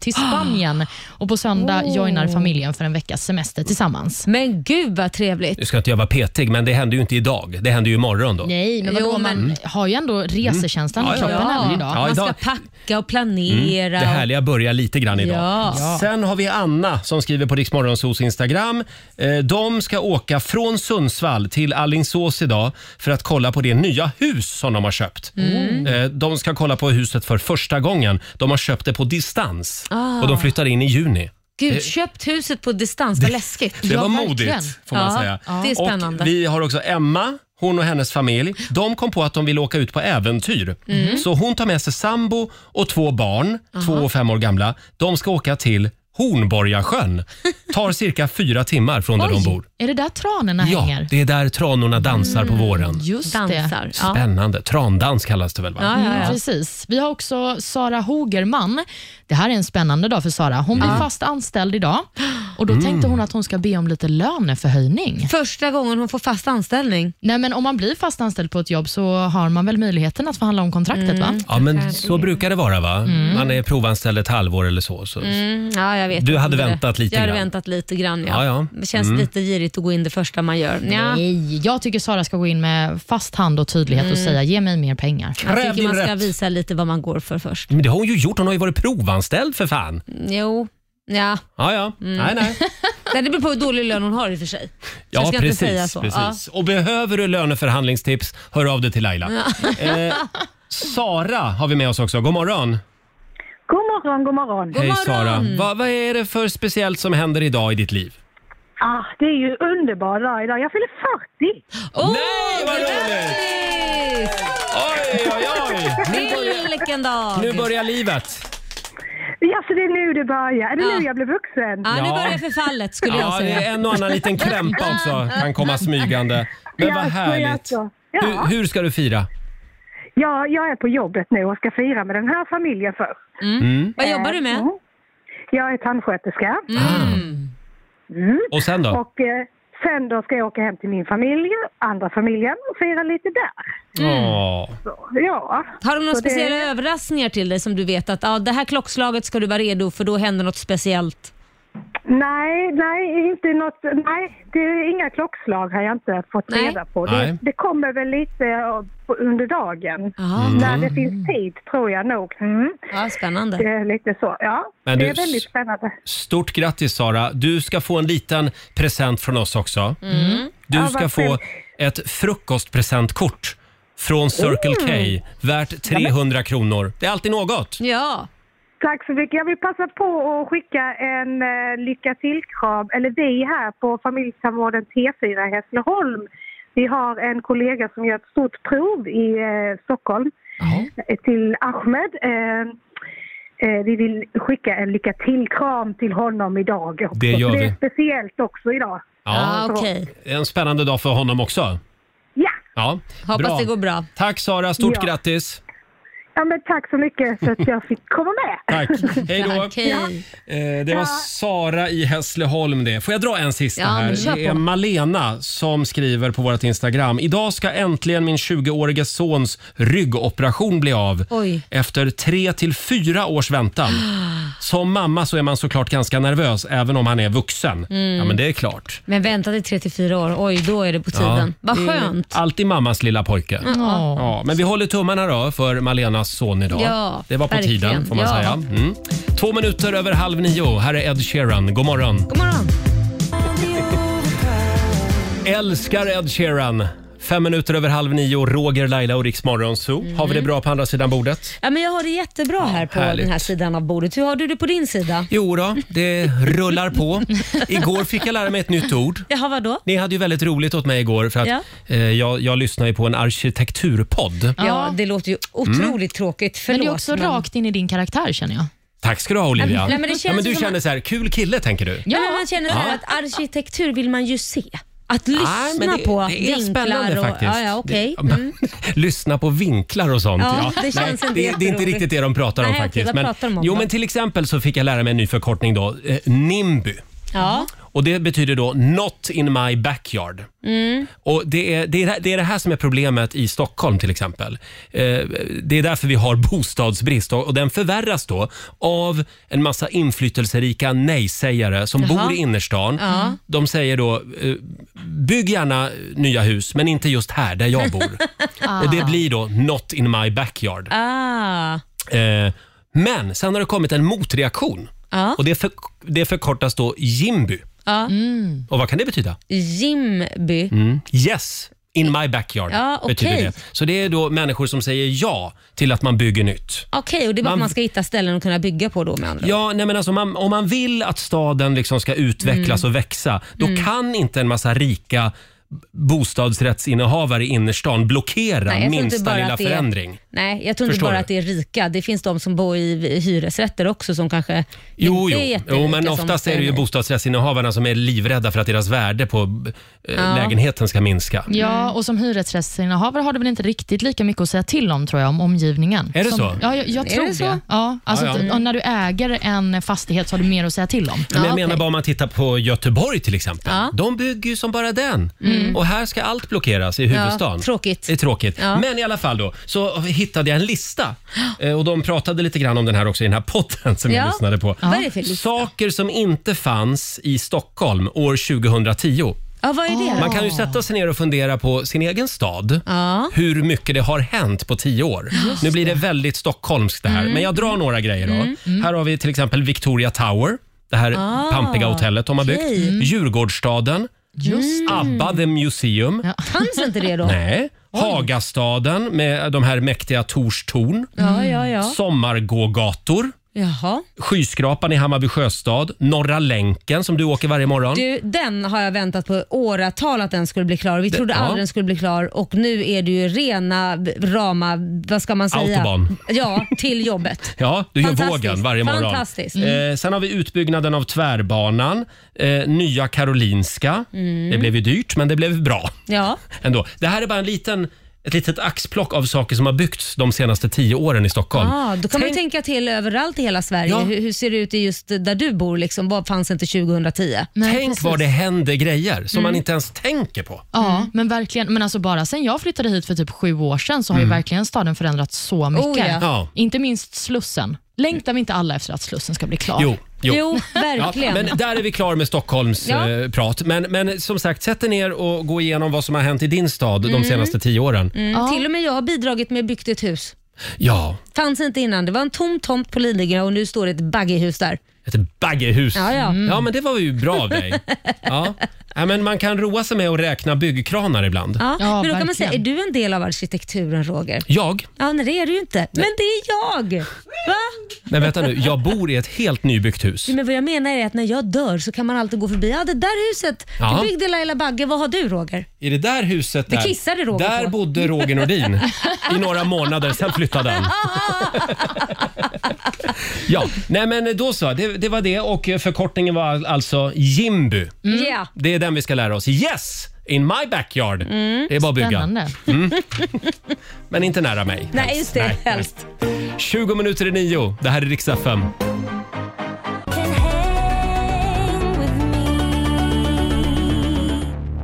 Speaker 1: <gasps>
Speaker 3: till Spanien och på söndag
Speaker 2: Oh.
Speaker 3: joinar familjen för en veckas semester tillsammans.”
Speaker 2: Men gud vad trevligt.
Speaker 1: Nu ska inte jag vara petig, men det händer ju inte idag. Det händer ju imorgon då.
Speaker 3: Nej, men vadå, man har ju ändå resekänslan
Speaker 1: Mm.
Speaker 3: i
Speaker 1: Ja, ja.
Speaker 3: kroppen även
Speaker 1: Mm.
Speaker 3: idag.
Speaker 1: Ja,
Speaker 3: Man
Speaker 1: idag-
Speaker 3: ska
Speaker 2: packa och
Speaker 1: Mm.
Speaker 2: planera.
Speaker 1: Det härliga börjar lite grann idag.
Speaker 2: Ja. Ja.
Speaker 1: Sen har vi Anna som skriver på Riksmorgonsos Instagram. Eh, De ska åka från Sundsvall till Allingsås idag för att kolla på det nya hus som de har köpt.
Speaker 5: Mm.
Speaker 1: Eh, De ska kolla på huset för första gången. De har köpt det på distans
Speaker 2: Ah.
Speaker 1: och de flyttar in i juni.
Speaker 2: Gud,
Speaker 1: Det-
Speaker 2: köpt huset på distans, vad läskigt.
Speaker 1: det var modigt får man
Speaker 2: ja,
Speaker 1: säga.
Speaker 2: Det är spännande.
Speaker 1: Och vi har också Emma, hon och hennes familj. De kom på att de vill åka ut på äventyr.
Speaker 5: Mm.
Speaker 1: Så hon tar med sig sambo och två barn,
Speaker 5: Aha.
Speaker 1: två och fem år gamla. De ska åka till Hornborgasjön. Tar cirka fyra timmar från där
Speaker 3: Oj,
Speaker 1: de bor.
Speaker 3: är det där tranorna
Speaker 1: Ja,
Speaker 3: hänger?
Speaker 1: det är där tranorna dansar på
Speaker 2: Mm.
Speaker 1: våren.
Speaker 3: Just Dansar. det.
Speaker 1: Spännande. Trandans kallas det väl? Va?
Speaker 3: Mm, precis. Vi har också Sara Hogerman. Det här är en spännande dag för Sara. Hon blir
Speaker 2: Ja.
Speaker 3: fast anställd idag och då
Speaker 2: Mm.
Speaker 3: tänkte hon att hon ska be om lite löneförhöjning.
Speaker 2: Första gången hon får fast anställning?
Speaker 3: Nej, men om man blir fast anställd på ett jobb så har man väl möjligheten att förhandla om kontraktet,
Speaker 2: Mm.
Speaker 3: va?
Speaker 1: Ja, men så brukar det vara. va? Man är provanställd ett halvår eller så. så.
Speaker 2: Mm, ja, jag vet
Speaker 1: Du
Speaker 2: inte.
Speaker 1: hade väntat lite
Speaker 2: Jag hade
Speaker 1: grann.
Speaker 2: väntat lite grann,
Speaker 1: Ja,
Speaker 2: ja.
Speaker 1: ja.
Speaker 2: Det känns
Speaker 1: Mm.
Speaker 2: lite girigt att gå in det första man gör. Nja.
Speaker 3: Nej, jag tycker Sara ska gå in med fast hand och tydlighet och
Speaker 2: Mm.
Speaker 3: säga ge mig mer pengar.
Speaker 2: Jag tycker man ska visa lite vad man går för först.
Speaker 1: Men det har hon ju gjort. Hon har ju varit provanställd för fan.
Speaker 2: Jo, ja.
Speaker 1: Ja, ja.
Speaker 2: Mm.
Speaker 1: Nej,
Speaker 2: <laughs>
Speaker 1: nej.
Speaker 2: nej. Det beror på hur dålig lön hon har i och för sig. Så
Speaker 1: Ja,
Speaker 2: jag ska
Speaker 1: precis.
Speaker 2: inte säga så.
Speaker 1: precis. Och behöver du löneförhandlingstips, hör av dig till Laila.
Speaker 2: Ja.
Speaker 1: <laughs> Eh, Sara har vi med oss också. God morgon.
Speaker 7: God morgon, god morgon.
Speaker 1: Hej Sara. Va, vad är det för speciellt som händer idag i ditt liv?
Speaker 7: Ah, det är ju underbar dag idag. Jag fyller 40.
Speaker 1: Nej, vad roligt! Oj, oj, oj! Nu börjar,
Speaker 2: Vilken dag!
Speaker 1: nu börjar livet.
Speaker 7: Ja, så Alltså, det är nu det börjar. Är det
Speaker 2: Ja.
Speaker 7: nu jag blir vuxen?
Speaker 1: Ja, nu Ja. börjar
Speaker 2: förfallet
Speaker 1: Ja, det är en och annan liten <laughs> krämpa
Speaker 2: <laughs>
Speaker 1: också kan komma smygande. Men vad
Speaker 7: Jaså,
Speaker 1: härligt.
Speaker 7: jaså. Ja.
Speaker 1: Hur, hur ska du fira?
Speaker 7: Ja, jag är på jobbet nu och ska fira med den här familjen först.
Speaker 1: Mm.
Speaker 2: Vad jobbar du med?
Speaker 7: Jag är tandsköterska. Mm.
Speaker 1: Och Ah, sen då?
Speaker 7: Och eh, sen då ska jag åka hem till min familj, andra familjen, och fira lite där.
Speaker 2: Mm.
Speaker 1: Ja.
Speaker 7: Så, ja.
Speaker 2: Har de några
Speaker 7: Så det-
Speaker 2: speciella överraskningar till dig som du vet att ah, det här klockslaget ska du vara redo för då händer något speciellt?
Speaker 7: Nej, nej, inte något, nej, det är inga klockslag har jag inte fått
Speaker 2: Nej.
Speaker 7: reda på.
Speaker 2: Nej.
Speaker 7: Det, det kommer väl lite eh, på- under dagen,
Speaker 2: Mm.
Speaker 7: när det finns tid tror jag nog. Mm.
Speaker 2: Ja, spännande.
Speaker 7: Det är lite så, ja.
Speaker 1: Men
Speaker 7: det
Speaker 1: du-
Speaker 7: är väldigt spännande.
Speaker 1: Stort grattis Sara. Du ska få en liten present från oss också.
Speaker 7: Mm. Ja,
Speaker 1: Du
Speaker 7: vad
Speaker 1: ska få
Speaker 7: trevligt.
Speaker 1: ett frukostpresentkort från Circle K
Speaker 2: Mm.
Speaker 1: värt 300 kronor. Det är alltid något.
Speaker 2: Ja.
Speaker 7: Tack så mycket. Jag vill passa på att skicka en eh, lycka till-kram, eller vi här på familjetandvården T4 i Hässleholm. Vi har en kollega som gör ett stort prov i eh, Stockholm eh, till Ahmed. Eh, eh, vi vill skicka en lycka till-kram till honom idag. Också.
Speaker 1: Det gör
Speaker 7: Så
Speaker 1: vi.
Speaker 7: är speciellt också idag. Så-
Speaker 1: En spännande dag för honom också.
Speaker 7: Ja.
Speaker 1: Ja,
Speaker 2: Hoppas det går bra.
Speaker 1: Tack Sara, stort
Speaker 7: Ja.
Speaker 1: grattis!
Speaker 7: ja, men tack så mycket för att jag fick komma med.
Speaker 1: Tack.
Speaker 7: <laughs>
Speaker 1: Hej då.
Speaker 7: Tack, hej.
Speaker 1: Eh, Det var Sara i Hässleholm det. Får jag dra en sista
Speaker 5: Ja, men kör
Speaker 1: här? Det
Speaker 5: på.
Speaker 1: är Malena som skriver på vårt Instagram. Idag ska äntligen min 20-årige sons ryggoperation bli av.
Speaker 2: Oj.
Speaker 1: Efter tre till fyra års
Speaker 2: <gasps>
Speaker 1: väntan. Som mamma så är man såklart ganska nervös även om han är vuxen.
Speaker 2: Mm.
Speaker 1: Ja men det är klart.
Speaker 2: Men vänta till 34 år, oj då är det på tiden.
Speaker 1: Ja.
Speaker 2: Vad skönt.
Speaker 1: Alltid mammas lilla pojke.
Speaker 2: Ja.
Speaker 1: Ja, men vi håller tummarna då för Malenas son idag.
Speaker 2: Ja,
Speaker 1: det var på
Speaker 2: verkligen.
Speaker 1: tiden får man
Speaker 2: Ja.
Speaker 1: säga. Mm. Två minuter över halv nio. Här är Ed Sheeran. God morgon.
Speaker 2: God morgon.
Speaker 1: Älskar Ed Sheeran. Fem minuter över halv nio. Roger, Laila och Riks Morgonzoo.
Speaker 2: Mm.
Speaker 1: Har vi det bra på andra sidan bordet?
Speaker 2: Ja, men jag har det jättebra här på
Speaker 1: härligt.
Speaker 2: den här sidan av bordet. Hur har du det på din sida?
Speaker 1: Jo då, det rullar på. Igår fick jag lära mig ett nytt ord.
Speaker 2: Jaha, vadå?
Speaker 1: Ni hade ju väldigt roligt åt mig igår för att
Speaker 2: Ja.
Speaker 1: eh, jag, jag lyssnar ju på en arkitekturpodd.
Speaker 2: Ja, det låter ju otroligt
Speaker 1: Mm.
Speaker 2: tråkigt. Förlåt,
Speaker 3: men det är också rakt in i din karaktär känner jag.
Speaker 1: Tack ska du ha Olivia.
Speaker 2: Nej, men det känns
Speaker 1: ja, men du
Speaker 2: som-
Speaker 1: kände så här, kul kille tänker du?
Speaker 2: Ja, men man känner så här
Speaker 1: Ja.
Speaker 2: att arkitektur vill man ju se. Att lyssna
Speaker 1: Nej, men det-
Speaker 2: på
Speaker 1: det är
Speaker 2: vinklar
Speaker 1: spännande
Speaker 2: och...
Speaker 1: faktiskt.
Speaker 2: Ja, ja, okej.
Speaker 1: Det-
Speaker 2: Mm.
Speaker 1: <laughs> lyssna på vinklar och sånt.
Speaker 2: Ja, det känns inte
Speaker 1: det, det är inte
Speaker 2: jätteroligt.
Speaker 1: riktigt det de pratar om
Speaker 2: Nej, okej,
Speaker 1: faktiskt.
Speaker 2: vad pratar de om
Speaker 1: jo,
Speaker 2: då?
Speaker 1: men till exempel så fick jag lära mig en ny förkortning då. Eh, NIMBY.
Speaker 2: Ja.
Speaker 1: Och det betyder då Not in my backyard.
Speaker 2: Mm.
Speaker 1: Och det är, det, är, det är det här som är problemet i Stockholm till exempel. Eh, det är därför vi har bostadsbrist och, och den förvärras då av en massa inflytelserika nej-sägare som
Speaker 5: Jaha.
Speaker 1: bor i innerstan.
Speaker 5: Ja.
Speaker 1: De säger då, eh, bygg gärna nya hus men inte just här
Speaker 5: <laughs>
Speaker 1: där
Speaker 2: <laughs>
Speaker 1: jag bor. Och det blir då “Not in my backyard”.
Speaker 2: Ah.
Speaker 1: Eh, men sen har det kommit en motreaktion
Speaker 2: Ja.
Speaker 1: och det, för, det förkortas då “Jimby”.
Speaker 2: Ja.
Speaker 1: Och vad kan det betyda?
Speaker 2: Mm. Jimby.
Speaker 1: Mm. Yes, in my backyard
Speaker 2: Ja, okej.
Speaker 1: betyder det. Så det är då människor som säger ja till att man bygger nytt.
Speaker 2: Okej, och det är bara
Speaker 1: Man-
Speaker 2: att man ska hitta ställen att kunna bygga på då med andra
Speaker 1: Ja, nej men alltså, man, om man vill att staden liksom ska utvecklas
Speaker 2: Mm.
Speaker 1: och växa, då kan inte en massa rika bostadsrättsinnehavare i innerstan blockera
Speaker 2: Nej, jag tror inte
Speaker 1: minsta
Speaker 2: bara
Speaker 1: lilla
Speaker 2: att det är-
Speaker 1: förändring.
Speaker 2: Nej, jag tror inte
Speaker 1: Förstår
Speaker 2: bara
Speaker 1: du?
Speaker 2: att det är rika. Det finns de som bor i hyresrätter också som kanske
Speaker 1: Jo,
Speaker 2: inte är
Speaker 1: jo.
Speaker 2: jätterika
Speaker 1: jo, men
Speaker 2: som
Speaker 1: oftast är
Speaker 2: säger
Speaker 1: det ju
Speaker 2: nej.
Speaker 1: bostadsrättsinnehavarna som är livrädda för att deras värde på eh,
Speaker 3: Ja.
Speaker 1: lägenheten ska minska.
Speaker 3: Ja, och som hyresrättsinnehavare har du väl inte riktigt lika mycket att säga till om tror jag, om omgivningen.
Speaker 1: Är det
Speaker 3: som,
Speaker 1: så?
Speaker 3: Ja, jag, jag
Speaker 1: Är
Speaker 3: tror
Speaker 1: det
Speaker 3: det.
Speaker 1: så?
Speaker 3: Ja, alltså
Speaker 1: Ja, ja.
Speaker 3: att- och När du äger en fastighet så har du mer att säga till om.
Speaker 1: Men jag menar bara om man tittar på Göteborg till exempel.
Speaker 3: Ja.
Speaker 1: De bygger ju som bara den.
Speaker 3: Mm.
Speaker 1: Och här ska allt blockeras i huvudstaden.
Speaker 2: Ja, tråkigt.
Speaker 1: Det är tråkigt.
Speaker 2: Ja.
Speaker 1: Men i alla fall då, så hittade jag en lista. Eh, Och de pratade lite grann om den här också i den här potten som jag
Speaker 2: Ja.
Speaker 1: lyssnade på.
Speaker 2: Vad är det för lista?
Speaker 1: Saker som inte fanns i Stockholm år 2010.
Speaker 2: Ja, vad är det?
Speaker 1: Man kan ju sätta sig ner och fundera på sin egen stad.
Speaker 2: Ja.
Speaker 1: Hur mycket det har hänt på tio år.
Speaker 2: Just
Speaker 1: Nu blir det väldigt stockholmskt det här.
Speaker 2: Mm.
Speaker 1: Men jag drar några grejer då.
Speaker 2: Mm. Mm.
Speaker 1: Här har vi till exempel Victoria Tower. Det här
Speaker 2: Ah,
Speaker 1: pampiga hotellet de har byggt.
Speaker 2: okej. Mm.
Speaker 1: Djurgårdsstaden.
Speaker 2: Just det.
Speaker 1: ABBA The Museum.
Speaker 2: Fanns inte det då?
Speaker 1: Nej. Hagastaden med de här mäktiga Tors torn.
Speaker 2: Ja, ja, ja.
Speaker 1: Sommargågator.
Speaker 2: Jaha.
Speaker 1: Skyskrapan i Hammarby sjöstad. Norra länken som du åker varje morgon.
Speaker 2: Du, den har jag väntat på i åratal att den skulle bli klar. Vi
Speaker 1: Det-
Speaker 2: trodde
Speaker 1: ja.
Speaker 2: aldrig den skulle bli klar och nu är det ju rena b- rama, vad ska man säga?
Speaker 1: Autobahn.
Speaker 2: Ja, till jobbet.
Speaker 1: <laughs> Ja, du gör
Speaker 2: Fantastiskt.
Speaker 1: vågen varje morgon.
Speaker 2: Fantastiskt. Mm.
Speaker 1: Eh, sen har vi utbyggnaden av tvärbanan, eh, Nya Karolinska.
Speaker 2: Mm.
Speaker 1: Det blev ju dyrt, men det blev bra <laughs>
Speaker 2: Ja.
Speaker 1: ändå. Det här är bara en liten, ett litet axplock av saker som har byggts de senaste tio åren i Stockholm.
Speaker 2: Ah, då kan man ju tänka till överallt i hela Sverige. Hur, hur ser det ut i just där du bor? Liksom? Vad fanns inte 2010?
Speaker 1: Tänk vad det händer grejer som
Speaker 2: Mm.
Speaker 1: man inte ens tänker på.
Speaker 3: Ja, men verkligen. Men alltså bara sen jag flyttade hit för typ sju år sedan så har ju
Speaker 1: Mm.
Speaker 3: verkligen staden förändrats så mycket.
Speaker 1: Oh, ja. Ja.
Speaker 3: Inte minst Slussen. Längtar vi inte alla efter att Slussen ska bli klar?
Speaker 1: Jo, jo. <laughs>
Speaker 3: Ja,
Speaker 1: Ja, men där är vi klar med Stockholms
Speaker 3: Ja.
Speaker 1: eh, prat. Men, men som sagt, sätt er ner och gå igenom vad som har hänt i din stad
Speaker 2: Mm.
Speaker 1: de senaste tio åren.
Speaker 2: Mm. Till och med jag har bidragit med byggt ett hus.
Speaker 1: Ja,
Speaker 2: Fanns inte innan. Det var en tom tomt på Lidingö och nu står det ett baggehus där.
Speaker 1: ett baggehus.
Speaker 2: Ja, ja. Mm.
Speaker 1: ja, men det var ju bra av
Speaker 2: <laughs>
Speaker 1: dig. Ja. Ja, men man kan roa sig med att räkna byggkranar ibland.
Speaker 2: Ja, men då kan man
Speaker 1: verkligen.
Speaker 2: säga, är du en del av arkitekturen Roger?
Speaker 1: Jag?
Speaker 2: Ja, nej det är du ju inte. Men det är jag! Va?
Speaker 1: Men vänta nu, jag bor i ett helt nybyggt hus.
Speaker 2: Jo, Men vad jag menar är att när jag dör så kan man alltid gå förbi. Ja, det där huset,
Speaker 1: Ja.
Speaker 2: det byggde Laila Bagge. Vad har du Roger?
Speaker 1: I det där huset
Speaker 2: Det
Speaker 1: där,
Speaker 2: kissade Roger
Speaker 1: där
Speaker 2: på.
Speaker 1: bodde Roger Nordin i några månader, sen flyttade
Speaker 2: <laughs>
Speaker 1: han. ja, nej men då så, det, det var det och förkortningen var alltså Jimby.
Speaker 2: Mm. Ja.
Speaker 1: Det är den vi ska lära oss. Yes! In my backyard.
Speaker 2: Mm.
Speaker 1: Det är bara att bygga.
Speaker 2: Spännande.
Speaker 1: Mm. Men inte nära mig.
Speaker 2: Nej, just det. Helst.
Speaker 1: 20 minuter i nio. Det här är riksdag 5.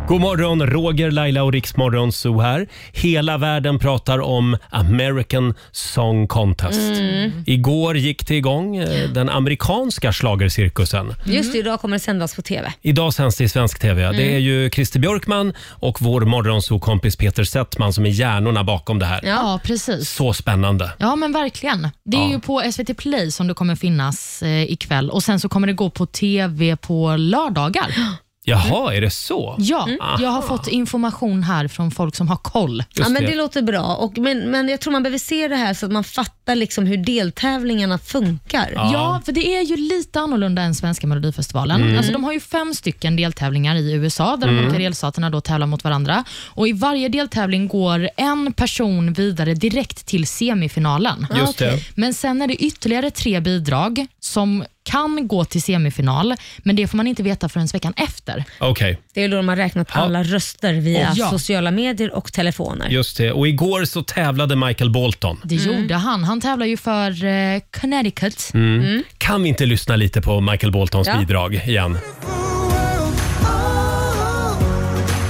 Speaker 1: God morgon, Roger, Laila och Riksmorgon Zoo här. Hela världen pratar om American Song Contest.
Speaker 2: Mm.
Speaker 1: Igår gick det igång eh, den amerikanska schlagercirkusen.
Speaker 2: Just det, idag kommer det sändas på TV.
Speaker 1: Idag sänds det i svensk TV. ja. Det
Speaker 2: Mm.
Speaker 1: är ju Christer Björkman och vår morgonsokompis Peter Settman som är hjärnorna bakom det här.
Speaker 3: Ja, precis.
Speaker 1: Så spännande.
Speaker 3: Ja, men verkligen. Det är ju på SVT Play som det kommer finnas eh, ikväll och sen så kommer det gå på TV på lördagar.
Speaker 2: <gasps>
Speaker 1: Jaha, är det så?
Speaker 3: Mm. Ja,
Speaker 2: Mm.
Speaker 3: jag har
Speaker 1: Aha.
Speaker 3: fått information här från folk som har koll.
Speaker 2: Ja, men det låter bra. Och, men, men jag tror man behöver se det här så att man fattar liksom hur deltävlingarna funkar.
Speaker 3: Ja. för det är ju lite annorlunda än svenska melodifestivalen.
Speaker 2: Mm.
Speaker 3: Alltså, de har ju fem stycken deltävlingar i USA där de
Speaker 2: Mm.
Speaker 3: olika delstaterna då tävlar mot varandra. Och I varje deltävling går en person vidare direkt till semifinalen.
Speaker 15: Just det. Okej.
Speaker 3: Men sen är det ytterligare tre bidrag som kan gå till semifinal, men det får man inte veta förrän veckan efter.
Speaker 1: Okej.
Speaker 2: Det är då de har räknat på alla röster via
Speaker 3: Ja.
Speaker 2: sociala medier och telefoner. Mm.
Speaker 1: Just det. Och igår så tävlade Michael Bolton.
Speaker 3: Det gjorde han. Han tävlar ju för eh, Connecticut.
Speaker 1: Mm. Kan vi inte lyssna lite på Michael Boltons
Speaker 3: Ja.
Speaker 1: bidrag igen?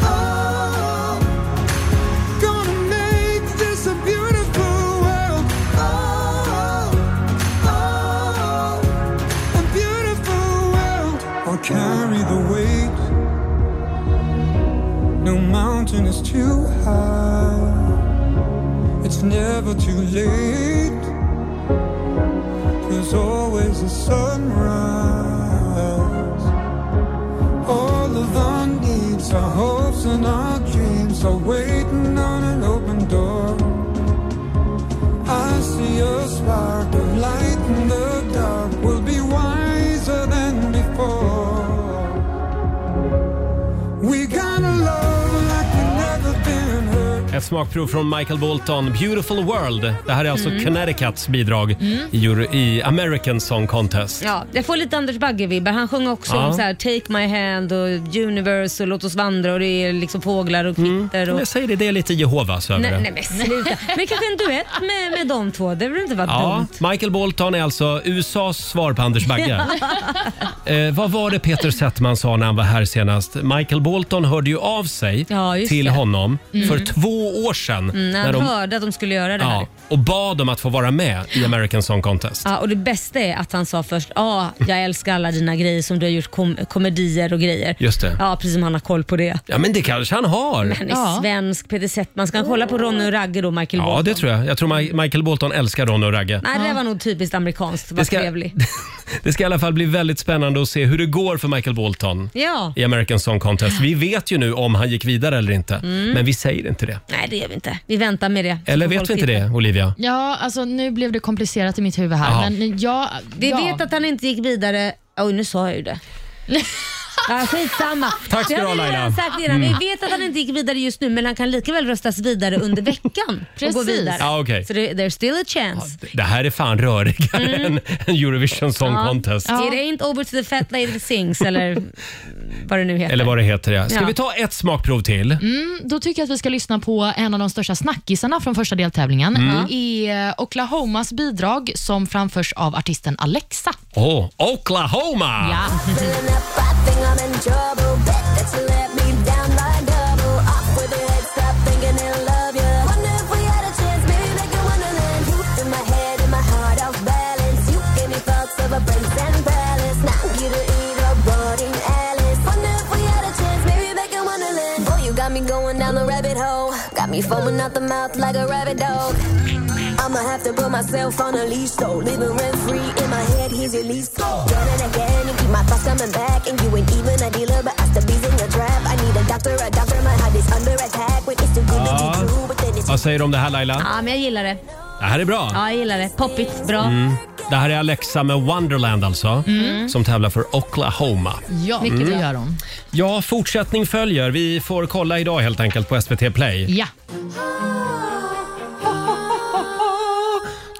Speaker 9: Oh,
Speaker 5: Gonna make this a beautiful world. Oh, oh, a beautiful world.
Speaker 9: I'll carry the weight. No mountain is too high. It's never too late. There's always a sunrise. All of our needs, our hopes, and our dreams are waiting on an open door. I see a spark of light in the dark. We'll be wiser than before. We got a love like we've never been hurt.
Speaker 1: Ett smakprov från Michael Bolton, Beautiful World. Det här är alltså
Speaker 2: Mm.
Speaker 1: Connecticuts bidrag
Speaker 2: Mm.
Speaker 1: i, Euro- i American Song Contest.
Speaker 2: Ja, jag får lite Anders Bagge-vibbar. Han sjöng också
Speaker 1: Ja.
Speaker 2: om så här, Take My Hand och Universe och Låt oss vandra och det är liksom fåglar och kvitter. Och...
Speaker 1: Mm. Jag säger det, det är lite Jehovas över
Speaker 2: Nej,
Speaker 1: det.
Speaker 2: nej men
Speaker 1: <laughs>
Speaker 2: sluta. Men kanske en duett med, med de två. Det behöver inte vara
Speaker 1: Ja,
Speaker 2: dumt.
Speaker 1: Michael Bolton är alltså USAs svar på Anders
Speaker 2: <laughs>
Speaker 1: Bagge.
Speaker 2: Mm,
Speaker 1: eh, vad var det Peter Settman sa när han var här senast? Michael Bolton hörde ju av sig
Speaker 2: Ja, just
Speaker 1: till
Speaker 2: det.
Speaker 1: honom
Speaker 2: Mm.
Speaker 1: för två år sedan.
Speaker 2: Mm, när han hörde att de skulle göra det här.
Speaker 1: ja, och bad om att få vara med i American Song Contest.
Speaker 2: Ja, och det bästa är att han sa först ja, jag älskar alla dina grejer som du har gjort, kom- komedier och grejer.
Speaker 1: Just det.
Speaker 2: Ja, precis som han har koll på det.
Speaker 1: Ja, men det kanske han har.
Speaker 2: Men är svensk, Peter Settman. Ska han kolla på Ronny och Ragge då, Michael
Speaker 1: Ja,
Speaker 2: Bolton?
Speaker 1: det tror jag. Jag tror Mi- Michael Bolton älskar Ronny och Ragge.
Speaker 2: Nej, det där var nog typiskt amerikanskt.
Speaker 1: Det
Speaker 2: Vad
Speaker 1: ska- <laughs>
Speaker 2: trevlig.
Speaker 1: Det ska i alla fall bli väldigt spännande att se hur det går för Michael Bolton
Speaker 2: Ja.
Speaker 1: i American Song Contest. Vi vet ju nu om han gick vidare eller inte,
Speaker 3: Mm.
Speaker 1: men vi säger inte det.
Speaker 2: Nej, det gör vi inte. Vi väntar med det.
Speaker 1: Eller vet vi inte det, Olivia?
Speaker 3: Ja, alltså nu blev det komplicerat i mitt huvud här.
Speaker 1: Jaha.
Speaker 3: Men jag,
Speaker 2: Vi
Speaker 3: ja.
Speaker 2: vet att han inte gick vidare. Oj, nu sa jag
Speaker 3: <laughs>
Speaker 2: ju det. Ja, skitsamma.
Speaker 1: Tack ska
Speaker 2: Det
Speaker 1: du ha,
Speaker 2: har vi redan
Speaker 1: Laila.
Speaker 2: Sagt innan.
Speaker 1: Mm.
Speaker 2: Vi vet att han inte gick vidare just nu men han kan lika väl röstas vidare under veckan. och gå
Speaker 1: Precis.
Speaker 2: vidare.
Speaker 1: Ja, okej.
Speaker 2: Så det, there's still a chance.
Speaker 1: Det här är fan rörigare än, än Eurovision Song Contest.
Speaker 2: Mm. Ja. It ain't over till the fat lady
Speaker 1: <laughs>
Speaker 2: sings eller vad det nu heter.
Speaker 1: Eller vad det heter, ja. Ska
Speaker 3: Ja.
Speaker 1: vi ta ett smakprov till?
Speaker 3: Mm, då tycker jag att vi ska lyssna på en av de största snackisarna från första deltävlingen.
Speaker 1: Mm.
Speaker 3: Det är Oklahomas bidrag som framförs av artisten Alexa.
Speaker 1: Åh, Oklahoma!
Speaker 15: Down the rabbit hole, got me foaming out the mouth like a rabbit dog. I'ma have to put myself on a leash though. Living rent free in my head, he's your least. Running again, you keep my thoughts coming back. And you ain't even a dealer, but after bees in the trap. I need a doctor, a doctor, my heart is under attack. When it's too good to be
Speaker 1: Ja.
Speaker 15: true, but then it's
Speaker 1: Vad säger du om det här Laila?
Speaker 2: Ja, men jag gillar det.
Speaker 1: Det här är bra.
Speaker 2: Ja, jag gillar det. Poppigt, bra.
Speaker 1: Mm. Det här är Alexa med Wonderland alltså,
Speaker 3: Mm.
Speaker 1: som tävlar för Oklahoma.
Speaker 3: Ja,
Speaker 1: Mm.
Speaker 3: mycket gör hon.
Speaker 1: Ja, fortsättning följer. Vi får kolla idag helt enkelt på SVT Play.
Speaker 3: Ja.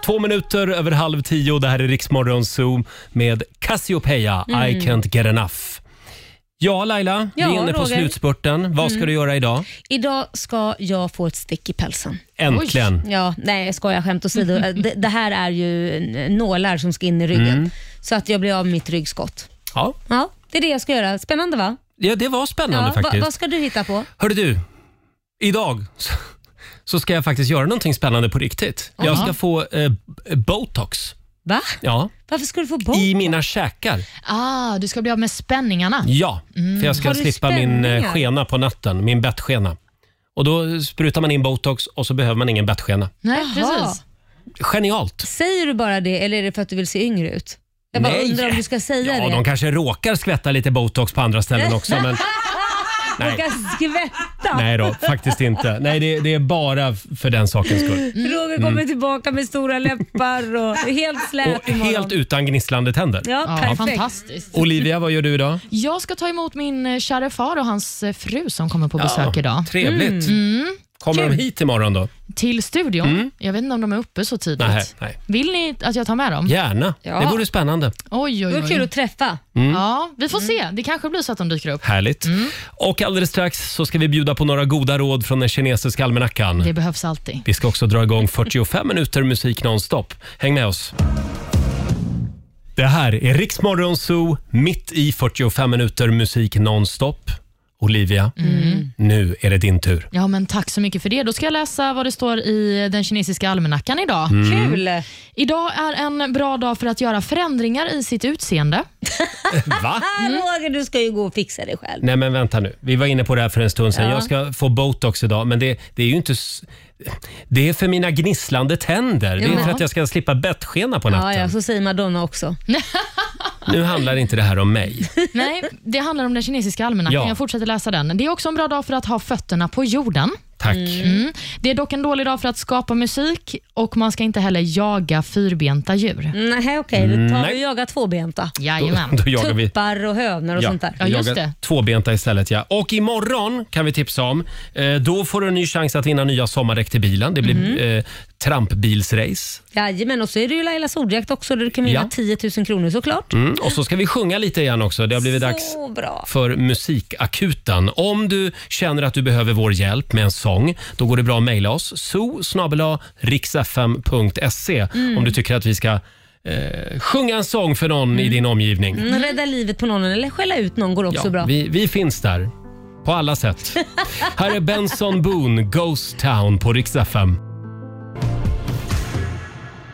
Speaker 1: Två minuter över halv tio. Det här är Riksmorgon Zoom med Cassiopeia,
Speaker 17: Mm.
Speaker 1: I can't get enough. Ja, Laila, vi
Speaker 2: Ja,
Speaker 1: är inne på
Speaker 2: Roger.
Speaker 1: slutspurten. Vad ska
Speaker 2: Mm.
Speaker 1: du göra idag?
Speaker 2: Idag ska jag få ett stick i pälsen.
Speaker 1: Äntligen.
Speaker 2: Oj. Ja, nej jag skojar,
Speaker 1: <laughs>
Speaker 2: skämt åsido. det, det här är ju n- nålar som ska in i ryggen.
Speaker 1: Mm.
Speaker 2: Så att jag blir av med mitt ryggskott.
Speaker 1: Ja.
Speaker 2: Ja, det är det jag ska göra. Spännande va?
Speaker 1: ja, det var spännande
Speaker 2: ja,
Speaker 1: faktiskt.
Speaker 2: Va, vad ska du hitta på?
Speaker 1: Hörru du, idag så- så ska jag faktiskt göra någonting spännande på riktigt. Jag
Speaker 2: Jaha.
Speaker 1: ska få eh, b- botox.
Speaker 2: Va?
Speaker 1: Ja.
Speaker 2: Varför ska du få botox?
Speaker 1: I mina käkar.
Speaker 3: Ah, du ska bli av med spänningarna.
Speaker 1: Ja,
Speaker 3: Mm.
Speaker 1: för jag ska
Speaker 3: Har du
Speaker 1: slippa min eh,
Speaker 3: spänningar?
Speaker 1: skena på natten, min bettskena. Och då sprutar man in botox och så behöver man ingen bettskena.
Speaker 2: Nej,
Speaker 3: precis.
Speaker 1: Genialt!
Speaker 2: Säger du bara det eller är det för att du vill se yngre ut? Jag bara
Speaker 1: Nej.
Speaker 2: undrar om du ska säga
Speaker 1: Ja,
Speaker 2: det.
Speaker 1: de kanske råkar skvätta lite botox på andra ställen också,
Speaker 2: <laughs>
Speaker 1: men
Speaker 2: De
Speaker 1: Nej.
Speaker 2: kan skvätta.
Speaker 1: nej då, faktiskt inte. Nej, det, det är bara f- för den sakens skull.
Speaker 2: <laughs> Roger kommer
Speaker 1: Mm.
Speaker 2: tillbaka med stora läppar och helt slät
Speaker 1: Och helt utan gnisslande tänder.
Speaker 2: Ja,
Speaker 3: Ja, perfekt. fantastiskt.
Speaker 1: Olivia, vad gör du idag?
Speaker 3: Jag ska ta emot min eh, kära far och hans eh, fru som kommer på besök idag.
Speaker 1: Trevligt.
Speaker 3: Mm.
Speaker 1: Kommer
Speaker 3: Kul.
Speaker 1: de hit imorgon då?
Speaker 3: Till studion.
Speaker 1: Mm.
Speaker 3: Jag vet inte om de är uppe så tidigt.
Speaker 1: Nej, nej.
Speaker 3: Vill ni att jag tar med dem?
Speaker 1: Gärna.
Speaker 3: Ja.
Speaker 1: Det vore spännande.
Speaker 3: Oj, oj,
Speaker 2: Det
Speaker 3: oj.
Speaker 2: var kul att träffa.
Speaker 1: Mm.
Speaker 3: Ja, vi får se. Det kanske blir så att de dyker upp.
Speaker 1: Härligt.
Speaker 3: Mm.
Speaker 1: Och alldeles strax så ska vi bjuda på några goda råd från den kinesiska almanackan.
Speaker 3: Det behövs alltid.
Speaker 1: Vi ska också dra igång 45 minuter musik nonstop. Häng med oss. Det här är Riksmorgon Zoo, mitt i 45 minuter musik nonstop. Olivia,
Speaker 3: Mm.
Speaker 1: nu är det din tur.
Speaker 3: Ja, men tack så mycket för det. Då ska jag läsa vad det står i den kinesiska almanackan idag.
Speaker 1: Mm. Kul.
Speaker 3: Idag är en bra dag för att göra förändringar i sitt utseende.
Speaker 1: <laughs> Va?
Speaker 2: <laughs> Roger, du ska ju gå och fixa det själv.
Speaker 1: Nej men vänta nu, vi var inne på det här för en stund sedan.
Speaker 2: Ja.
Speaker 1: Jag ska få botox idag men det, det är ju inte... s- Det är för mina gnisslande tänder. Det är
Speaker 2: Ja.
Speaker 1: för att jag ska slippa bettskena på natten.
Speaker 2: Ja, ja, så säger Madonna också.
Speaker 1: Nu handlar inte det här om mig.
Speaker 3: <laughs> Nej, det handlar om den kinesiska almanackan.
Speaker 1: Ja.
Speaker 3: Jag fortsätter läsa den. Det är också en bra dag för att ha fötterna på jorden.
Speaker 1: Tack.
Speaker 3: Mm. Det är dock en dålig dag för att skapa musik och man ska inte heller jaga fyrbenta djur.
Speaker 2: Nej, okej. Då tar vi
Speaker 1: Nej.
Speaker 2: och jagar tvåbenta.
Speaker 1: Jajamän. Då- då jagar vi-
Speaker 2: Tuppar och hönor och sånt där.
Speaker 1: jaga Tvåbenta istället ja. Och imorgon kan vi tipsa om. Eh, då får du en ny chans att vinna nya sommardäck till bilen. Det blir
Speaker 2: Mhm.
Speaker 1: eh, trampbilsrace.
Speaker 2: Jajamän, och så är det ju Lailas ordjakt också där du kan vinna
Speaker 1: Ja.
Speaker 2: 10 000 kronor såklart.
Speaker 1: Mm. Och så ska vi sjunga lite igen också. Det har blivit dags
Speaker 2: Så bra.
Speaker 1: för musikakuten. Om du känner att du behöver vår hjälp med en sång, då går det bra att mejla oss. so
Speaker 2: Mm.
Speaker 1: om du tycker att vi ska eh, sjunga en sång för någon i din omgivning.
Speaker 2: Mm, Rädda livet på någon eller skälla ut någon går också
Speaker 1: Ja,
Speaker 2: bra.
Speaker 1: Vi, vi finns där. På alla
Speaker 2: <laughs>
Speaker 1: sätt. Här är Benson Boone, Ghost Town på Rix FM.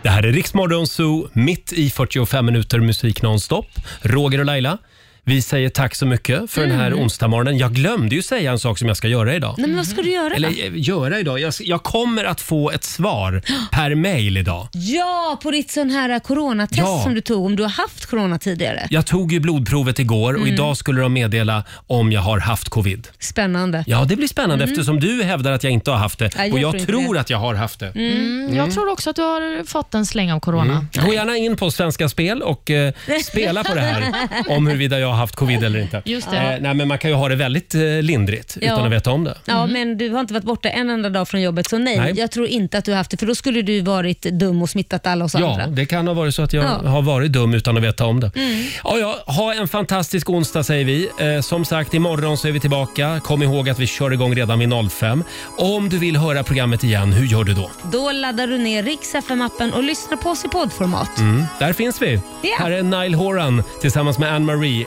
Speaker 1: Det här är Riksmorgon Zoo, mitt i 45 minuter musik nonstop. Roger och Laila, vi säger tack så mycket för den här
Speaker 2: Mm.
Speaker 1: onsdagsmorgonen. Jag glömde ju säga en sak som jag ska göra idag.
Speaker 2: Nej, men vad ska du göra?
Speaker 1: Eller eh, göra idag? Jag, jag kommer att få ett svar per mail idag.
Speaker 2: Ja, på ditt sån här coronatest
Speaker 1: Ja.
Speaker 2: som du tog, om du har haft corona tidigare.
Speaker 1: Jag tog ju blodprovet igår och
Speaker 2: Mm.
Speaker 1: idag skulle de meddela om jag har haft covid.
Speaker 2: Spännande.
Speaker 1: Ja, det blir spännande
Speaker 2: Mm.
Speaker 1: eftersom du hävdar att jag inte har haft det
Speaker 2: Nej, jag
Speaker 1: och jag
Speaker 2: tror
Speaker 1: tror,
Speaker 2: inte det.
Speaker 1: att jag har haft det.
Speaker 3: Mm. Jag tror också att du har fått en släng av corona.
Speaker 1: Mm. Gå gärna in på Svenska Spel och eh, spela på det
Speaker 2: <laughs>
Speaker 1: här om huruvida jag har haft covid eller inte.
Speaker 2: Just det.
Speaker 1: Eh, nej, men man kan ju ha det väldigt eh, lindrigt
Speaker 2: Ja.
Speaker 1: utan att veta om det. Mm.
Speaker 2: Ja, men du har inte varit borta en enda dag från jobbet, så nej,
Speaker 1: Nej.
Speaker 2: jag tror inte att du har haft det, för då skulle du varit dum och smittat alla oss
Speaker 1: Ja,
Speaker 2: andra.
Speaker 1: det kan ha varit så att jag
Speaker 2: Ja. Mm.
Speaker 1: har varit dum utan att veta om det. Ja, ja, ha en fantastisk onsdag säger vi. Eh, som sagt, imorgon så är vi tillbaka. Kom ihåg att vi kör igång redan vid 05. Om du vill höra programmet igen, hur gör du då?
Speaker 2: Då laddar du ner Rix FM-appen och lyssnar på oss i poddformat.
Speaker 1: Mm, där finns vi.
Speaker 2: Ja.
Speaker 1: Här är Nile Horan tillsammans med Anne-Marie